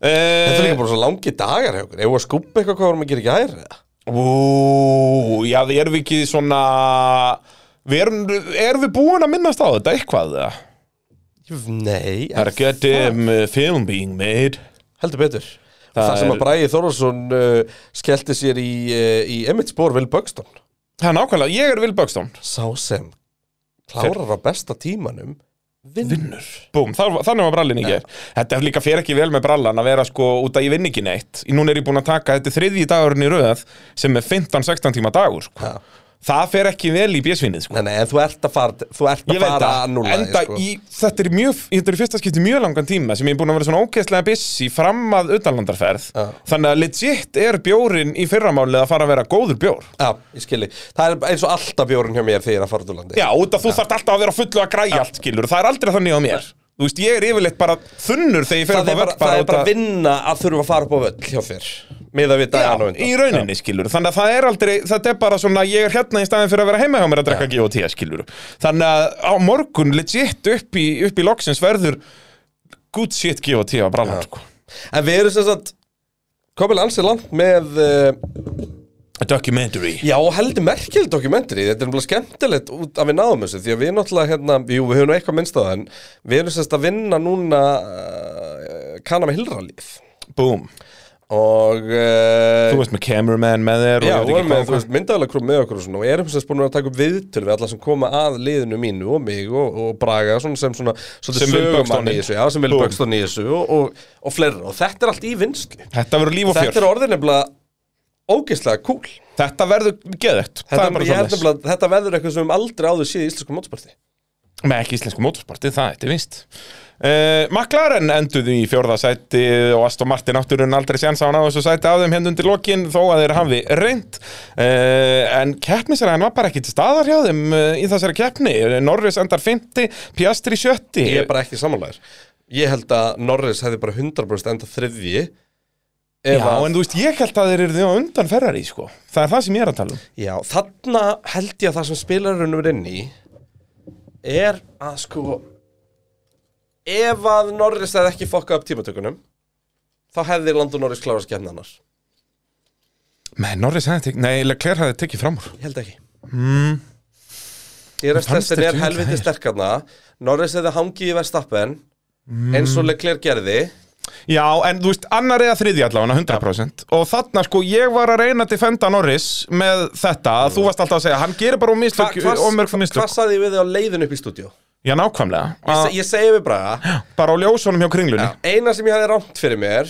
Þetta er líka
Uh,
bara svo langi dagar hjá okkur Eða að skúpa eitthvað hvað vorum að gera ekki aðeir
ú, já, við erum ekki svona Við erum, erum við búin að minnast á þetta eitthvað? eða?
Nei,
Það
en
er að geta um film being made
heldur betur Það,
Það
sem að
er-
Bræði Þórðarsson uh, skellti sér í, uh, í Emmett Spór Will Buxton
Það er nákvæmlega, ég er Will Buxton
Sá sem klárar á besta tímanum Vinnur
Búm, þar- þannig var brallin í ger Þetta er líka fer ekki vel með brallan að vera sko út að ég vinn ekki neitt Núna er ég búin að taka þetta er þriðji dagurinn í röð sem er 15-16 tíma dagur sko.
Já.
Það fer ekki vel í bjösvinnið sko.
Nei, nei, en þú ert að fara Þú ert að
Ég veit
fara
það,
að núna sko.
enda í, þetta er mjög, þetta er í fyrsta skipti mjög langan tíma sem ég er búin að vera svona ógeðslega busy fram að utanlandarferð
Já.
Þannig að legit er bjórin í fyrramálið að fara að vera góður bjór
Já, ég skilji Það er eins og alltaf bjórun hjá mér þegar að fara út úr landi
Já, út af þú þarft alltaf að vera á fullu að græja allt skilur Það er aldrei þannig á mér Þú veist, ég er yfirleitt bara þunnur þegar ég fer
það
upp
er bara,
á völl
það er
út
bara
að-
vinna að þurfa að fara upp á völl hjá þér með að við dagana
Já, í rauninni skilur Þannig að það er aldrei, þetta er bara svona Ég er hérna í staðin fyrir að vera heima hjá mér að drekka GOT skilur Þannig að á morgun legit upp í, upp í loksins verður Good shit GOT á brallan sko.
en við erum sem sagt komin ansið langt með uh,
A documentary
Já, og heldur merkjöld dokumentari, þetta er náttúrulega skemmtilegt út að við náðum þessu, því að við náttúrulega, hérna, jú, við höfum nú eitthvað minnst á það, en við erum semst að vinna núna uh, kanna með hilralíf
Boom
og
Þú
uh,
veist með cameraman með þér og
já,
ég veit
og
ekki
erum með,
hvað-
þú veist, myndaðalega krum með okkur og svona, og erum semst búin að taka upp viðtöl við alla sem koma að liðinu mínu og mig og, og Braga, svona sem svona, svona
Sem Will Buxton
í
er.
þessu, já, sem vil
Búm.
Buxton í þessu og, og, og fleira, og þetta er allt í vinslu
Þetta verður líf og fjör
Þetta er orðin nefnilega ógeðslega cool
Þetta verður geðögt
Þetta, er bara, ég held nefnilega, að þetta verður eitthvað sem við höfum aldrei áður séð í íslensku mótsporti
Með ekki íslensku mótorsporti, það þetta er vist uh, McLaren enduðu í fjórða sæti og Aston Martin átturinn aldrei séns á hann á þessu sæti af þeim henn undir lokin þó að þeir hafi reynd uh, en keppnisræðan var bara ekki til staðar hjá þeim uh, í þessari keppni Norris endar 50, Piastri 70
Ég er bara ekki samanlægur Ég held að Norris hefði bara 100% enda þriðji ef
Já,
að-
en þú veist, ég held að þeir eru á undan Ferrari, sko Það er það sem ég er að tala um
Já, þarna held ég að það sem spilarunum er inn í er að sko ef að Norris hefði ekki fokkað upp tímatökunum þá hefði Landon Norris klárast skemmna annars
Nei, Norris hefði tekið, nei, Leclerc hefði tekið fram úr
Ég held ekki mm. Ég rest
fannst
þessi
þetta
er
ekki
helviti
hægt.
sterkarna Norris hefði hangið í verðstappen eins og Leclerc gerði
Já, en þú veist, annar eða þriði allavega 100% og þarna sko, ég var að reyna að defenda Norris með þetta að þú varst alltaf að segja, hann gerir bara um
Mm. Hva-
mistök
hvað-
og mörgum
Hvað
mistök
saði ég við þið á leiðin upp í stúdíu?
Já, nákvæmlega,
Ég, se-
að,
ég segi við Braga
bara á ljósunum hjá kringlunni
Eina sem ég hafði rámt fyrir mér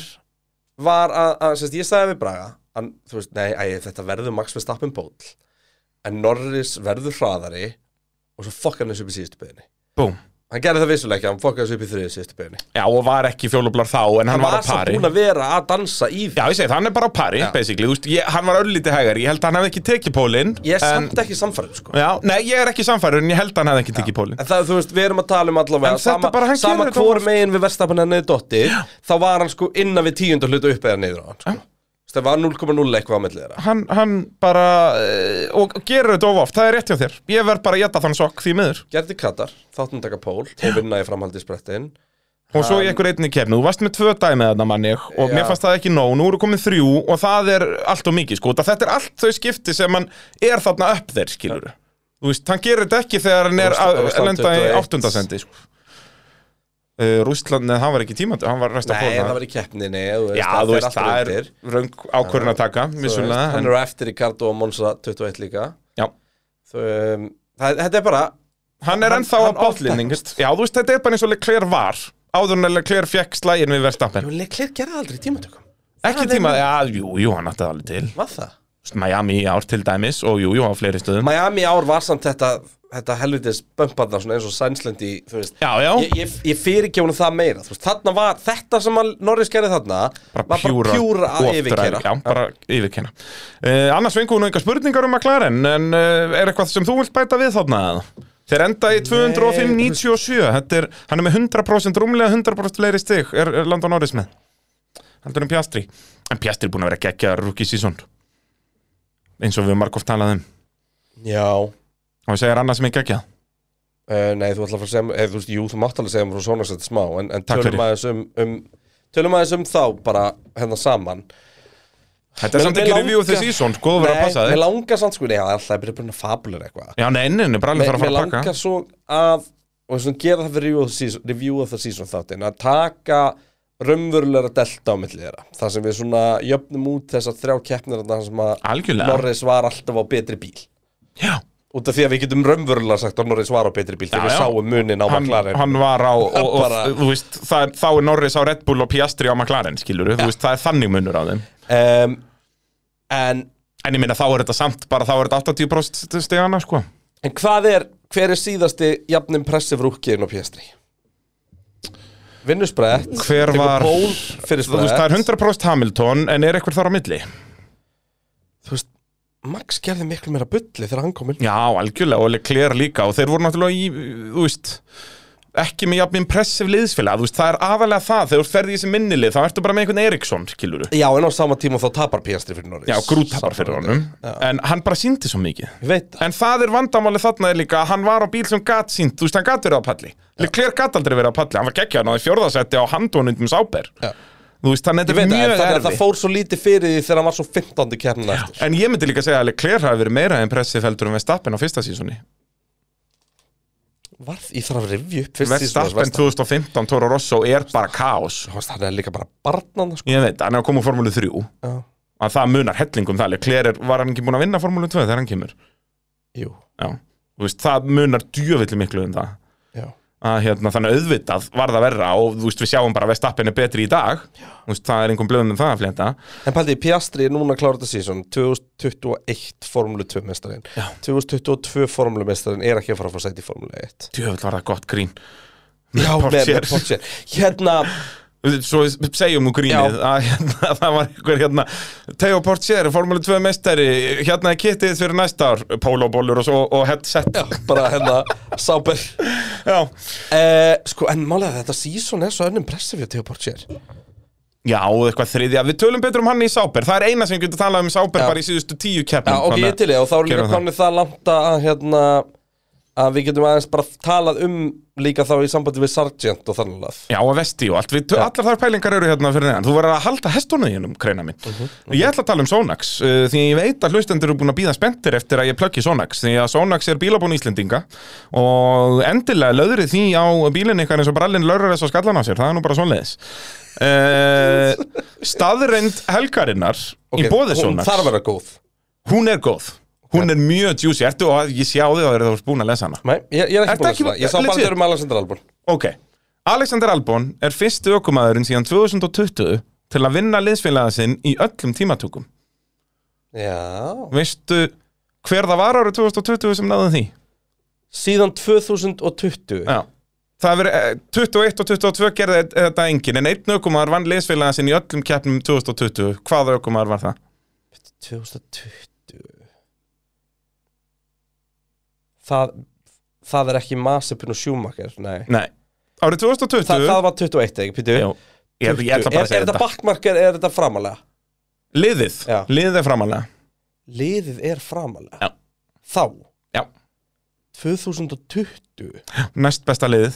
Var að, að sérst, ég sagði við Braga að, Þú veist, nei, æ, þetta verður Max við stappin ból En Norris verður hraðari Og svo fokkar hann þessu upp í síðustu beginni
Búm
Hann gerði það vissulega ekki, hann fokkar þessu upp í þriðju síðustu beginni
Já, og var ekki fjólublar þá, en hann, var á
samt
pari
búinn að vera að dansa í því
Já, ég segi það, hann er bara á pari, basically Þú veist, ég, hann var öllítið hægari, ég held að hann hefði ekki tekið pólinn
Ég er
en,
samt ekki samfærið, sko
Já, nei, ég er ekki samfærður, en ég held að hann hefði ekki tekið pólinn
En það, þú veist, við erum að tala um allavega
En þetta
Sama,
bara, hann
sama
gerir þetta
hvor
oft.
megin við verðstapin henni dotti Þá var hann sko innan við tíundu hlutu upp eða niður á hann sko. Þú veist, Það var 0,0 eitthvað á millið þeirra
Hann, hann bara, eh, og gerur þetta of oft, það er rétt hjá þér Ég verð bara að jæta þann sokk því miður
Gerði Katar, þáttum taka pól Og vinna í framhaldi sprettin
Og svo í einhver einni kefni, þú varst með tvö dæmi þarna manni og
Um, Já.
mér fannst það ekki nóg, nú eru komið þrjú og það er allt og mikið sko, þetta er allt þau skipti sem hann er þarna upp þeir skilur Þú veist, hann gerir þetta ekki þegar hann er
Rússland-
að
Rússland
lenda í
21.
áttundasendi sko. uh, Rústland, neða, hann var ekki tímandi, hann var resta
Nei, það
fórna
var í keppninni
Já, þú veist, það er röng ákvörðin að taka,
Vissulega
vissulega
Ah, Hann
en,
er á eftir Ricardo og Monza 21 líka
Já,
Þú, um, það, Þetta er bara
hann er
Hann-
ennþá
hann
á bátlinning
oftekst.
Já, þú veist, þetta er bara eins og Leclerc var áður en að Leclerc fekk slægin við verðstappen
Leclerc gerði aldrei tímatökum
Ekki
er
tíma, já, jú, jú, hann átti það alveg til
Var það?
Þú veist, Miami í ár til dæmis og jú, jú, á fleiri stöðum
Miami ár var samt þetta, þetta helvitis bömparna svona eins og sænslendi þú veist
Já, já.
ég, ég, ég fyrir ekki honum það meira þú veist, þarna var, þetta sem að Norris gerði þarna
bara
var
pjúra,
bara pjúra að
ofdræg,
yfirkera
já, bara yfirkera uh, annars fengu hún eitthvað spurningar um McLaren en uh, er eitthvað sem þú vilt bæta við þarna eða? þeir enda í 205.97 Þetta er, hann er með 100% rúmlega 100% fleiri stig er, er Landon Norris með heldur um Pjastri en Pjastri er búin að vera geggja rookie season eins og við margóft talaðum
já,
og segir annað sem er geggjað
Uh, nei, þú ætla að fara að segja, eða þú veist, jú, þú mátt alveg segja mér frá svona sett smá, en, en
Takk
tölum
fyrir.
aðeins um, um tölum aðeins um þá bara hérna saman
þetta er
Mig-
samt
mig
ekki
langar-
review þessi season sko, þú verður að passa
Nei, mér
þig
langar samt sko, nei, það er alltaf að byrja búin að fabulega eitthvað
já, nei, nei, nei, bara alveg
Mér
fara að
mér
fara að pakka
langar svo að og svona gera það fyrir review of the season, review of the season þáttin, að taka raunverulega delta á milli þeirra þar sem við svona jöfnum út þessar þrjá keppnir þarna þar sem að
algjörlega,
Norris var alltaf á betri bíl
já
út af því að við getum raunverulega sagt að Norris var á betri bíl þegar
Já,
við
já.
sáum munin á
hann,
McLaren
hann var á og, og,
Bara-
þú veist, það, er- þá er Norris á Red Bull og Piastri á McLaren skilur þú veist, það er þannig munur á þeim
um, en,
en ég meina þá er þetta samt bara þá er þetta 80% stegana sko
en hvað er hver er síðasti jafn impressive rúkiðin á PS3 vinnusbrett
Hver
tekur
var-
ból fyrir
þú veist, það er
sprett
100% Hamilton en er eitthvað þar á milli
þú veist Max gerði miklu meira bulli þegar hann kom inn
já, algjörlega, og Leclerc líka og þeir voru náttúrulega í, þú veist ekki með jafn impressive liðsfélag þú veist, það er aðalega það, þegar þú ferði í þessi minnilið þá ertu bara með einhvern Eriksson, skilur
Já, en á sama tíma þá tapar PS3 fyrir Norris
já, grútapar fyrir
Saman-
honum en hann bara síndi svo mikið
Ég veit það
En það er vandamáli þarna er líka að hann var á bíl sem gat sínt, þú veist, hann gat verið á palli Leclerc gat aldrei verið á palli, hann var geggjaðan á því fjórðasetti á handónundum sáber
Já.
Þú veist, þannig
Ég
að
veit það,
þetta er
en
mjög
þannig að
erfitt
það fór svo lítið fyrir því þegar hann var svo 15. keppnin eftir
En ég myndi líka segja að Leclerc hafi verið meira impressive heldur en Verstappen á fyrsta sísunni
Varð, ég þarf að revju upp fyrst
Verstappen 2015, Toro Rosso er bara kaos
Það er líka bara barnan sko.
Ég veit, hann er að koma úr Formúlu 3
Já.
að það munar hellingum það Leclerc er, var hann ekki búin að vinna Formúlu 2 þegar hann kemur
Jú,
Já, þú veist, það munar djöfilli miklu um það
já
að hérna, þannig auðvitað var það verra og þú veist, við sjáum bara að Verstappen er betri í dag Þú veist, það er einhvern blöðum um það að flenda
En pældi, Piastri er núna að klára þetta sísón 2021 formúlu 2 mestarinn 2022 formúlu mestarinn er ekki að fara að fá sæti í formúlu 1
djöfull var það gott grín
Já, með,
Porsche.
með Porsche Hérna,
Svo við segjum úr grínið
Já.
að hérna, það var einhver hérna Teo Portier, Formule 2 mestari hérna er kittið fyrir næsta ár pólóbólur og, svo, og headset Já,
bara hérna, sáber
já.
eh, Sko, en málega þetta sísón er svo önnum pressa fyrir Teo Porcher
og eitthvað þriðja, við tölum betur um hann í Sáber það er eina sem við getum talað um í Sáber
Já.
bara í síðustu tíu keppnum
Já, ok, ég er til ég og þá er líka
Gerum það.
konið það langt að hérna að við getum aðeins bara talað um líka þá í sambandi við Sargent og þannig að
Já, og vesti og allt, við,
Já.
allar þar pælingar eru hérna fyrir neðan Þú verður að halda hestunöginum, kreina mín
Mhm,
Ég ætla að tala um Sonax, uh, því ég veit að hlustendur eru búin að býða spenntir eftir að ég plöggi Sonax Því að Sonax er bílabón Íslendinga Og endilega löðrið því á bílinn ykkar eins og brallinn lörður þess að skallan á sér Það er nú bara svoleiðis uh, Staðreind helgarinnar í bóði
hún
Sonax
þarf að vera góð
Hún er góð, hún er mjög juicy Ertu og ég sjá þig að þú ert búin að lesa hana
Nei, ég, ég er
Ertu
ekki búin að
ekki-
það, ég sá bara
legit?
þér um Alexander Albon
Ok, Alexander Albon er fyrsti ökumæðurinn síðan 2020 til að vinna liðsfélaga sinn í öllum tímatökum.
Já
Veistu hver það var árið 2020 sem náði því?
Síðan 2020
Já. Það hefur verið, eh, 21 og 22 gerði þe- þetta engin, en einn ökumæður vann liðsfélaga sinn í öllum keppnum 2020. Hvaða ökumæður var það?
2020 Það Það er ekki Masipin og Schumacher, nei
Nei. Árið 2020?
Þa, Það var 21, ekki, pítu
Jú. Ég, ég ætla
Er,
bara að segja
er þetta
þetta.
bakkmarkar, er þetta framalega?
Liðið.
Já.
Liðið er framalega.
Liðið er framalega
Já.
Þá
Já.
2020
Næst besta liðið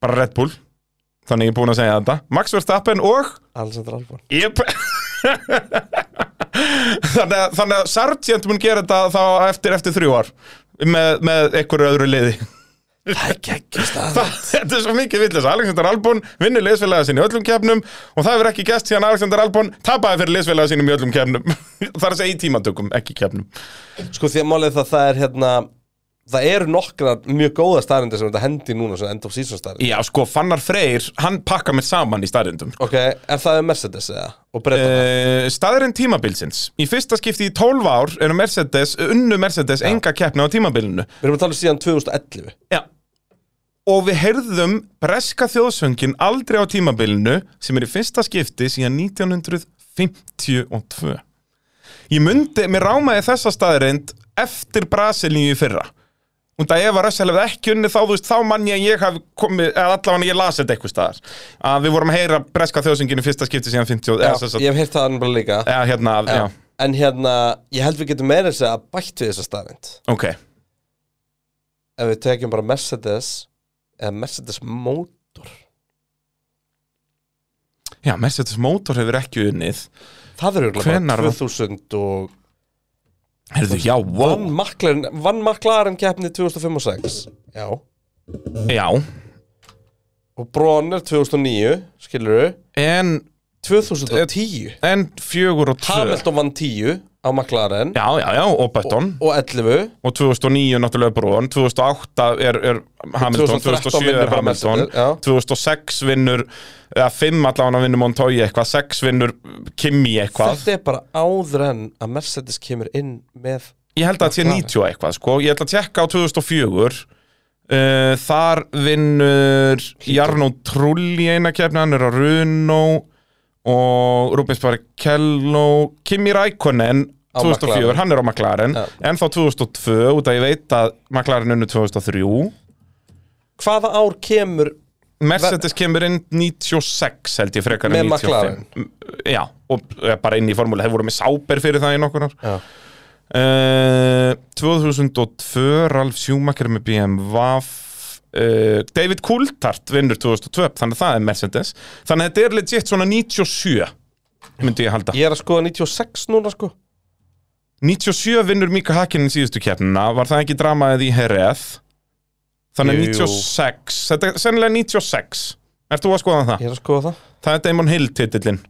Bara Red Bull Þannig ég er búinn að segja þetta Max Verstappen og
Alexander Albon
Jep þannig, að, þannig að Sargent mun gera þetta þá eftir eftir þrjú ár með, með einhverju öðru liði
Það er geggjast að
Það- Þetta er svo mikið villis Alexander Albon vinnur liðsfélaga sinni í öllum keppnum og það hefur ekki gæst síðan Alexander Albon tapaði fyrir liðsfélaga sínum í öllum keppnum Það er að segja í tímatökum, ekki keppnum
Sko því að málið það, það er hérna Það eru nokkra mjög góða staðrindir sem þetta hendi núna sem end of season staðrind
Já, sko, Fannar Freyr, hann pakka mér saman í staðrindum
Ok, en það er Mercedes eða? Og breyta það
Uh, staðurinn tímabilsins Í fyrsta skipti í 12 ár eru Mercedes, unnu Mercedes enga keppna á tímabilinu
Við erum að tala um síðan 2011
Já. Og við heyrðum breska þjóðsöngin aldrei á tímabilinu sem er í fyrsta skipti síðan 1952 Ég myndi, mér rámaði þessa staðurind eftir Brasilíu í fyrra Og það ef að Russell hefði ekki unni þá, þú veist, þá mann ég að ég hafi komið, eða allavega ég lasi þetta eitthvað staðar. Að við vorum að heyra breska þjóðsöngin í fyrsta skipti síðan 50, eða
Já,
þess að,
Ég hef heyrt það bara líka
eða hérna, já,
Já. En hérna, ég held við getum meira þess að bætt við þessa staðrind
ok.
Ef við tekjum bara Mercedes Eða Mercedes mótor
Já, Mercedes Motor hefur ekki unnið
Það eru
Hvenær
bara
var-
2000 og
Herðu, já, wow
Vann maklaren, vann maklaren keppni 2005 og 6 Já
Já,
Og Bronner 2009, skilur við
en,
2010
en fjögur og tvö
Hamilton vann 10 á McLaren
Já, já, já, og Button
og 11
Og 2009 náttúrulega Brón 2008 er, er Hamilton
2013
2007
vinnur
er
bara
Hamilton
Mercedes, já.
2006 vinnur eða 5 allan vinnur Montoya eitthvað 6 vinnur Kimi eitthvað
Þetta er bara áður en að Mercedes kemur inn með
Ég held að þetta sé
McLaren.
90 og eitthvað sko Ég ætla að tjekka á 2004 uh, Þar vinnur Jarno Trull í eina kefni Hann er á Runo Og Rubens Barrichello Kimi Rækonen
Á
2004,
McLaren.
hann er á McLaren
Já.
En þá 2002, út að ég veit að McLaren unnu 2003
Hvaða ár kemur
Mercedes kemur inn 96 held ég frekar en
Með
95
McLaren.
McLaren Já, og eh, bara inn í formúli Þeir voru með Sáber fyrir það í nokkur ár
Já.
Eh, 2002 Ralf Schumacher með BMW uh, David Coulthard vinnur 2002 þannig að það er Mercedes þannig að þetta er legit svona 97 myndi ég halda
Ég er að skoða 96 núna sko
97 vinnur Mika Hakkinen síðustu keppnina var það ekki dramaðið í HRF þannig að
Jú.
96 þetta er sennilega 96 Ert þú að skoða það?
Ég er að skoða það
Það er Damon Hill titillin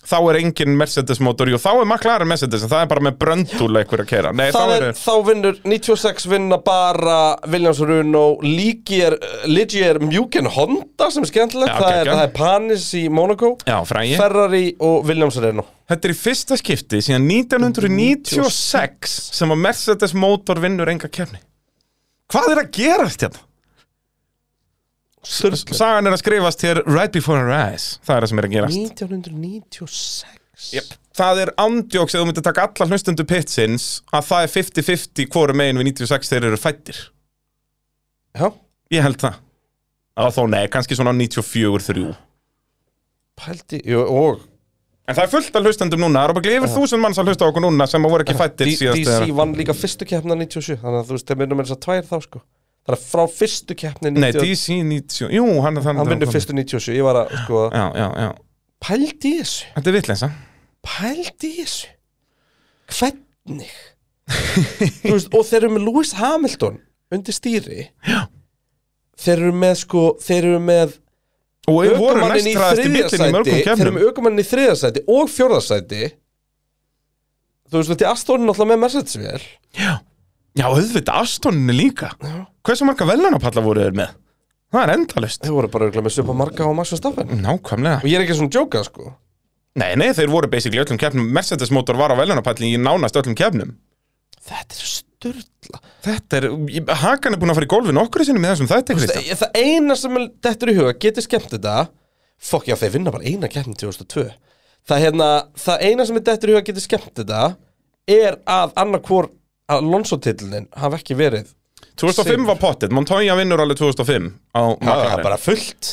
Þá er engin Mercedes mótor Jú, þá er McLaren Mercedes en Það er bara með bröndúla einhver að kera Nei,
Það
þá
er,
eru
þá vinnur 96 vinna bara Williams og Runo Ligier, Ligier Mjúken Honda sem er skemmtilegt
Já,
það, er,
geggjað.
það er Panis í Monaco
Já, frægi
Ferrari og Williams Renault
Þetta er í fyrsta skipti síðan 1996 sem að Mercedes mótor vinnur enga kefni Hvað er að gerast hérna?
Sturla
Sagan er að skrifast hér right before our eyes Það er það sem er að gerast
1996
yep. Það er andjóks eða þú myndir taka alla hlustundu pitsins að það er 50-50 hvorum megin við 96 þeir eru fættir
Já,
Ég held það Það þó nei, kannski svona 94-3
Ah. pældi, jú, og
En það er fullt af hlustendum núna, það eru bara yfir þúsund manns að hlusta á okkur núna sem að voru ekki fættir
Ah. D-
síðast
DC vann líka fyrstu keppna 97 Þannig að þú veist, þeir minnum eins að tvær þá sko Það er frá fyrstu keppni
Nei,
90
DC 90, jú, hann er þannig
Hann vinnur fyrstu 97, ég var að sko
Já, já, já,
Pældi í þessu
þetta er vitleisa
pældi í þessu hvernig Þú veist, og þeir eru með Lewis Hamilton undir stýri Já. þeir eru með sko þeir eru með
Og við vorum
ökumannin
næst
í
ræðast í bílinn í
þriðasæti
mörgum
þeir eru
kefnum
með aukumannin í þriðasæti og fjórðasæti þú veist, þetta er Aston náttúrulega með Mercedes vel
Já, auðvitað, Astoninni líka Hversu marga velunapalla voru þeir með? Það er endalust
þeir voru bara örugglega með Supa Marga og Max Verstappen og
Nákvæmlega
ég er ekki svona að djóka sko
Nei, nei, þeir voru basically í öllum kefnum Mercedes motor var á velunapalli í nánast öllum kefnum
þetta er sturla
Þetta er, Hakan er búin að fara í gólfi nokkru sinni með þessum þetta, Kristján
það, það eina sem er- þetta er í huga getur skemmt þetta fokk já þeir vinna bara eina keppni 2002 það, hérna, það eina sem er þetta í huga getur skemmt þetta er að annarkvor Alonso-tillin hafa ekki verið
2005 var pottet, Montoya vinnur alveg 2005 á
það
McLaren.
er bara fullt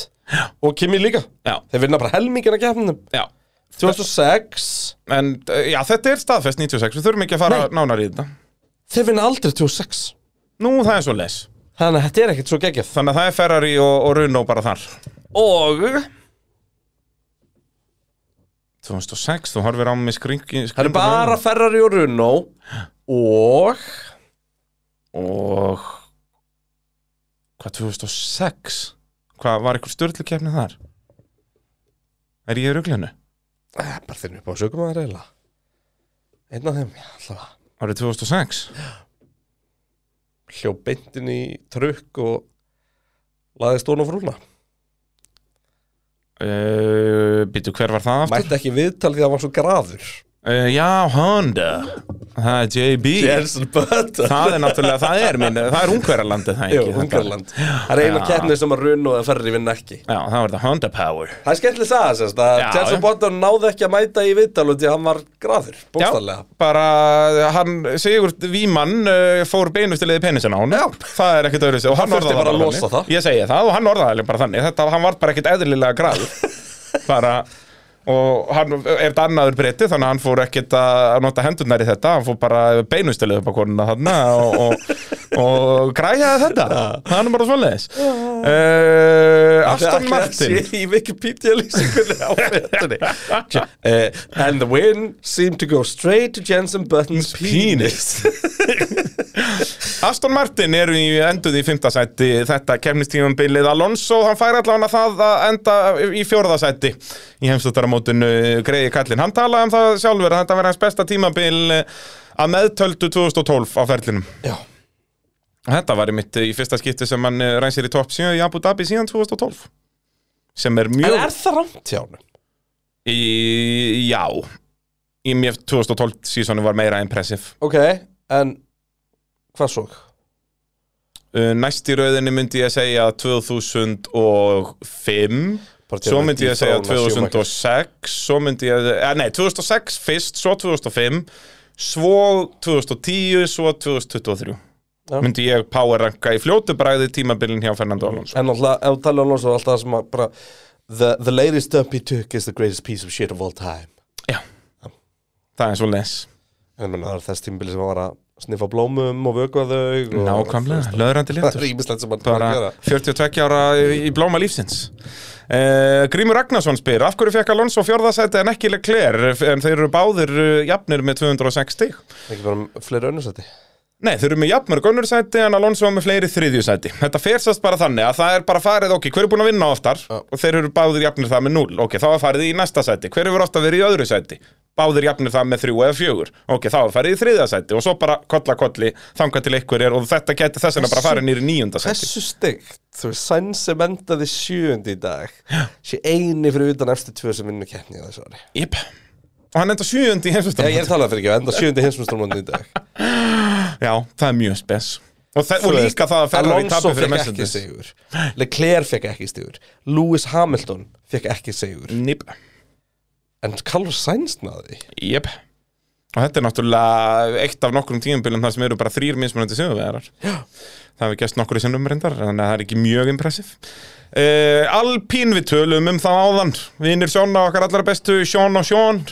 og Kimi líka
Já,
þeir vinna bara helmingina keppnum
já
2006
En uh, já, þetta er staðfest 96, við þurfum ekki að fara
Nei.
nánar í þetta
þeir vinna aldrei 2006
Nú, það er svo les
þannig að þetta er ekkert svo geggjað
Þannig að það er Ferrari og, og Renault bara þar
og það
2006, þú horfir á mig skringi
er bara Ferrari og Runo og
Og Hvað, 2006? Hvað, var einhver störtlukefni þar? Er ég í ruglinu?
Eh, bara þeir eru upp á sögum að reyla einn af þeim já, allavega
Árið 2006?
hljóp beintin í trukk og laði stóna frúna
Uh, Býtu, hver var það aftur?
mætti ekki viðtal því að það var svo graður
Uh, já, Honda Það er JB
Jensen Button
Það er náttúrulega, það er minn Það er Ungverjalandi það
Jú,
ekki Þetta-
Ungarland Það er eina
Já.
keppni sem að run og að ferri vinna ekki
Já, það var þetta Honda Power
Það er skemmtileg saga sérst að
Já,
Jensen
já.
Button náði ekki að mæta í viðtal og því að hann var graður, bókstallega
Já, bara hann, Sigurd Vímann uh, fór beinustilegði penisin á hann Já. Það er ekkert öðru og hann
Hann þurfti
orðaði
bara að
þannig.
losa það.
Ég segi það og hann orðaði bara þannig Þetta, hann var bara ekkert eðlilega gráður bara og hann er þetta annaður breyti þannig að hann fór ekkert að nota hendurnar í þetta hann fór bara beinustilegði upp á konuna þarna og, og, og græjaði þetta það er nú bara svoleiðis uh, Aston Martin
Í Wikipedia lýsingunni á fettinni uh, And the wind seemed to go straight to Jensen Button's penis,
Aston Martin eru í enduð í fymtasætti þetta kemnistífumbilið Alonso hann fær allavega það að enda í fjórðasætti í heimstutaramótinu greiði kallinn, hann talaði um það sjálfur að þetta verði hans besta tímabil að meðtöldu 2012 á ferlinum
Já,
þetta var í mitt í fyrsta skipti sem hann eh, rænsir í topp 7 í Abu Dhabi síðan 2012 sem er
en
mjög
er það rámt hjá hann?
í, já í mér 2012 sísonu var meira impressive
Ok, en hvað svo?
Uh, Næst í rauðinni myndi ég að segja 2005 Svo myndi ég að segja 2006 Svo myndi ég að, eh, nei 2006 fyrst, svo 2005 Svo 2010, svo 2023
Já.
Myndi ég power ranka í fljótu bræði tímabilin hjá Fernando Alonso
En alltaf, ef þú talar um Alonso, alltaf sem að bara the, the latest dump he took is the greatest piece of shit of all time
Það er svo les
En ég meina, það er þess tímbili sem hann var að sniffa blómum og vökva þau og-
Nákvæmlega, löðrandi
Það
léttur
er ímislegt sem hann þarf að
bara
gera
42 ára í blóma lífsins uh, Grímur Ragnarsson spyr af hverju fekk Alonso fjórðasæti en ekki Leclerc en þeir eru báðir uh, jafnir með 206 stig
Ekki bara um fleiri önnursæti
Nei, þeir eru með jafnmörg önnursæti en Alonso er með fleiri þriðjusæti Þetta fersast bara þannig að það er bara farið ok, hver er búin að vinna oftar og þeir eru báðir jafnir það með 0 ok, þá er farið í næsta sæti, hver hefur ofta verið í öðru sæti báðir jafnir það með 3 eða 4 ok, þá er farið í þriðja sæti og svo bara kolla kolli þanga til einhver er og þetta geti þess vegna bara farið nýri níunda sæti
Þessu stygt, þú veist, Sainz sem endaði sjöundi í dag sé eini fyrir utan eftir tvö sem vinnur keppni þessu ári
Jep. Og hann enda sjöundi í
Já, ég er
heimsvöldum.
að tala fyrir ekki, enda sjöundi hinsmjöstrumóndin í dag
Já, það er mjög spes. Og, þe- og líka það að Ferrari
Alonso
tapir fyrir
fekk ekki
Mercedes.
sigur Leclerc fekk ekki sigur Lewis Hamilton fekk ekki sigur
Nýp.
En Carlos Sainz náði því.
Jep. Og þetta er náttúrulega eitt af nokkrum tíumbilum þar sem eru bara þrýr mismunandi sigurvegarar. Það hefur gæst nokkur í sinnum reyndar, þannig að það er ekki mjög impressif. Uh, Alpín við tölum um það áðan. Vinir Sjón á okkar allra bestu, Sjón og Sjón.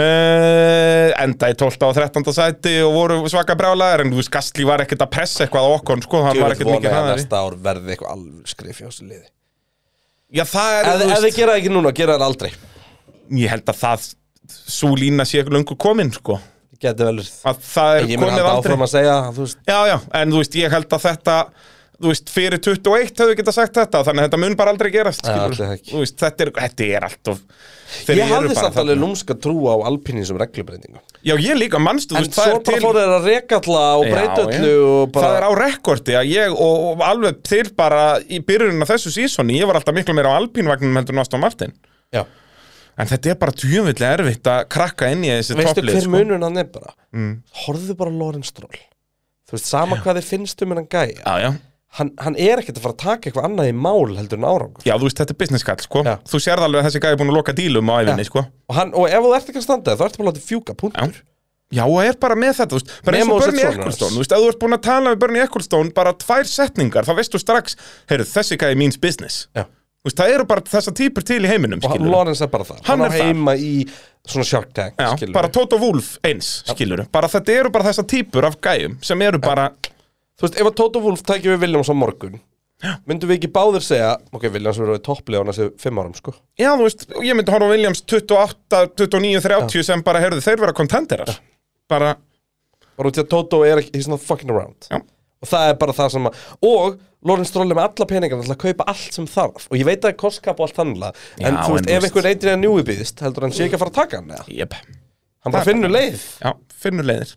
uh, enda í 12. og 13. sæti og voru svaka brjálæðar, en þú veist, Gastli var ekkert að pressa eitthvað á okkur, sko, hann
Ég
var
vil
ekkert
vona
mikið
að
hraðari.
næsta ár verði eitthvað alveg skrif hjá þessu liði
Já, það er,
Ef
þú
ef þið
veist,
gera það ekki núna, gera það aldrei
ég held að það svo lína sé löngu komin, sko
Geti vel verið.
að það er
Ég mun
komið
halda
aldrei
áfram að segja, þú veist
Já, já, en þú veist, ég held að þetta þú veist, fyrir 21 hefðu geta sagt þetta þannig að þetta mun bara aldrei gerast
Já,
skilurðu.
allir það ekki.
Þú veist, þetta er, þetta er allt of þeir
Ég
eru
hafði
bara
samt
þarna.
alveg lúmska trú á alpinni sem reglubreitingum
Já, ég líka, manstu, þú
En
veist, það
svo
er
bara
til
fór þeir að rekalla og
Já,
breyta
já.
öllu og bara
Það er á rekordi að ég og, og alveg til bara í byrjunin af þessu sísoni, ég var alltaf miklu meira á alpínvagnum heldur en Aston Martin
Já.
En þetta er bara djúvillig erfitt að krakka inn í þessi
Veistu
topplið
hver
sko.
munun hann er bara? Mm. Horfðu bara á Lorenz Stroll Þú veist, sama hvað þið finnst um hennan gæja
Já, já,
hann, hann er ekkert að fara að taka eitthvað annað í mál heldur en árangur
Já, þú veist, þetta er business kall, sko.
Já.
Þú sérð alveg að þessi gæði búin að loka dílum á æfinni,
Já.
sko.
og, hann, og ef þú ert ekki að standa þér, þá ertu bara að láta fjúka punktur
Já, og er bara með þetta, þú veist, bara eins
Nema
og
þú sért
Bernie
sonur hans.
Ecclestone, þú veist, ef þú ert búin að tala við Bernie Ecclestone bara tvær setningar, þá veist þú strax, heyrðu, þessi gæði means business.
Já.
Þú veist, það eru bara þessa típur til í heiminum,
og hann,
skilur.
Lorenz er bara þar hann
Hann
á
er þar.
heima í svona shark tank
Já,
skilurðu.
bara Toto Wolf eins, skilur. Bara þetta eru bara þessa típur af gæjum sem eru bara,
Þú veist, ef að Toto Wolf tækja við Williams á morgun myndum við ekki báðir segja ok, Williams verður topplið á næstu fimm árum sko
já, þú veist, ég myndi horfa á Williams 28, 29, 30 sem bara, heyrðu, þeir vera kontenderar. Bara,
bara út í að Toto er ekki, he's not fucking around
Já.
og það er bara það sem að og Lorenz Stroll er með alla peningarna til að kaupa allt sem þarf og ég veit að það er kostkap og allt þannig
Já,
en þú veist,
en þú
ef
veist-
einhver reytir að njúi býðist heldur hann sé ekki að fara að taka hann eða?
jep.
hann bara
Það er
finnur
bara-
leið
Já, finnur leiðir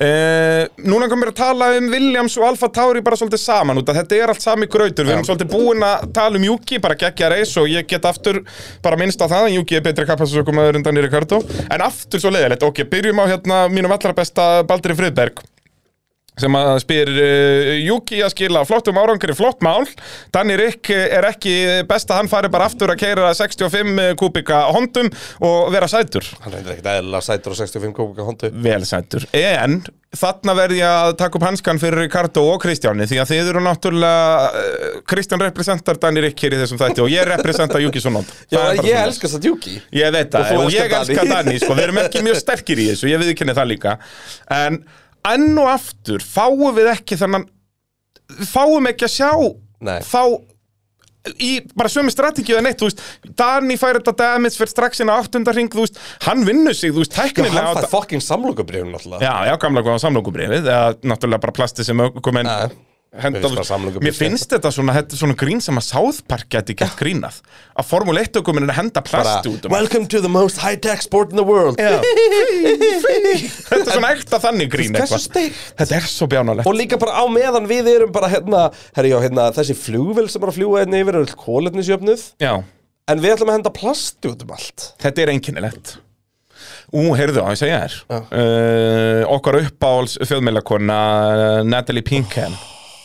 uh, Núna komum við að tala um Williams og Alfa Tauri bara svolítið saman út að þetta er allt sami grautur, við erum svolítið búin að tala um Juki, bara geggja reis og ég get aftur bara minnst á það, en Juki er betri kapasisökum aður undan í Ricardo, en aftur svo leiðilegt, ok, byrjum á hérna mínum allra besta Baldri Friðberg sem að spyr uh, Juki að skila flottum árangri, flott mál Danny Rick er ekki best að hann fari bara aftur að keira 65 eh, kubika hondum og vera sætur
hann reyndir ekkert eðlilega sætur og 65 kókuka hóndu
velsættur En þarna verð ég að taka upp hanskan fyrir Ricardo og Kristjáni því að þið eru náttúrulega eh, Kristján representar Danir Rikkir í þessum þætti og ég representa Juki Sunnond
já, ég elska það djúki
Ég
Og
veit það,
þú
og,
elskar
ég
Dani.
elska Dani, sko, við erum ekki mjög sterkir í þessu, ég viðkynni það líka En enn og aftur, fáum við ekki þannan, fáum ekki að sjá
Nei.
þá í bara sömu strategíu en eitt, þú veist Dani fær þetta damage fyrir strax inn á áttundarring, þú veist, hann vinnur sig, þú veist,
Já,
tæknilega
hann
á
fær
da-
fucking samlokabrifun náttúrulega
Já, já, gamla góða samlokubrifið eða náttúrulega bara plasti sem kom inn
Já. Mér finnst bara samlokubrif
Mér finnst þetta svona, þetta er svona grín sem að South Park geti gett grínað að Formule 1 ökuminn er að henda
bara,
plasti út um
welcome to the most high-tech sport in the world
Já. Þetta er svona ekta þannig grín
Hversu
eitthvað
steikt
Þetta er svo bjánalegt
Og líka bara á meðan við erum bara hérna, herri, já, hérna þessi flugvél sem er að fljúa hérna yfir er öll kólefnisjöfnuð
Já,
En við ætlum að henda plasti út um allt
þetta er einkennilegt Ú, heyrðu á, ég segja þér uh, Okkar uppáhals fjöðmeilakona Natalie Pinkham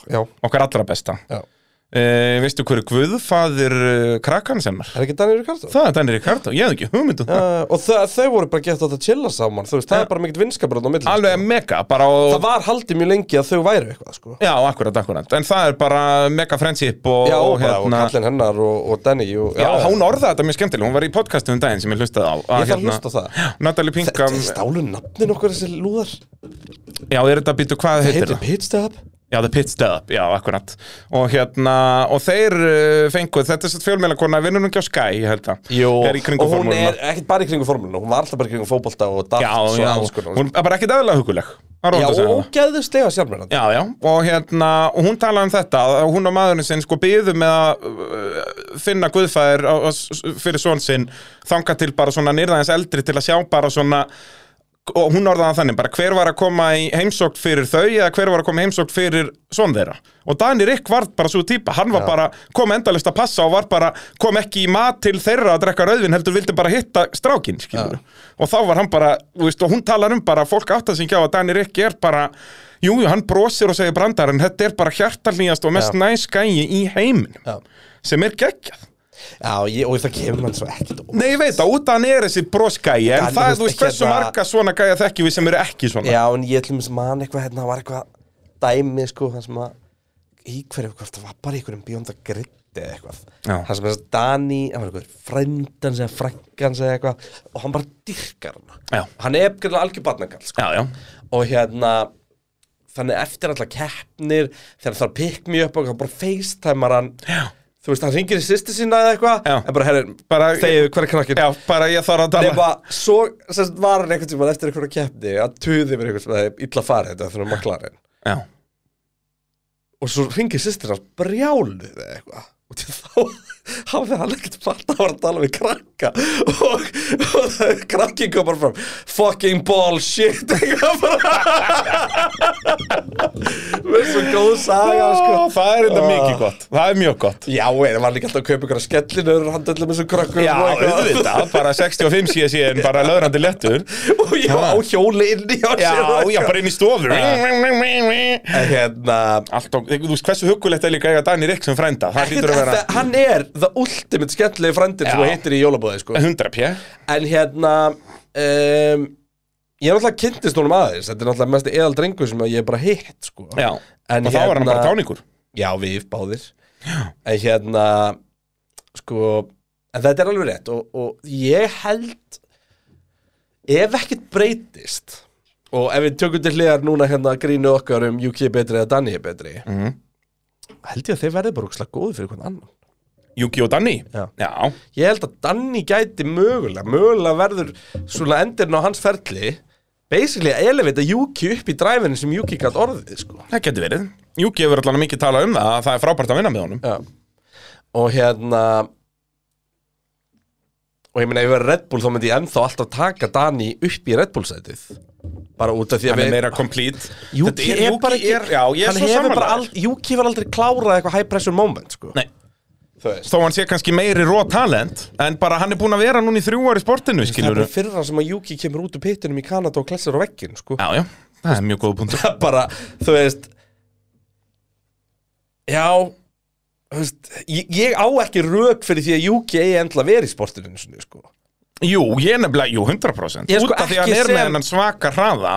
Já,
Okkar allra besta
já
uh, Veistu hverju guðfaðir uh, krakkan sem er?
Er ekki Daniel Ricardo?
Það er Danny Ricardo, ég hef ekki um hugmyndu það
Uh, og þa þau voru bara gett átt að chilla saman Þú veist, það er bara mikill vinskabrönd á milli
Alveg
sko.
mega, bara á...
Það var haldið mjög lengi að þau væru eitthvað sko.
Já, akkurat, akkurat En það er bara mega friendship og, hérna-
Já, og, bara, og kallinn hennar og, og Danny og,
Já, hún orðaði þetta mjög skemmtilega, hún var í podcastum um daginn sem ég hlustaði á að hérna-
Ég þarf að hlusta á það.
Natalie Pinkham
Stálu nafnin okkur þessi lúðar
Já, er þetta býtu, hvað heitir
Heitir
það?
pitstop
Já, The Pit Stop, já, akkurat Og hérna, og þeir uh, fengu Þetta er svo fjölmeila kona, vinnur hún ekki á Sky, ég held að er í kringum
og hún
formúluna.
er ekkert bara í kringu formúluna Hún var alltaf bara í kringum fótbolta og daft
Já,
og
já,
alls konar.
hún er bara ekkit aðlega huguleg Það er
Já,
rótt að segja
og
það
ógeðuslega sjálfmennandi
Já, já, og hérna, og hún talaði um þetta að hún og maðurinn sinn sko byðu með að uh, finna guðfæðir á, á, fyrir svon sinn þanga til bara svona nýrðaðins eldri til að sjá bara svona og hún orðaði það þannig bara hver var að koma í heimsókn fyrir þau eða hver var að koma í heimsókn fyrir svon þeirra og Dani Rick var bara svo típa hann var bara, kom endalist að passa og var bara kom ekki í mat til þeirra að drekka rauðvin heldur vildi bara hitta strákin ja. og þá var hann bara, þú veist, og hún talar um bara fólk átt að syngja á að Dani Rick er bara jú, jú, hann brosir og segir brandar en þetta er bara hjartalnýjast og mest
Já.
næs gæi í heiminum
Já.
sem er geggjað
Já, ég, og það kemur hann svo ekkert og
Nei, ég veit að út að hann er þessi brosgæi en
Dani,
það,
þú veist,
þú veist, hversu
hérna-
marga svona gæja þekkjum við sem eru ekki svona
Já, en ég til þess man eitthvað hérna, það var eitthvað dæmi, sko, það sem að í hverju, hvort það var bara í einhverjum bjónda gritti eða eitthvað.
Já.
Það sem þess að Dani, hann var eitthvað frændans eða frænkans eða eitthvað og hann bara dyrkar hana.
Já.
Hann er greinlega algjör barnakall, sko.
já, já.
Og hérna, þannig eftir alltaf keppnir, þegar það pikk mjög upp og hann bara facetimear hann. Já. Þú veist, hann ringir í sýsti sína eða eitthvað,
Já.
en bara, herri,
Bara-
þegiðu, hver er krakkin?
Já, bara ég þarf að tala
Nefna, svo sest, var hann einhvern tímann eftir einhverja keppni að tuði mér einhvern svona illa farið þetta fyrir maklarinn
Já,
og svo ringir sýstir hans brjáluð eða eitthvað og til þá hafði hann ekkert fatt að var að tala við krakka og, og það- krakki kom bara fram fucking bullshit eitthvað bara með svo góð saga sko
Það er þetta
Ah.
mikið gott, það er mjög gott
Já, en það var líka alltaf að kaupa ykkur að skellinu og hann dæla með þessum krakkum
Já,
og eitthvað.
auðvitað, bara 65 síðan síðan, bara löðrandi lettur
Og ég á hjóli inn í hans
Já, já, bara inn í stofu
En hérna
Allt og, þú veist, hversu hugulegt er líka að eiga Danir Ekk sem frænda Það
Ekkert,
hlýtur að vera
það- hann er the ultimate skemmtilegi frændin sem
Já.
þú heitir í jólabóði sko.
100 pjö
en hérna um, ég er náttúrulega kynntist honum aðeins þetta er náttúrulega mest eðal drengur sem ég er bara hitt sko.
Já,
En
og þá er hann
hérna-
bara táningur
já við báðir en hérna sko, en þetta er alveg rétt og, og ég held ef ekkert breytist og ef við tökum til hliðar núna hérna grínu okkar um UK er betri eða Danny er betri held ég að þeir verði bara úkslega góði fyrir hvernig annan
Juki og Danni
Já.
Já,
Ég held að Danni gæti mögulega mögulega verður svona endirinn á hans ferli basically að elevita Juki upp í dræfinu sem Juki gætt orðið sko.
það getur verið Juki hefur allan mikið talað um það, að það er frábært að vinna með honum
Já. og hérna og ég meina ef ég verið Red Bull þá myndi ég ennþá alltaf taka Danni upp í Red Bull sætið bara út af því að
Hann er
við
meira complete Þetta
Juki er bara
Juki
ekki
er, já, ég er
hann
svo
hefur bara
samanlega
ald- Juki var aldrei klárað eitthvað high pressure moment sko.
Nei.
þú veist
þó hann sé kannski meiri ró talent en bara hann er búinn að vera núna í þrjú ár í sportinu
það
skilur
er fyrra sem að Juki kemur út úr pittinum í Kanada og klessir á veggin sko.
já já, það er mjög góð punktur
það bara, þú veist Já þú veist, ég, ég á ekki rök fyrir því að Juki eigi endla verið í sportinu einu sinni, sko.
jú, ég er nefnilega, jú, 100%
Ég er sko
út af því að
ekki
hann er með
sem-
hennan svaka hraða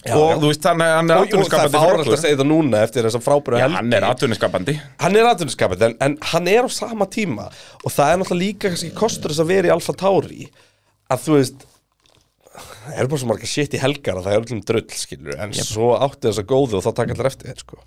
Já,
og
já.
þú veist, hann, er- hann er
og, og það er
atvinnuskapandi
fáralt að
okkur.
segja það núna eftir þess að frábæru
já, hann er atvinnuskapandi
hann er atvinnuskapandi en, en hann er á sama tíma og það er náttúrulega líka kannski kostur þess að vera í Alfa Tauri að þú veist það eru bara svo marga shit í helgar að það er öllum drull skilur en svo átti þess að góðu og þá taka allir eftir þér sko.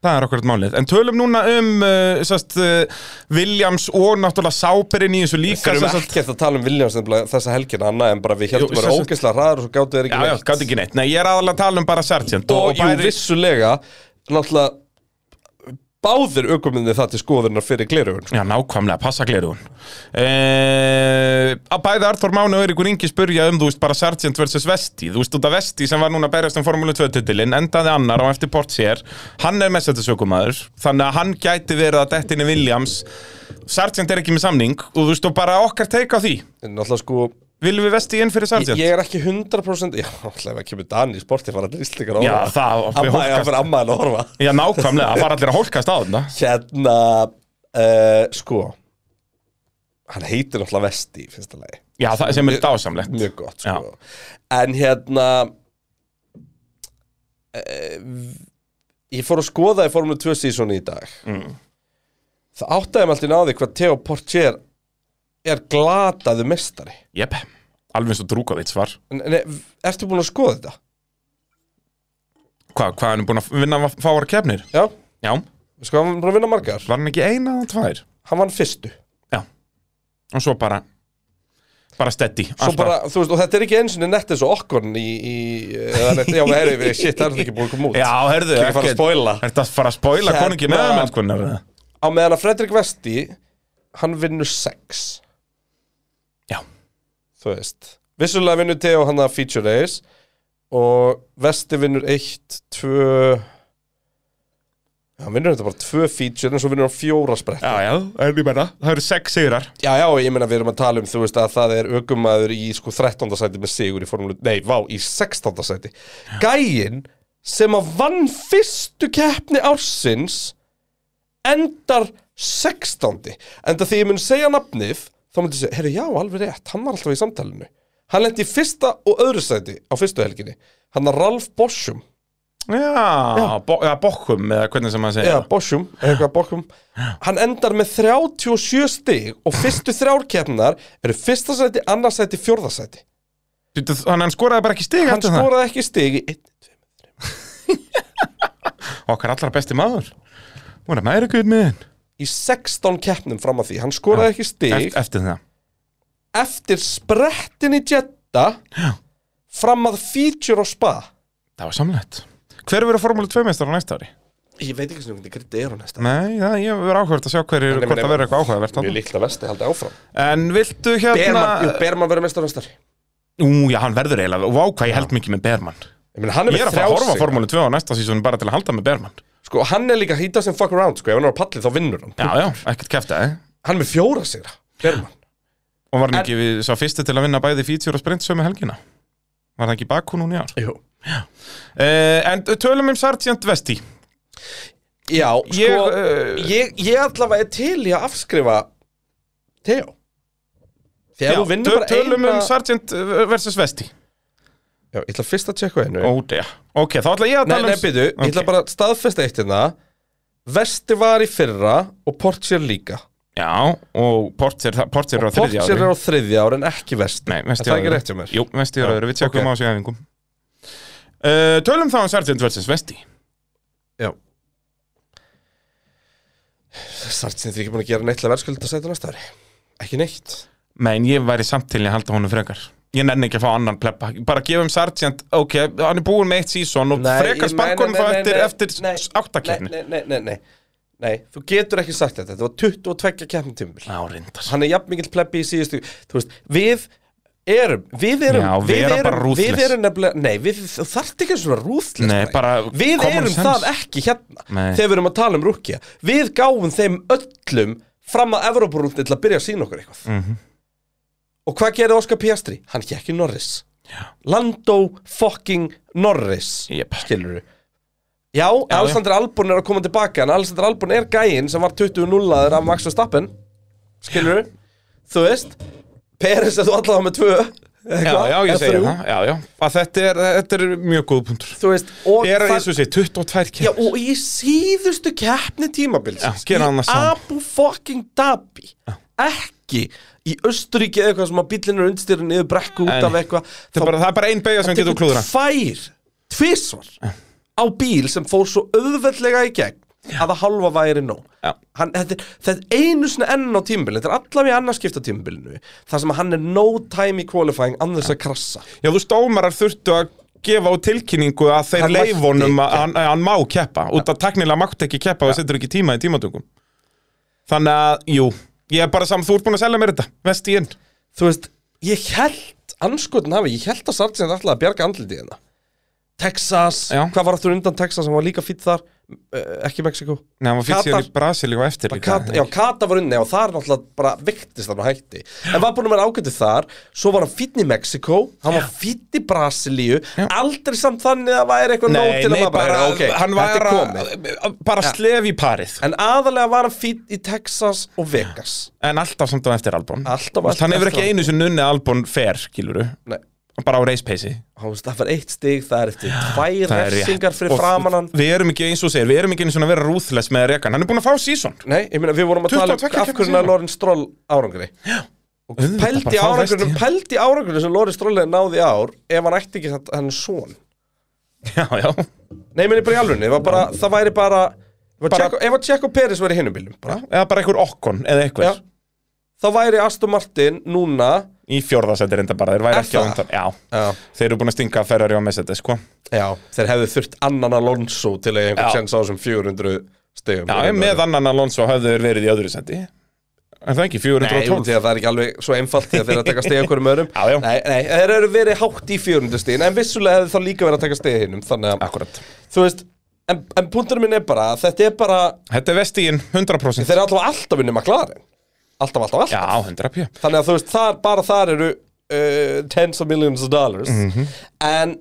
það er okkur eitt málið, en tölum núna um uh, sást, uh, Williams og náttúrulega Sáperinn í þessu líka
þurfum
sem sagt-
ekkert að tala um Williams nefnilega þessa helgina annað en bara við heldum
Jú,
bara
sem sagt-
ógeðslega hraður og svo gáttu þeir
já,
ekki
já, gátt ekki neitt, nei, ég er aðalega að tala um bara Sargent
og, jú, vissulega náttúrulega báðir aukominni það til skoðunar fyrir glerugun sko.
Já, nákvæmlega, passa glerugun eh, Að bæði Arthur Máni og Eiríkur Ingi spurja um, þú veist, bara Sargent vs. Vesti Þú veist, út af Vesti sem var núna að berjast um Formule 2-titilin Endaði annar á eftir Portier Hann er mestættisökumæður Þannig að hann gæti verið að dettinni Williams Sargent er ekki með samning Og þú veist, og bara okkar teika á því
en náttúrulega sko
Viljum við Vesti inn fyrir
ég,
Sargent?
ég er ekki 100% já, náttúrulega ef að kemur Dani í sporti fara allir íslikar
Já, það við
amma, já,
hólkast-
fyrir amma en að horfa
Já, nákvæmlega, það var allir að hólkast á þetta
hérna uh, sko hann heitir náttúrulega Vesti í fyrsta lagi
Já, það sem er dásamlegt
mjög gott
Já.
sko. en hérna e, ég fór að skoða í Formule 2 sísoni í dag
Mm.
það áttaði mig alltaf náði hvað Theo Porcher er glataðu mestari
Jep, alveg eins og Drúkovits var
en, en, ertu búin að skoða þetta?
Hvað, hvað hann er búin að vinna fáar kefnir?
Já,
Já, var
sko hann var búin að vinna margar
hann ekki eina eða tvær?
Hann vann fyrstu
Já, og svo bara bara steady,
Svo bara, þú veist, og þetta er ekki eins og nett eins og okkorn í, í eða nett, já, herri, við, shit, það er ekki búin að koma út
Já, herðu,
Ekki fara að spoila.
Ertu að fara að spoila
Hérna-
konungi með mennskunar
Á meðan að Fredrik Vesti, hann vinnur sex
Já,
Þú veist Vissulega vinnur Teo hann að feature race Og Vesti vinnur eitt, tvö Hann vinnur þetta bara tvö feature En svo vinnur hann fjóra sprett
já, já, er ég bara Það eru sex sigrar
Já, já, ég meina við erum að tala um, þú veist, að það er aukumæður í sko 13. sæti með sigur í formúlu, nei, vá, í 16. sæti. Gæinn sem að vann fyrstu keppni ársins endar 16. Enda því ég mun segja nafnið, þá myndi ég segja, herru, já, alveg rétt, hann var alltaf í samtalinu. Hann lendi í fyrsta og öðru sæti á fyrstu helginni. Hann er Ralf Boschum.
Já, já. Bo ja, bokkum eða hvernig sem maður segja
Já, Boschum, eitthvað Boschum Hann endar með 37 stig og fyrstu þrjár keppnar eru fyrsta sæti, annars sæti, fjórða sæti
Býttu, Þannig hann skoraði bara ekki stig
Hann
eftir það.
skoraði ekki stig í einn, tveim.
Okkar allra besti maður Hún er meira guð minn
í 16 keppnum fram að því Hann skoraði ekki stig
Eft, Eftir það
eftir sprettin í Jeddah fram að feature á spa
Það var samlegt Hver verður formúlu 2 meistar á næsta ári?
Ég veit ekki sem hvernig hvernig er hún næsta
Nei, já, ég verður áhugavert að sjá hverju hvort það verður eitthvað áhugavert
Mjög
þarna.
líkt að vesti haldi áfram
En viltu hérna
Berman, jú, Berman verður mestar næstar Ég
Ú, já, hann verður eiginlega Vá, hvað ég held mikið með Berman
meina, hann er
Ég er
með
að fara að horfa
þrjá sig
formúlu 2 á næsta sísón bara til að halda með Berman
Sko, hann er líka hýta sem fuck around, sko Ef hann er á palli þá vinnur hann
Já, já, ekkert kæfta, eh?
Hann er með fjóra sigra, Berman
Og var hann ekki við sá fyrsti til að vinna bæði feature og sprint sömu helgina? Var það ekki bakku núna í ár?
Jú
Uh, en tölum um Sargent Vesti
Já, sko,
Ég,
ég,
eh,
ég, allavega er til í að afskrifa Teo Þegar þú vinnur bara
Tölum
eina
um Sargent versus Vesti
Já, ég ætla fyrst að tjekka á einu
Ó, já Ok, þá ætla ég að
Nei,
tala
nei,
um
byrju, ég ætla
Ok.
bara að staðfesta eitt hérna Vesti var í fyrra og Portier líka
Já, og Porter, það- Porter er á þriðja
Portier
ári
er á þriðja ári en ekki Vesti
Nei, Vesti
Er það ekki
öðru.
rétt hjá mér?
Jú, Vesti er á
Já,
öðru, við tjekkum
ok.
á þessu í æfingum uh, Tölum þá um Sargent versus Vesti
Já Sartsin því ekki búin að gera neitt til að verðskulda að setja næsta ári Ekki neitt
Men ég væri samt til í að halda honum frekar Ég nenni ekki að fá annan pleppa Bara gefum Sargent, ok, hann er búinn með eitt sísón og frekar sparkunum þá eftir, eftir áttakeppni
Nei, nei, nei, nei, nei, þú getur ekki sagt þetta Þetta var 22 keppnum tímbil
Já, reyndar
Hann er jafn mikill plebbi í síðustu Þú veist, við erum Við erum,
Já,
við
vera bara
erum,
ruthless.
við erum nefnilega Nei, við, þú þarft ekki svona rúðless
Nei, bara
Við
common
erum
sense.
það ekki hérna
Nei.
Þegar við erum að tala um rúkja Við gáum þeim öllum fram að Evroparúlni til að byrja að sína okkur eitthvað
Mhm.
Og hvað gerði Óskar Piastri? Hann gekk í Norris Já. Lando fucking Norris
Jep.
Skilur við Já, Alexander Albon er að koma tilbaka En Alexander Albon er gæinn sem var 20-0 af Max Verstappen Skilur við? Þú veist Peres er þú allavega með tvö
Já, já, ég segi það, já, já að þetta er, þetta er mjög góð punktur
Þú veist og
Er að
það-
ég svo segi, 22
Já,
kemur
og í síðustu keppni tímabilsins
Já, gera hann það
Í
sama.
Abu fucking Dhabi Ekki í Östuríki eða eitthvað sem að bíllinn er undirstyrun niður brekku út
Nei.
af eitthvað
Það er bara- það er bara ein beigja sem getur klúðra
tvær, tvisvar á bíl sem fór svo auðveldlega í gegn að að halva væri nóg
Já.
hann, þetta, er, þetta er einu sinni enn á tímbilinu þetta er allavega annarskipta tímbilinu þar sem hann er no time í qualifying annars að krassa
Já, þú veist, dómarar þurftu að gefa út tilkynningu að þeir
Hann mætti
leifunum að
keppa.
hann, að hann má keppa út að teknilega mátt ekki keppa og það setur ekki tíma í tímatökum Þannig að, jú, ég er bara saman, þú ert búin að selja mér þetta, vest í inn
þú veist, ég held anskotin hafi, ég held að Sargent ætlaði að bjarga andlitið hérna Texas,
Já.
hvað var aftur undan Texas hann var líka fýtt þar, eh, ekki Mexiko
Nei, hann var fyrir síðan í
Katar.
Brasilíu og eftir líka
Kata, já, Kata var unni og þar náttúrulega bara viktist hann og hætti en var búin að vera ágættu þar svo var hann fýtt í Mexiko, hann var fýtt í Brasilíu, aldrei samt þannig að það væri eitthvað nót
Nei,
til
nei,
að maður
bara,
bara, ok,
hann
þetta
var
er
að,
komið
bara slef í parið
en aðalega var hann fýtt í Texas og Vegas
En alltaf samt á eftir Albon
Alltaf á eftir
Hann hefur ekki
Albon.
einu sem nunni Albon fer, skiluru
nei,
Bara á race pace
hann veist, það var eitt stig, það er eftir tvær refsingar fyrir framan hann
Við erum ekki eins og segir, við erum ekki eins og að vera rúðless með rekan Hann er búin að fá sísón
Nei, ég meina, við vorum að tala um
22
af
keppnir
hverju
síðan.
Lorenz Stroll árangri Pældi
bara þá
árangurinn,
veist ég.
pældi árangurinn sem Lorenz Stroll hefði náði ár ef hann ætti ekki hann son
Já, já
Nei, meni bara í alvörunni, það, var bara, það væri bara Ef að
Bara-
Checo- ef að Tjekko Peres væri í hinum bílum bara,
Eða bara einhver okkon eða
já,
einhver
Þá væri Aston Martin núna
Í fjórðasendir enda bara, þeir væri
Er
ekki á
það?
undan Já,
Já,
þeir eru búin að stinga Ferrari og Mercedes, sko
já þeir hefðu þurft annan Alonso til að eiga
Já.
einhvern sens á þessum 400 stegum
Já, með annan Alonso hafðu þeir verið í öðru sendi En það ekki,
Nei, út
412
því að það er ekki alveg svo einfalt því að þeir eru að taka stegið okkur um öðrum
Já, já.
Nei, nei, þeir eru verið hátt í 400 stegin En vissulega hefði þá líka verið að taka stegið hinnum Þannig að,
Akkurat
þú veist En, en punkturinn minn er bara, að þetta er bara
Þetta er vestíin, 100%
Þeir eru alltaf alltaf vinnum að klara Alltaf, alltaf, alltaf
Já, 100 pjö
Þannig að þú veist, þar, bara þar eru uh, tens of millions of dollars
Mhm.
En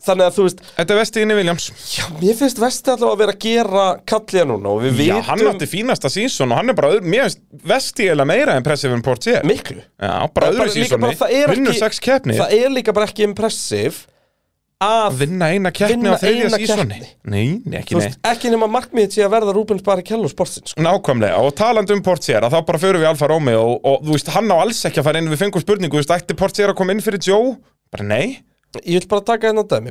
þannig að þú veist,
Þetta er vestíin í Williams
já, mér finnst vesti allavega að vera að gera kallja núna og við
Já,
vitum
hann átti fínasta sísón og hann er bara öðru, Mér finnst vestíin eða meira en pressið en Portier Já,
miklu
bara öðru
líka
sísóni
það er
Vinnur
ekki-
6 keppni
Það er líka bara ekki impressiv að
Vinna eina keppni
Vinna
á þriðja
eina
sísóni
keppni.
Nei, nei, ekki
þú
nei
veist, ekki nema markmiðið sé að verða Rúbens bara kellu sportsins sko.
Nákvæmlega, og talandi um Portier að þá bara förum við Alfa Romeo og, og þú veist, hann á alls ekki að fara inn við fengum spurningu, þú veist, ætti Portier að koma inn fyrir Joe? Bara nei,
Ég vil bara taka einn á dæmi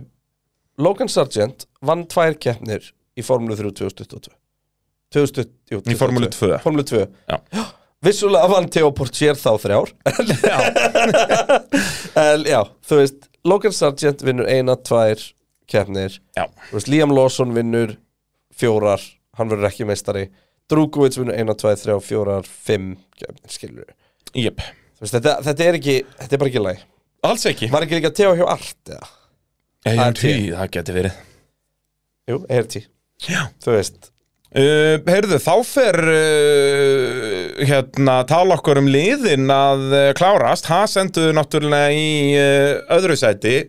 Logan Sargent vann tvær keppnir í Formule 3 2022 2020, jú,
Í Formúlu 2.
Formule 2
Já.
Vissulega vann Theo Portier þá þrjár en, Já, þú veist Logan Sargent vinnur eina, tvær keppnir
já,
Þú veist, Liam Lawson vinnur fjórar, hann verður ekki meistari Drúkovits vinnur eina, tvær, þrjár, fjórar fimm keppnir, skilur við
jöp
Þú veist, þetta, þetta er ekki, þetta er bara ekki læg
Alls ekki
Var ekki líka Teo hjá Art, eða?
ART,
ART.
það geti verið
Jú, ERT
Já
Þú veist,
uh, Heyrðu, þá fer uh, hérna, tala okkur um liðin að uh, klárast Haas endur náttúrulega í uh, öðru sæti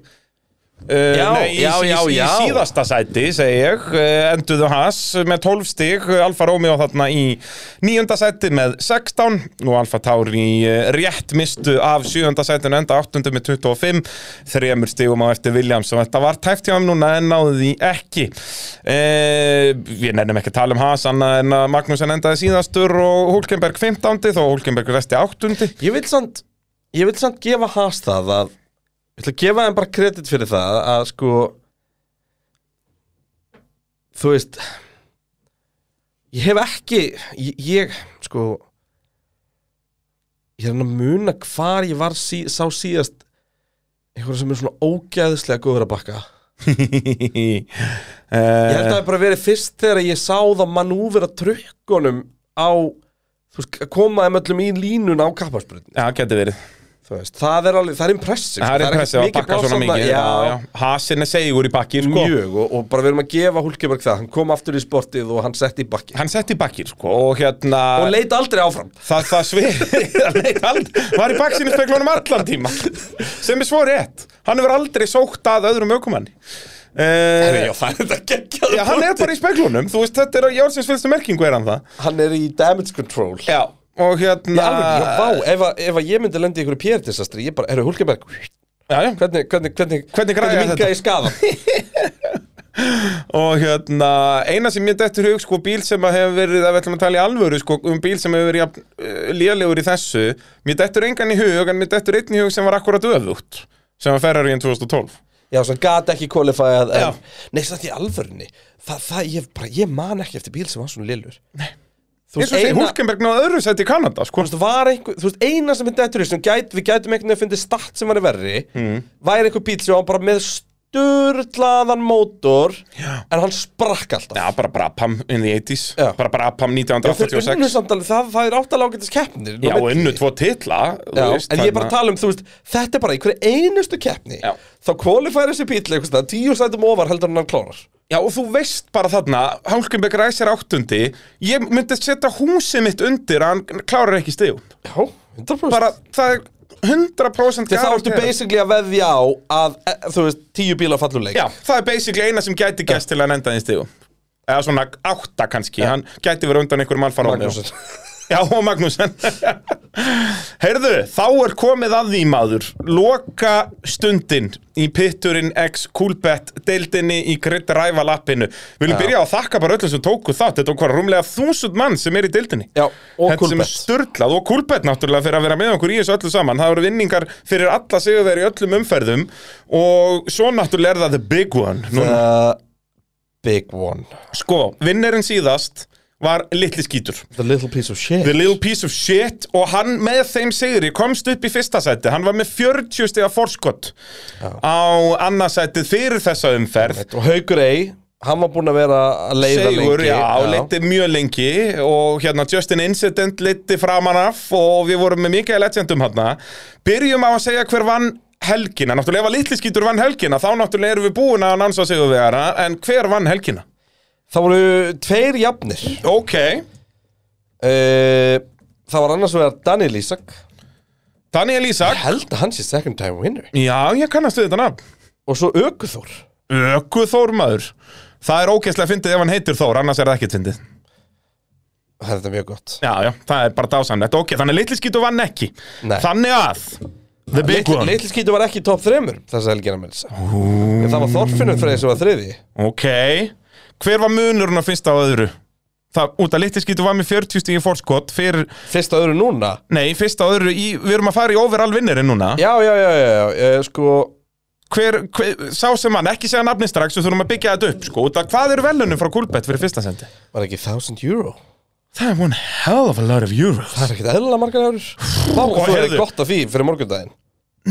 Uh,
Já,
nei, í,
já,
í,
já,
í,
já.
síðasta sæti, segi ég uh, enduðu Haas með 12 stig uh, Alfa Romeo þarna í nýjunda sæti með 16 og Alfa Tauri uh, rétt mistu af sjöunda sætinu enda 8. með 25 þremur stigum á eftir Williams og þetta var tæft hjá hann núna en náðu því ekki uh, við nefnum ekki að tala um Haas annað en að Magnúsen endaði síðastur og Hulkenberg 15 þó Hulkenberg resti 8
ég vil samt Ég vil samt gefa Haas það að Ég ætla að gefa þeim bara kredit fyrir það að sko Þú veist Ég hef ekki Ég, ég sko Ég er hann að muna hvar ég var sí, sá síðast einhverja sem er svona ógæðislega góður að bakka
Eh,
Ég held að það
uh,
hef bara verið fyrst þegar ég sá það manúvera trukkunum á, þú veist, að koma þeim öllum í línuna á kapparsbrutinu,
Já, geti verið
þú veist, það er alveg, það er impressive,
Það er
ekkert
impressið að bakka
pláss
svona
þarna,
mikið já, já. Hasin er segjur í bakki
já,
sko.
mjög, og, og bara við erum að gefa Hulkeberg það, hann kom aftur í sportið og hann sett í bakki
Hann setti í bakkir sko, og hérna
og leit aldrei áfram.
Það, það svið það leit aldrei- Var í baksinu speklunum allan tíma Sem er svo rétt Hann hefur aldrei sókt að öðrum ökumanni
Herri,
uh,
já, það er þetta geggjaður
Já, hann er
punktur.
bara í speklunum Þú veist, þetta er á Jársins fyrstu merkingu er hann það
Hann er í damage control.
Já Og
Ég
hérna
alveg, já, vá, ef, að- ef að ég myndi lendi í einhverju pjæritisastri, ég bara, herru, Hulkeberg,
já, já.
hvernig, hvernig, hvernig,
Hvernig græja
hvernig minga
þetta?
ég skafa?
Og hérna, eina sem mér dettur hug sko, bíl sem að hefur verið, að við ætlum að tala í alvöru sko, um bíl sem hefur verið jafn, uh, lélegur í þessu, mér dettur engan í hug en mér dettur einn í hug sem var akkurat öðvútt sem var Ferrari en 2012
Já, sem gat ekki kvalifæð
Já.
en... Nei, satt í alvörunni það, það, ég, bara, ég man ekki eftir bíl sem var svona lillur Nei Þú veist,
eins og segir
eina,
Hulkenberg náðu öðru sett í Kanada
þú
sko.
veist, var einhver, þú veist, eina sem myndi eftir sem gæt, við gætum einhvern veginn að fyndi statt sem var verri mm. væri einhver bíl sem var bara með sturlaðan mótor Já. en hann sprakk alltaf
Já, bara Brabham in the 80s
Já.
bara Brabham
Þeir unnu
1986
samt alveg, það, það er áttalega ágætis keppnir
Já, og unnu tvo titla
Já, en ég er bara að tala um, þú veist, þetta er bara í hverju einustu keppni
Já.
þá kvalifæri þessi bíl einhvers staðar, tíu sætum ofar heldur en hann klárar
Já, og þú veist bara þarna, Hulkenberg ræsir áttundi ég myndi setja húsið mitt undir að hann klárar ekki stigum
Já, 100%
bara, það er 100%
Þegar þá ertu
garanterað.
basically að veðja á að, e, þú veist, tíu bílar falluleik
Já, það er basically eina sem gæti gæst til að hann enda í stigum Eða svona átta kannski, hann gæti verið undan einhverjum alfa Romeo
Magnússon
Já, og Magnúsen Heyrðu, þá er komið að því maður Loka stundin í pitturinn X Coolbet deildinni í Grid Rival appinu Við viljum byrja á að þakka bara öllum sem tóku þátt Þetta var rúmlega þúsund mann sem er í deildinni
Já, og
Þetta sem er
Coolbet.
sturlað og Coolbet náttúrulega fyrir að vera með okkur í þessu öllu saman Það eru vinningar fyrir alla sigurveri í öllum umferðum Og svo náttúrulega er það the big one Núna,
Uh, big one
Sko, vinnirinn síðast var litli skítur
The little piece of shit
The Little Piece of Shit og hann með þeim sigri komst upp í fyrsta sæti hann var með 40 stiga forskott á annarsætið fyrir þessa umferð
Og Haugur Ey, hann var búinn að vera að leiða
Sigur,
lengi
já, leiti mjög lengi og hérna Justin Incident leiti framan af og við vorum með mikið legendum hann byrjum á að segja hver vann helgina náttúrulega ef að litli skítur vann helgina þá náttúrulega erum við búin að annansa sigurvegara en hver vann helgina?
Það voru tveir jafnir
Ok,
uh, Það var annars vegar Daniel Ísak
Daniel
Ég
Ísak
held að hans er second time winner
Já, ég kannast við þetta nafn
Og svo Ökuþór
Öku Þór maður Það er ógeðslega fyndið ef hann heitir Þór, annars er það ekkert fyndið
Það er þetta mjög gott
Já, já, það er bara dásamlegt Ok, þannig að litli skítu vann ekki
Nei.
Þannig að The big
Litli,
one
litli skítu var ekki í top 3 Þess að helgina með þess En það var Þorfinnur Freyr sem var þriði
Ok Hver var munurinn á fyrsta og öðru? Það, út að litli skítu var með 40 stíði fórskot fyrir,
Fyrst að öðru núna
Nei, fyrsta og öðru í, Við erum að fara í overall vinnirinn núna
Já, já, já, já, já, já Sko
hver, hver, Sá sem hann, ekki segja nafni strax Við þurfum að byggja þetta upp sko, út að Hvað eru velunum frá Kulbett fyrir fyrsta sendi?
Var ekki 1000 euro
Það er one hell of a lot of euros
Það er ekkert eðlilega margar eurur Vá,
Og
þú er
heyrðu-
gott af því fyrir morgundaginn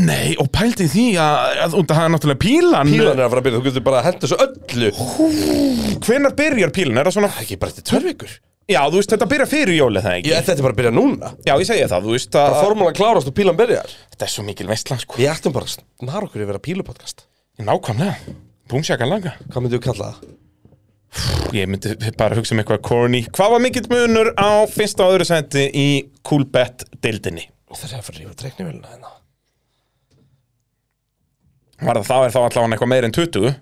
Nei, og pældi því að, að út að það er náttúrulega pílan
Pílan er að fara að byrja, þú getur bara að henda þessu öllu
Hvenær byrjar pílan? Er það svona
Það er ekki bara til törvíkur
Já, þú veist, þetta byrjar fyrir jólið það ekki
Ég, þetta er bara að byrja núna
Já, ég segi það, þú veist að
Bara formúlan klárast og pílan byrjar
Þetta er svo mikil veistla, sko
Við ættum bara að snar okkur yfir að pílupodcast
Nákvæmlega Búmsjakan langa
Hvað myndum við kalla það?
Ég myndi bara hugsa um eitthvað corny Hvað var mikill munur á fyrsta og öðru seti í Coolbet deildinni?
Það er að fara að rífa dreiknivélina hérna
Var það þá er þá allavega eitthvað meir en 20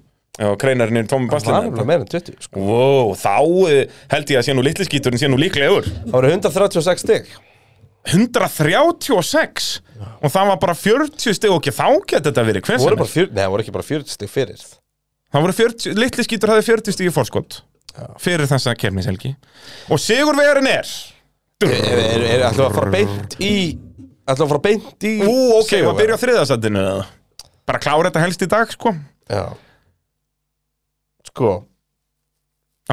Og kreinarinn er tómum
Það var
baslinu
alveg meira en 20 sko.
Vó, þá eh, held ég að sé nú litli skíturinn sé nú líklegur
Það voru 136 stig
136 Og það var bara 40 stig og ekki þá geti þetta verið Hver
Það
sem
voru,
er
bara fjör, nei, það voru ekki bara 40 stig fyrir
Það voru 40, litli skítur hafði 40 stíði fórskot fyrir þessa kefnishelgi og sigurvegarinn er
Er, er, er ætlum við að fara beint í Ætlum við að fara beint í
Ú, ok, við að byrja á þriðasættinu bara klára þetta helst í dag, sko á
Já Sko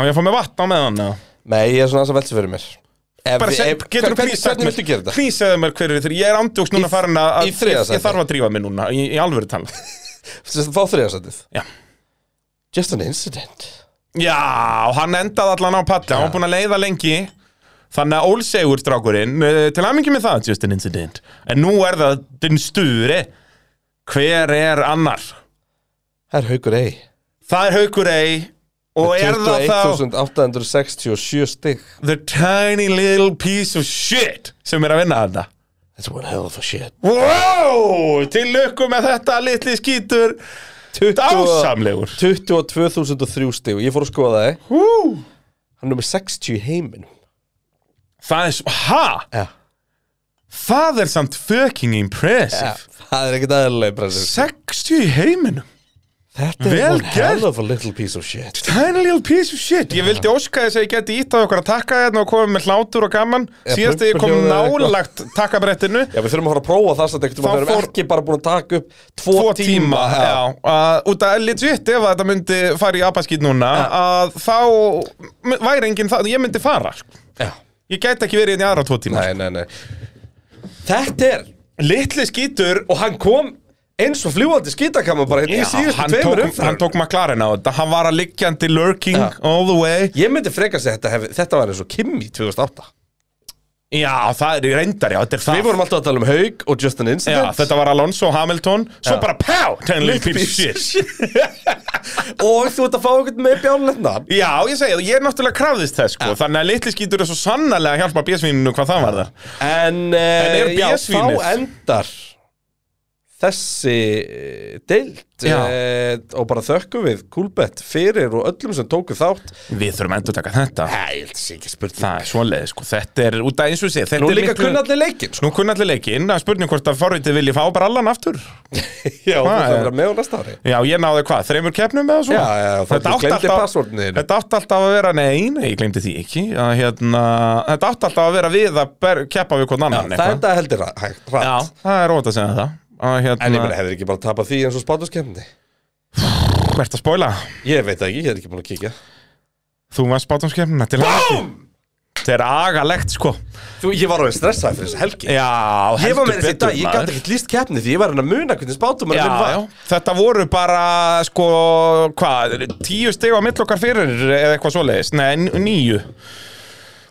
ég að fá með vatn á meðan eða?
Nei, ég er svona aðeins að velsa fyrir mér ef,
bara
við-
seg,
ef-
getur
hvernig-
þú plís
Hvernig viltu gera þetta?
plís eða mér hverju þeir ég er andjóks núna
Í-
farin að
í
ég,
þriðja sæti.
ég þarf að drífa mig núna, í, í alvöru tala
Sem sagt, Fá þriðasætið
Já.
Just an incident
já, og hann endaði allan á palli hann var búin að leiða lengi þannig að ólsegur strákurinn eh, til aðmingi með það, just an incident en nú er það din stúri hver er annar?
Það er haugur ei
Það er Haukur Ey og er það þá
21.867 stig
the tiny little piece of shit sem er að vinna þetta
That's one hell of a shit
Wow, til lukku með þetta litli skítur Dásamlegur
22.003 stig og Ég fór að skoða það eh?
Hú.
Hann er með 60 í heiminum
Það er, s- ha,
Já
það er samt fucking impressive
Það er ekkert aðeinlega pressur
60 í heiminum
Þetta er
Vel
one
gert.
hell of a little piece of shit
Tiny little piece of shit Ég vildi óska þess að ég geti ítt á okkur að takka hérna og komið með hlátur og gaman
Eða
Síðast þegar ég kom
pumpuhljóð eða eitthvað.
nálagt takkabrettinu
Já, við þurfum að fara að prófa það samt ekkert
Þá
Við erum
fór-
ekki bara búin að taka upp Tvo,
tvo tíma,
tíma,
já, uh, út að legit ef að þetta myndi fara í apaskýt núna að þá m- væri enginn það, ég myndi fara sko.
já.
ég gæti ekki verið inn í aðra tvo tíma
Nei, nei, nei Þetta er
litli skítur
Og hann kom eins og fljúandi skítakama bara hérna
Já,
í síðustu
hann,
tveimur
tók, hann
umferðum.
tók McLaren á þetta hann var að liggjandi lurking
Já.
all the way
Ég myndi freka sig að þetta, hef, þetta var eins og Kimi 2008
já, það er í reyndar, já, þetta er það
Við vorum alltaf að tala um Haug og Justin
já,
Incident
þetta var Alonso og Hamilton svo bara pjá, ten little piece of shit
Og þú ert að fá einhvern með bjánlegt nafn
Já, ég segi það, ég er náttúrulega krafðist þess sko, þannig að litli skítur er svo sannarlega að hjálpa bjösvininu hvað það var það
En, eh,
En er
uh, já,
BS
þá
vínið?
endar þessi eh, deild
Já.
eh, og bara þökkum við Kúlbett fyrir og öllum sem tóku þátt
Við þurfum að endur taka þetta
Æ, það sé ekki spurning
Það er svoleiðið sko, þetta er út af eins og sé
Nú líka kunna allir leikinn sko.
Nú kunna allir leikinn, að spurning hvort að forvitið vilji fá bara allan aftur
Já, þú þarf
Hvað
að
er-
vera með á næsta ári
Já, ég náði hvað, þreymur keppnum eða svo
Já, já, það
Þetta
þú
átti
glemdi
alltaf-
passvortinu þínu.
Þetta átti alltaf að vera, nei, nei, ég glemdi því ekki að, hérna, Þetta átti alltaf að vera við að ber, keppa við hvort annan
Það
eitthvað.
er þetta heldur ra- hægt rætt
Já, það er ótt að segja það að, hérna,
En ég meina, hefur ekki bara tapað því eins og spátuskemni?
Hvert að spóla?
Ég veit það ekki, ég er ekki búin að kíkja
Þú varst bátumskeppnina til Búm! Þetta er agalegt, sko
Þú, ég var alveg stressaði fyrir þessu helgi
Já, heldur
Ég var með þessi
betur,
dag, ég
maður.
gæti ekkert líst keppni því ég var hann að muna hvernig spátum
Já,
var
já, þetta voru bara sko, hvað, tíu stig á mitt okkar fyrir eða eitthvað svoleiðis, nei, nýju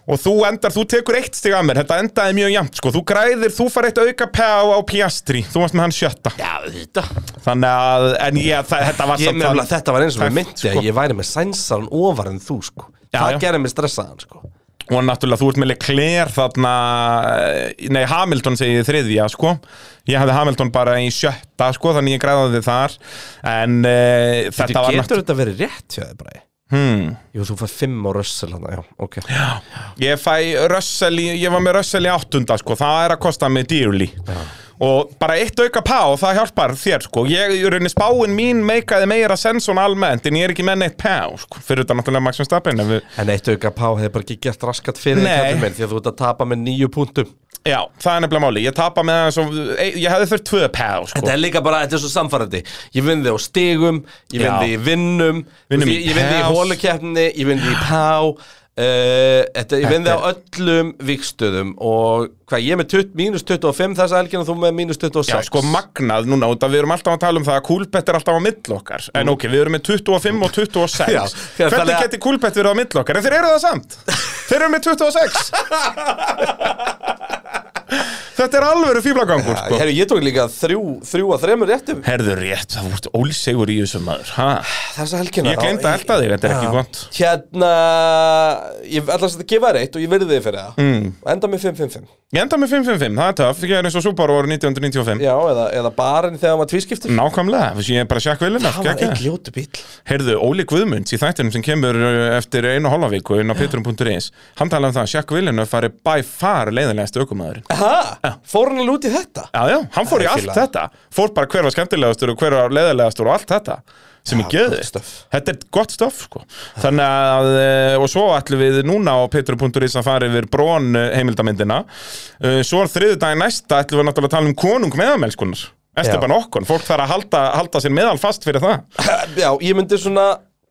og þú endar, þú tekur eitt stig af mér, þetta endaði mjög jæmt sko, þú græðir, þú far eitt auka pæ á, á Piastri, þú varst með hann sjötta
Já, þetta
þannig að, en ég, það, þetta var
Ég meðla þetta var eins og við
Tæft,
myndi
sko.
að ég væri með sænsaran ofar en þú sko
Já,
Það
já.
gerði mig stressaðan sko
og náttúrulega þú ert með Leclerc þarna eh, nei Hamilton segi ég þriðja sko ég hafði Hamilton bara í sjötta sko þannig ég græðaði þar en uh,
Þetta
þetta var
getur
náttúrulega
þetta verið rétt hjá þið bara
hmm.
Jú, þú fær fimm á rössal hann, já, ok
ég fæ Russell í, ég var með Russell í áttunda sko það er að kosta mig dýrli og bara eitt auka pá það hjálpar þér sko ég, í rauninni spáin mín meikaði meira sens svona almennt en ég er ekki með neitt pá sko fyrir þetta náttúrulega Max Verstappen en við,
En eitt auka pá hefði bara ekki gert raskat fyrir
Nei.
kallinn minn, Því að þú ert að tapa með nýju punktum
já það er nefnilega máli ég tapa með það og ég hefði þurft tvö pá sko
Þetta er líka bara, þetta er svo samfærandi Ég vinn þig á stigum, ég vinn
Já.
þig í vinnum
Vinnum
Ég
í
ég vinn þig í
pás.
hólukeppni, ég vinn þig í pá uh, þetta, Ég vinn þig á öllum vikstöðum Og hvað, ég er með 20, mínus 25 þessa helgina og Þú með mínus 26
Já, sko magnað núna út að við erum alltaf að tala um það að kúlbett er alltaf á mill okkar En ok, við erum með 25 og 26
Mm. Já, því að
Hvernig
þannig að-
geti kúlbett verið á mill okkar? En þeir eru það samt Þeir eru með 26 Þetta er alvöru fíblagangur, sko
Herru, ég tók líka þrjú, þrjú að þremur réttum
Herðu rétt, það vart ólsegur í þessu maður ha?
Þessa helgina
Ég gleymdi að elda þig, þetta er ekki
Já.
gott.
Hérna, ég ætla að gefa þér eitt og ég verði þig fyrir það mm. Enda með 5-5-5
Ég enda með 555, það er töff Ég er eins og Subaru voru 1995
Já, eða, eða barinn þegar maður tvískiptur
Nákvæmlega, þess að ég er bara sjakk um vilina
Það var einn ljótu bíl
Heyrðu, Óli Guðmunds í þættinum sem kemur uh, eftir einu og hálfa viku inn á pitturum.is Hann talaði um það að Jack Villeneuve fari by far leiðinlegast ökumæðurinn
Aha, fór hann alveg út í þetta?
Já, já, hann fór
Það
í
er
allt
fíla.
þetta Fór bara hver var skemmtilegastur og hver var leiðinlegastur og allt þetta sem
Já,
er geði
gott stuff.
Þetta er gott stöf, sko Þannig að, uh, og svo ætlum við núna á pitturum.is að fara yfir brón uh, heimildamyndina Uh, Svo þriðudaginn næsta ætlum við náttúrulega að tala um konung meðamelskunar Esteban Okkon, fólk þarf að halda, halda sér meðal fast fyrir það
Já, ég myndi svona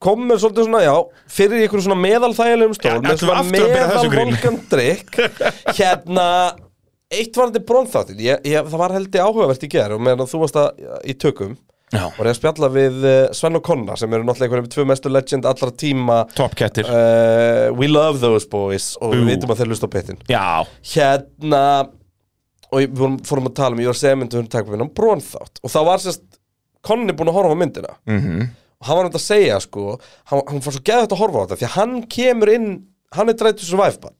kom með svolítið svona, já, fyrir í ykkur svona meðalþægilegum stól,
Já,
með
ætlum við
svona
aftur að byrja þessu gríni?
meðalvolgan drikk hérna, eitt var þetta brónþáttin, ég, ég, það var heldig áhugavert í gerð og meðan þú varst að, í tökum
Já.
og reyða að spjalla við uh, Sven og Konna sem eru náttúrulega einhverjum tvö mestu legend allra tíma
Topkettir,
uh, We love those boys og
Ú.
við vitum að þeir lust á pittin
já
hérna og við vorum- fórum að tala um, ég var að segja myndi hún taka minna um brónþátt og þá var sérst Konni búin að horfa á myndina
Mhm.
og hann var nefnd að segja sko hann, hann var svo geðvægt að horfa á þetta því að hann kemur inn, hann er drættu survive bann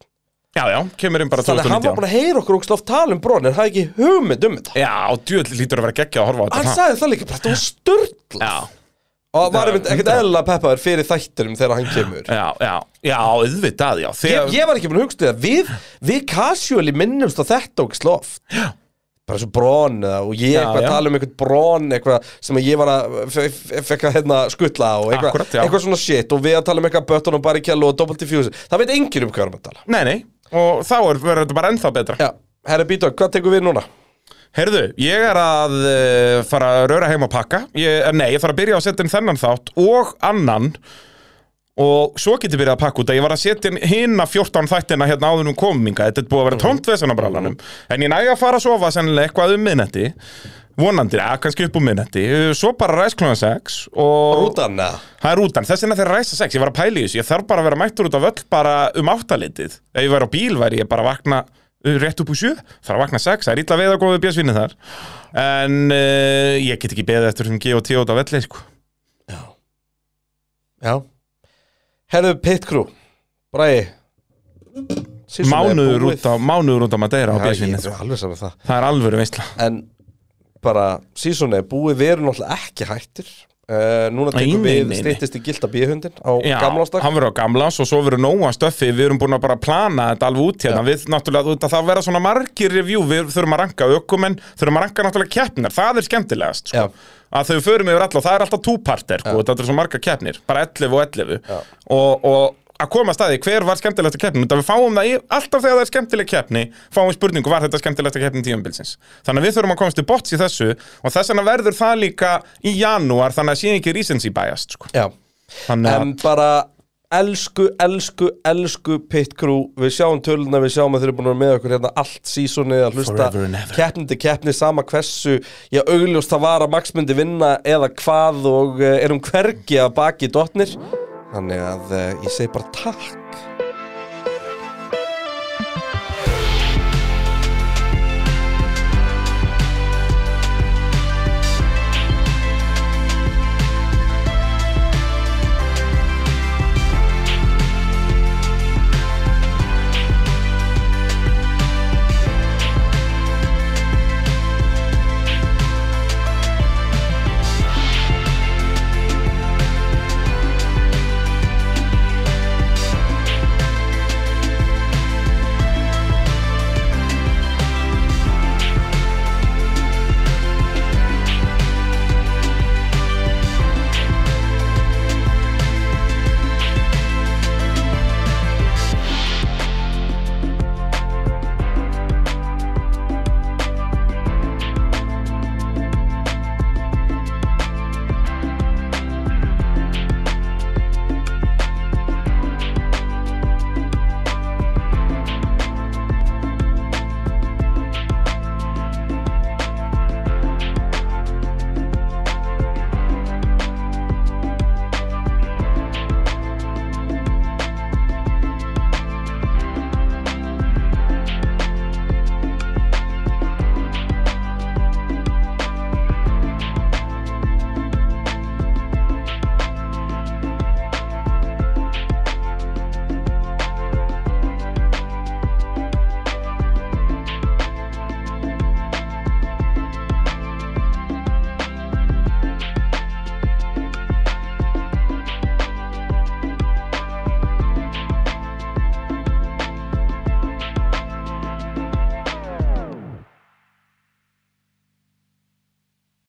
Já, já, kemur inn bara
þannig að hann var
2019
búin að heyra okkur ógst oft tala um brón en hann hafði ekki hugmynd um þetta
Já, djúvill lítur að vera geggja að horfa á
hann
þetta
sagði það líka, bara þetta var störtla
Já,
og var
Já,
einmitt ekkert
hundrað.
eðla peppaður fyrir þættinum þegar hann kemur
já, já, já, auðvitað, já
ég,
Þegar,
ég var ekki búin að hugsa þetta við, við casually minnumst á þetta ógst oft bara svo brón eða, og ég
Já,
eitthvað
já.
að tala um eitthvað brón eitthvað sem ég var að fe- fe- fekk að hérna skutla á eitthvað,
Akkurat, já.
eitthvað svona shit og við að tala um eitthvað button og barrichello og double diffuser það veit enginn um hvað við erum að tala
nei, nei Og þá er, verður þetta bara ennþá betra
Já, herri Bítor, hvað tekur við núna?
Heyrðu, ég er að uh, fara að röra heim og pakka ég, eh, Nei, ég þarf að byrja að setja inn þennan þátt og annan Og svo get ég byrjað að pakka út að ég var að setja inn hinna 14 þættina hérna áður um kominga Þetta er búið að vera tómt vesanabrálanum En ég næg að fara að sofa sennilega eitthvað um minnetti Vonandi, ja, kannski upp um minnetti Svo bara ræsklunum 6 og...
Rútan, eða?
Það er útan, þess vegna þeir ræsa sex, ég var að pæla í þessu, ég þarf bara að vera mættur út af öll bara um áttalitið. Ef ég væri á bíl væri ég bara að vakna uh, rétt upp úr sjö, þarf að vakna sex, það er illa veið að góða björsvinni þar. En uh, ég get ekki beðið eftir sem G og T út af öllu, sko.
Já Herðu Pit Crew Bræði
Mánuður út, á, mánuður út af Madeira
Já,
á
ég
björsvinni,
er
sko.
alveg saman það
Það er alvöru veistla.
En bara sísoni búið, við erum náttúrulega ekki hættir uh, Núna
Nei,
tekum
nei,
við
nei, nei.
stýttist í gilda bíhundin á
Já,
gamlástak
hann verður á gamlás og svo verður nóga stöffi Við erum búin að bara plana þetta alveg út hérna Við náttúrulega, þú veit að það verða svona margir review Við þurfum að ranka ökumenn, þurfum að ranka náttúrulega keppnir Það er skemmtilegast sko.
Já.
Að þau förum yfir alla, það er alltaf túparter sko. Þetta er svo margar keppnir, bara 11 og 11
Já.
og, og að koma að staði, hver var skemmtilegasta keppnin Þetta við fáum það í, alltaf þegar það er skemmtileg keppni Fáum við spurningu, var þetta skemmtilegasta keppnin tíumbilsins Þannig að við þurfum að komast til bots í þessu Og þess vegna verður það líka í janúar Þannig að sé ekki recency biased sko.
Já,
Þannig að
en bara elsku, elsku, elsku pit crew Við sjáum töluna, við sjáum að þeir eru búin að vera með okkur hérna allt sísoni að hlusta
Forever and ever.
keppnindi keppni sama hversu Já, augljóst það var að Max myndi vinna eða eh, hvað og uh, erum hvergi að baki dotnir Þannig að uh, ég eh, segi bara takk